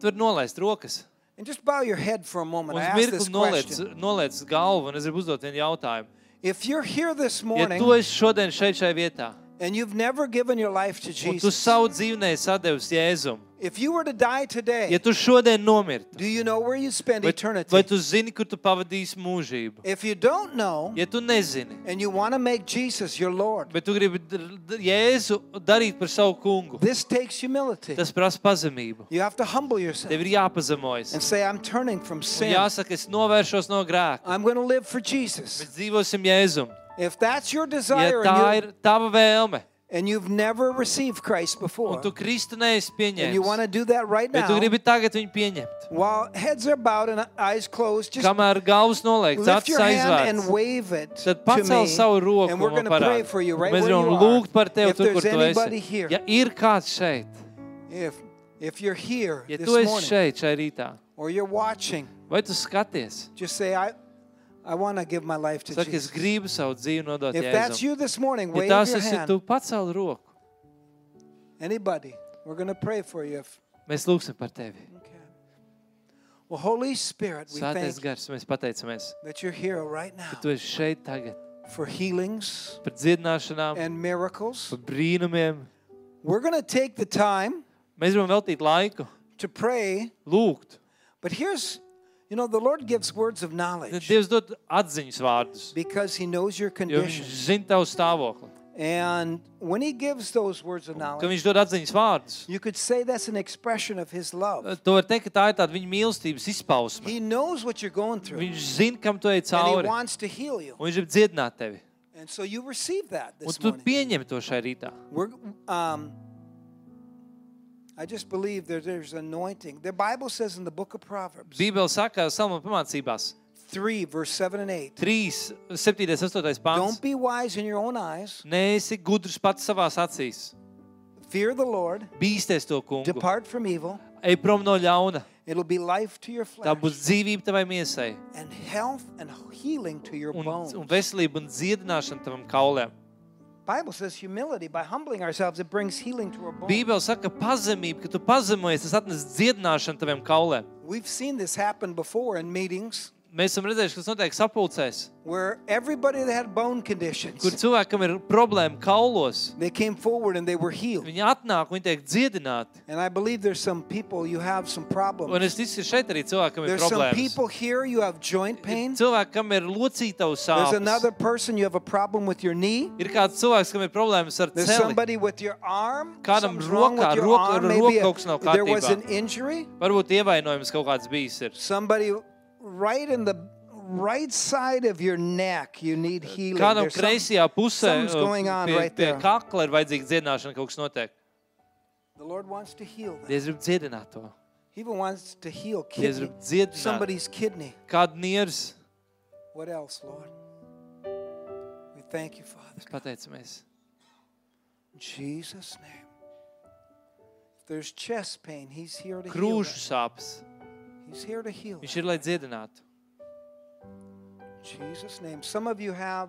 S1: Tur nolaist rokas.
S2: and just bow your head for a moment.
S1: Un
S2: I
S1: uz
S2: ask this
S1: mirkli noliec,
S2: question.
S1: noliec galvu, un es gribu uzdot vienu jautājumu.
S2: If you're here this
S1: Ja tu
S2: morning
S1: esi šodien šeit, šajā vietā,
S2: and you've never given your life to
S1: un tu
S2: Jesus,
S1: savu dzīvnieku sadevis Jēzum,
S2: if you were to die
S1: ja
S2: today,
S1: tu šodien nomirti,
S2: do you know where you spend
S1: vai, vai
S2: eternity?
S1: tu zini, kur tu pavadīsi mūžību?
S2: If you don't know
S1: Ja tu nezini,
S2: and you want to make Jesus your Lord,
S1: bet tu gribi dr- dr- Jēzu darīt par savu kungu,
S2: this takes humility.
S1: tas prasa pazemību.
S2: You have to humble yourself
S1: Tev ir jāpazemojas.
S2: and say, I'm turning from
S1: Un
S2: sin.
S1: jāsaka, es novēršos no grēka.
S2: I'm going to live for Jesus.
S1: Mēs dzīvosim Jēzum.
S2: If that's your
S1: Ja
S2: desire
S1: tā
S2: and,
S1: ir
S2: you,
S1: tava vēlme,
S2: and you've never received Christ
S1: un
S2: before,
S1: tu Kristu neesi
S2: and you want
S1: pieņēmis,
S2: to do that right
S1: bet tu
S2: now,
S1: gribi tagad viņu pieņemt,
S2: while heads are bowed and eyes closed, just
S1: kamēr galvas noliekts,
S2: lift
S1: acis
S2: your hand and
S1: aizvērts.
S2: wave it
S1: Tad
S2: to
S1: pacel savu
S2: me,
S1: roku,
S2: and we're
S1: un
S2: going to
S1: man
S2: pray
S1: parādi.
S2: for you right
S1: Mēs
S2: where you
S1: varam
S2: are.
S1: lūgt par tevi,
S2: If
S1: tur, kur
S2: there's
S1: tu
S2: anybody
S1: esi.
S2: here,
S1: Ja ir kāds šeit,
S2: if if you're here
S1: ja
S2: this
S1: tu esi
S2: morning
S1: šeit, šai rītā,
S2: or you're watching,
S1: vai tu skaties,
S2: just say I I want to give my life to
S1: saki, es
S2: Jesus.
S1: gribu savu dzīvi nodot
S2: If that's
S1: Jēzum.
S2: you this morning,
S1: Ja
S2: wave
S1: tās
S2: your
S1: esi,
S2: hand.
S1: tu pacel roku,
S2: Anybody, we're going to pray for you. If,
S1: mēs lūgsim par tevi.
S2: okay. Well, Holy Spirit, we
S1: Svētais
S2: thank you
S1: gars, mēs pateicamies,
S2: that you're here right now
S1: tu esi šeit tagad
S2: for healings
S1: par dziedināšanām,
S2: and miracles.
S1: par brīnumiem.
S2: We're going to take the time
S1: Mēs gribam veltīt laiku,
S2: to pray,
S1: lūgt.
S2: but here's, you know, the Lord gives words of
S1: Tad
S2: knowledge
S1: Dievs dod atziņas vārdus,
S2: because He knows your
S1: jo viņš
S2: condition.
S1: zina tavu stāvokli.
S2: And when He gives those words of
S1: Kad
S2: knowledge,
S1: viņš dod atziņas vārdus, Eh,
S2: you could say that's an expression of His love.
S1: to var teikt, ka tā ir tāda viņa mīlestības izpausme.
S2: He knows what you're going through,
S1: Viņš zina, kam tu ej
S2: and He
S1: cauri,
S2: wants to heal you.
S1: un viņš grib dziedināt tevi.
S2: And so you receive that
S1: Un
S2: this
S1: tu
S2: morning.
S1: pieņem to šai rītā.
S2: We're, um, I just believe that there's anointing. The Bible says in the book of Proverbs
S1: Bībele saka, Salmāna pamācībās
S2: 3, verse 7 and 8
S1: 3, 7, 8
S2: Don't
S1: pāns.
S2: be wise in your own eyes,
S1: Nē, esi gudrs pats savās acīs.
S2: fear the Lord,
S1: Bīsties to kungu.
S2: depart from evil.
S1: Ej prom no ļauna.
S2: It'll be life to your
S1: Tā
S2: flesh
S1: būs dzīvība tavai miesai,
S2: and health and healing to your
S1: un,
S2: bones.
S1: un veselība un dziedināšana tavam kaulēm.
S2: Bible says humility by humbling ourselves it brings healing to our bones.
S1: Bībele saka, ka pazemība, ka tu pazemojies, tas atnes dziedināšanu taviem kaulēm.
S2: We've seen this happen before in meetings
S1: Mēs esam redzējuši, kas notiek sapulcēs,
S2: where everybody that had bone conditions
S1: kur cilvēkam ir problēma kaulos.
S2: they came forward and they were healed.
S1: Viņi atnāk, viņi tiek dziedināti.
S2: And I believe there's some people you have some problems.
S1: Un es ticu, ka šeit arī cilvēkam ir
S2: There's some
S1: problēmas.
S2: people here you have joint pain.
S1: Cilvēkam ir locītavu
S2: There's
S1: sāpes.
S2: another person you have a problem with your knee.
S1: Ir kāds cilvēks, kam ir problēmas ar
S2: There's
S1: celi.
S2: somebody with your arm.
S1: Kādam
S2: Something's wrong
S1: rokā-
S2: with your
S1: roka-
S2: arm.
S1: roka
S2: Maybe a-
S1: kaut kas nav
S2: there was
S1: kārtībā.
S2: an injury.
S1: Varbūt ievainojums kaut kāds bijis. Ir.
S2: Somebody right in the right side of your neck. You need healing.
S1: Kādam
S2: There's some-
S1: kreisajā pusē, uh,
S2: something's going on
S1: pie,
S2: right
S1: pie
S2: there.
S1: kakla ir vajadzīga dziedināšana, kaut kas notiek.
S2: The Lord wants to heal them.
S1: Dievs grib dziedināt to.
S2: He even wants to heal
S1: Dievs
S2: kidney,
S1: grib dziedināt
S2: somebody's kidney.
S1: kādu nieres.
S2: What else, Lord? We thank you, Father.
S1: Mēs pateicamies.
S2: In Jesus' name. If there's chest pain, He's here to heal.
S1: Krūžu
S2: That.
S1: sāpes.
S2: He's here to heal.
S1: Viņš ir, lai dziedinātu.
S2: that. In Jesus' name. Some of you have,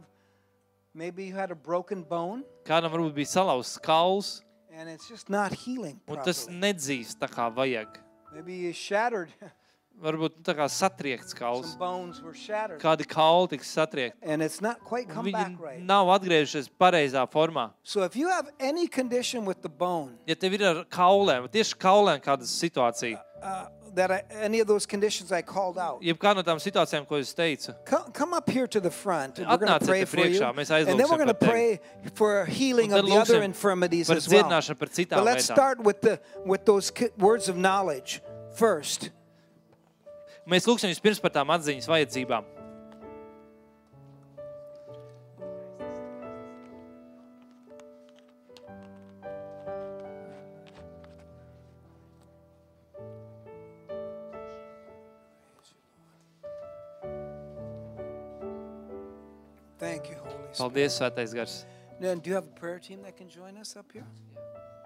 S2: maybe you had a broken bone
S1: Kādam varbūt bija salauzts kauls,
S2: and it's just not healing
S1: un tas
S2: properly.
S1: nedzīst tā kā vajag.
S2: Maybe you shattered.
S1: Varbūt nu, tā kā satriekts kauls.
S2: Some bones were shattered.
S1: Kādi kauli tiks satriekti.
S2: And it's not quite
S1: un
S2: come back right.
S1: Viņi nav atgriezušies pareizā formā.
S2: So if you have any condition with the bone,
S1: Ja tev ir ar kaulēm, tieši kaulēm kāda situācija,
S2: uh, that I, any of those conditions I called out,
S1: jebkā no tām situācijām, ko es teicu,
S2: Come, come up here to the front. and We're going
S1: Atnāciet
S2: to pray
S1: te
S2: for you.
S1: priekšā, mēs aizlūgsim
S2: And then we're going to
S1: par tevi.
S2: pray for healing
S1: Un tad
S2: of the other
S1: lūgsim
S2: infirmities
S1: par
S2: as well.
S1: dziedināšanu, par citām
S2: But let's
S1: lietām.
S2: start with the with those ki- words of knowledge first.
S1: Mēs lūgsim vispirms par tām atziņas vajadzībām.
S2: Thank you, Holy Spirit.
S1: Paldies, Svētais Gars!
S2: Now, do you have a prayer team that can join us up here?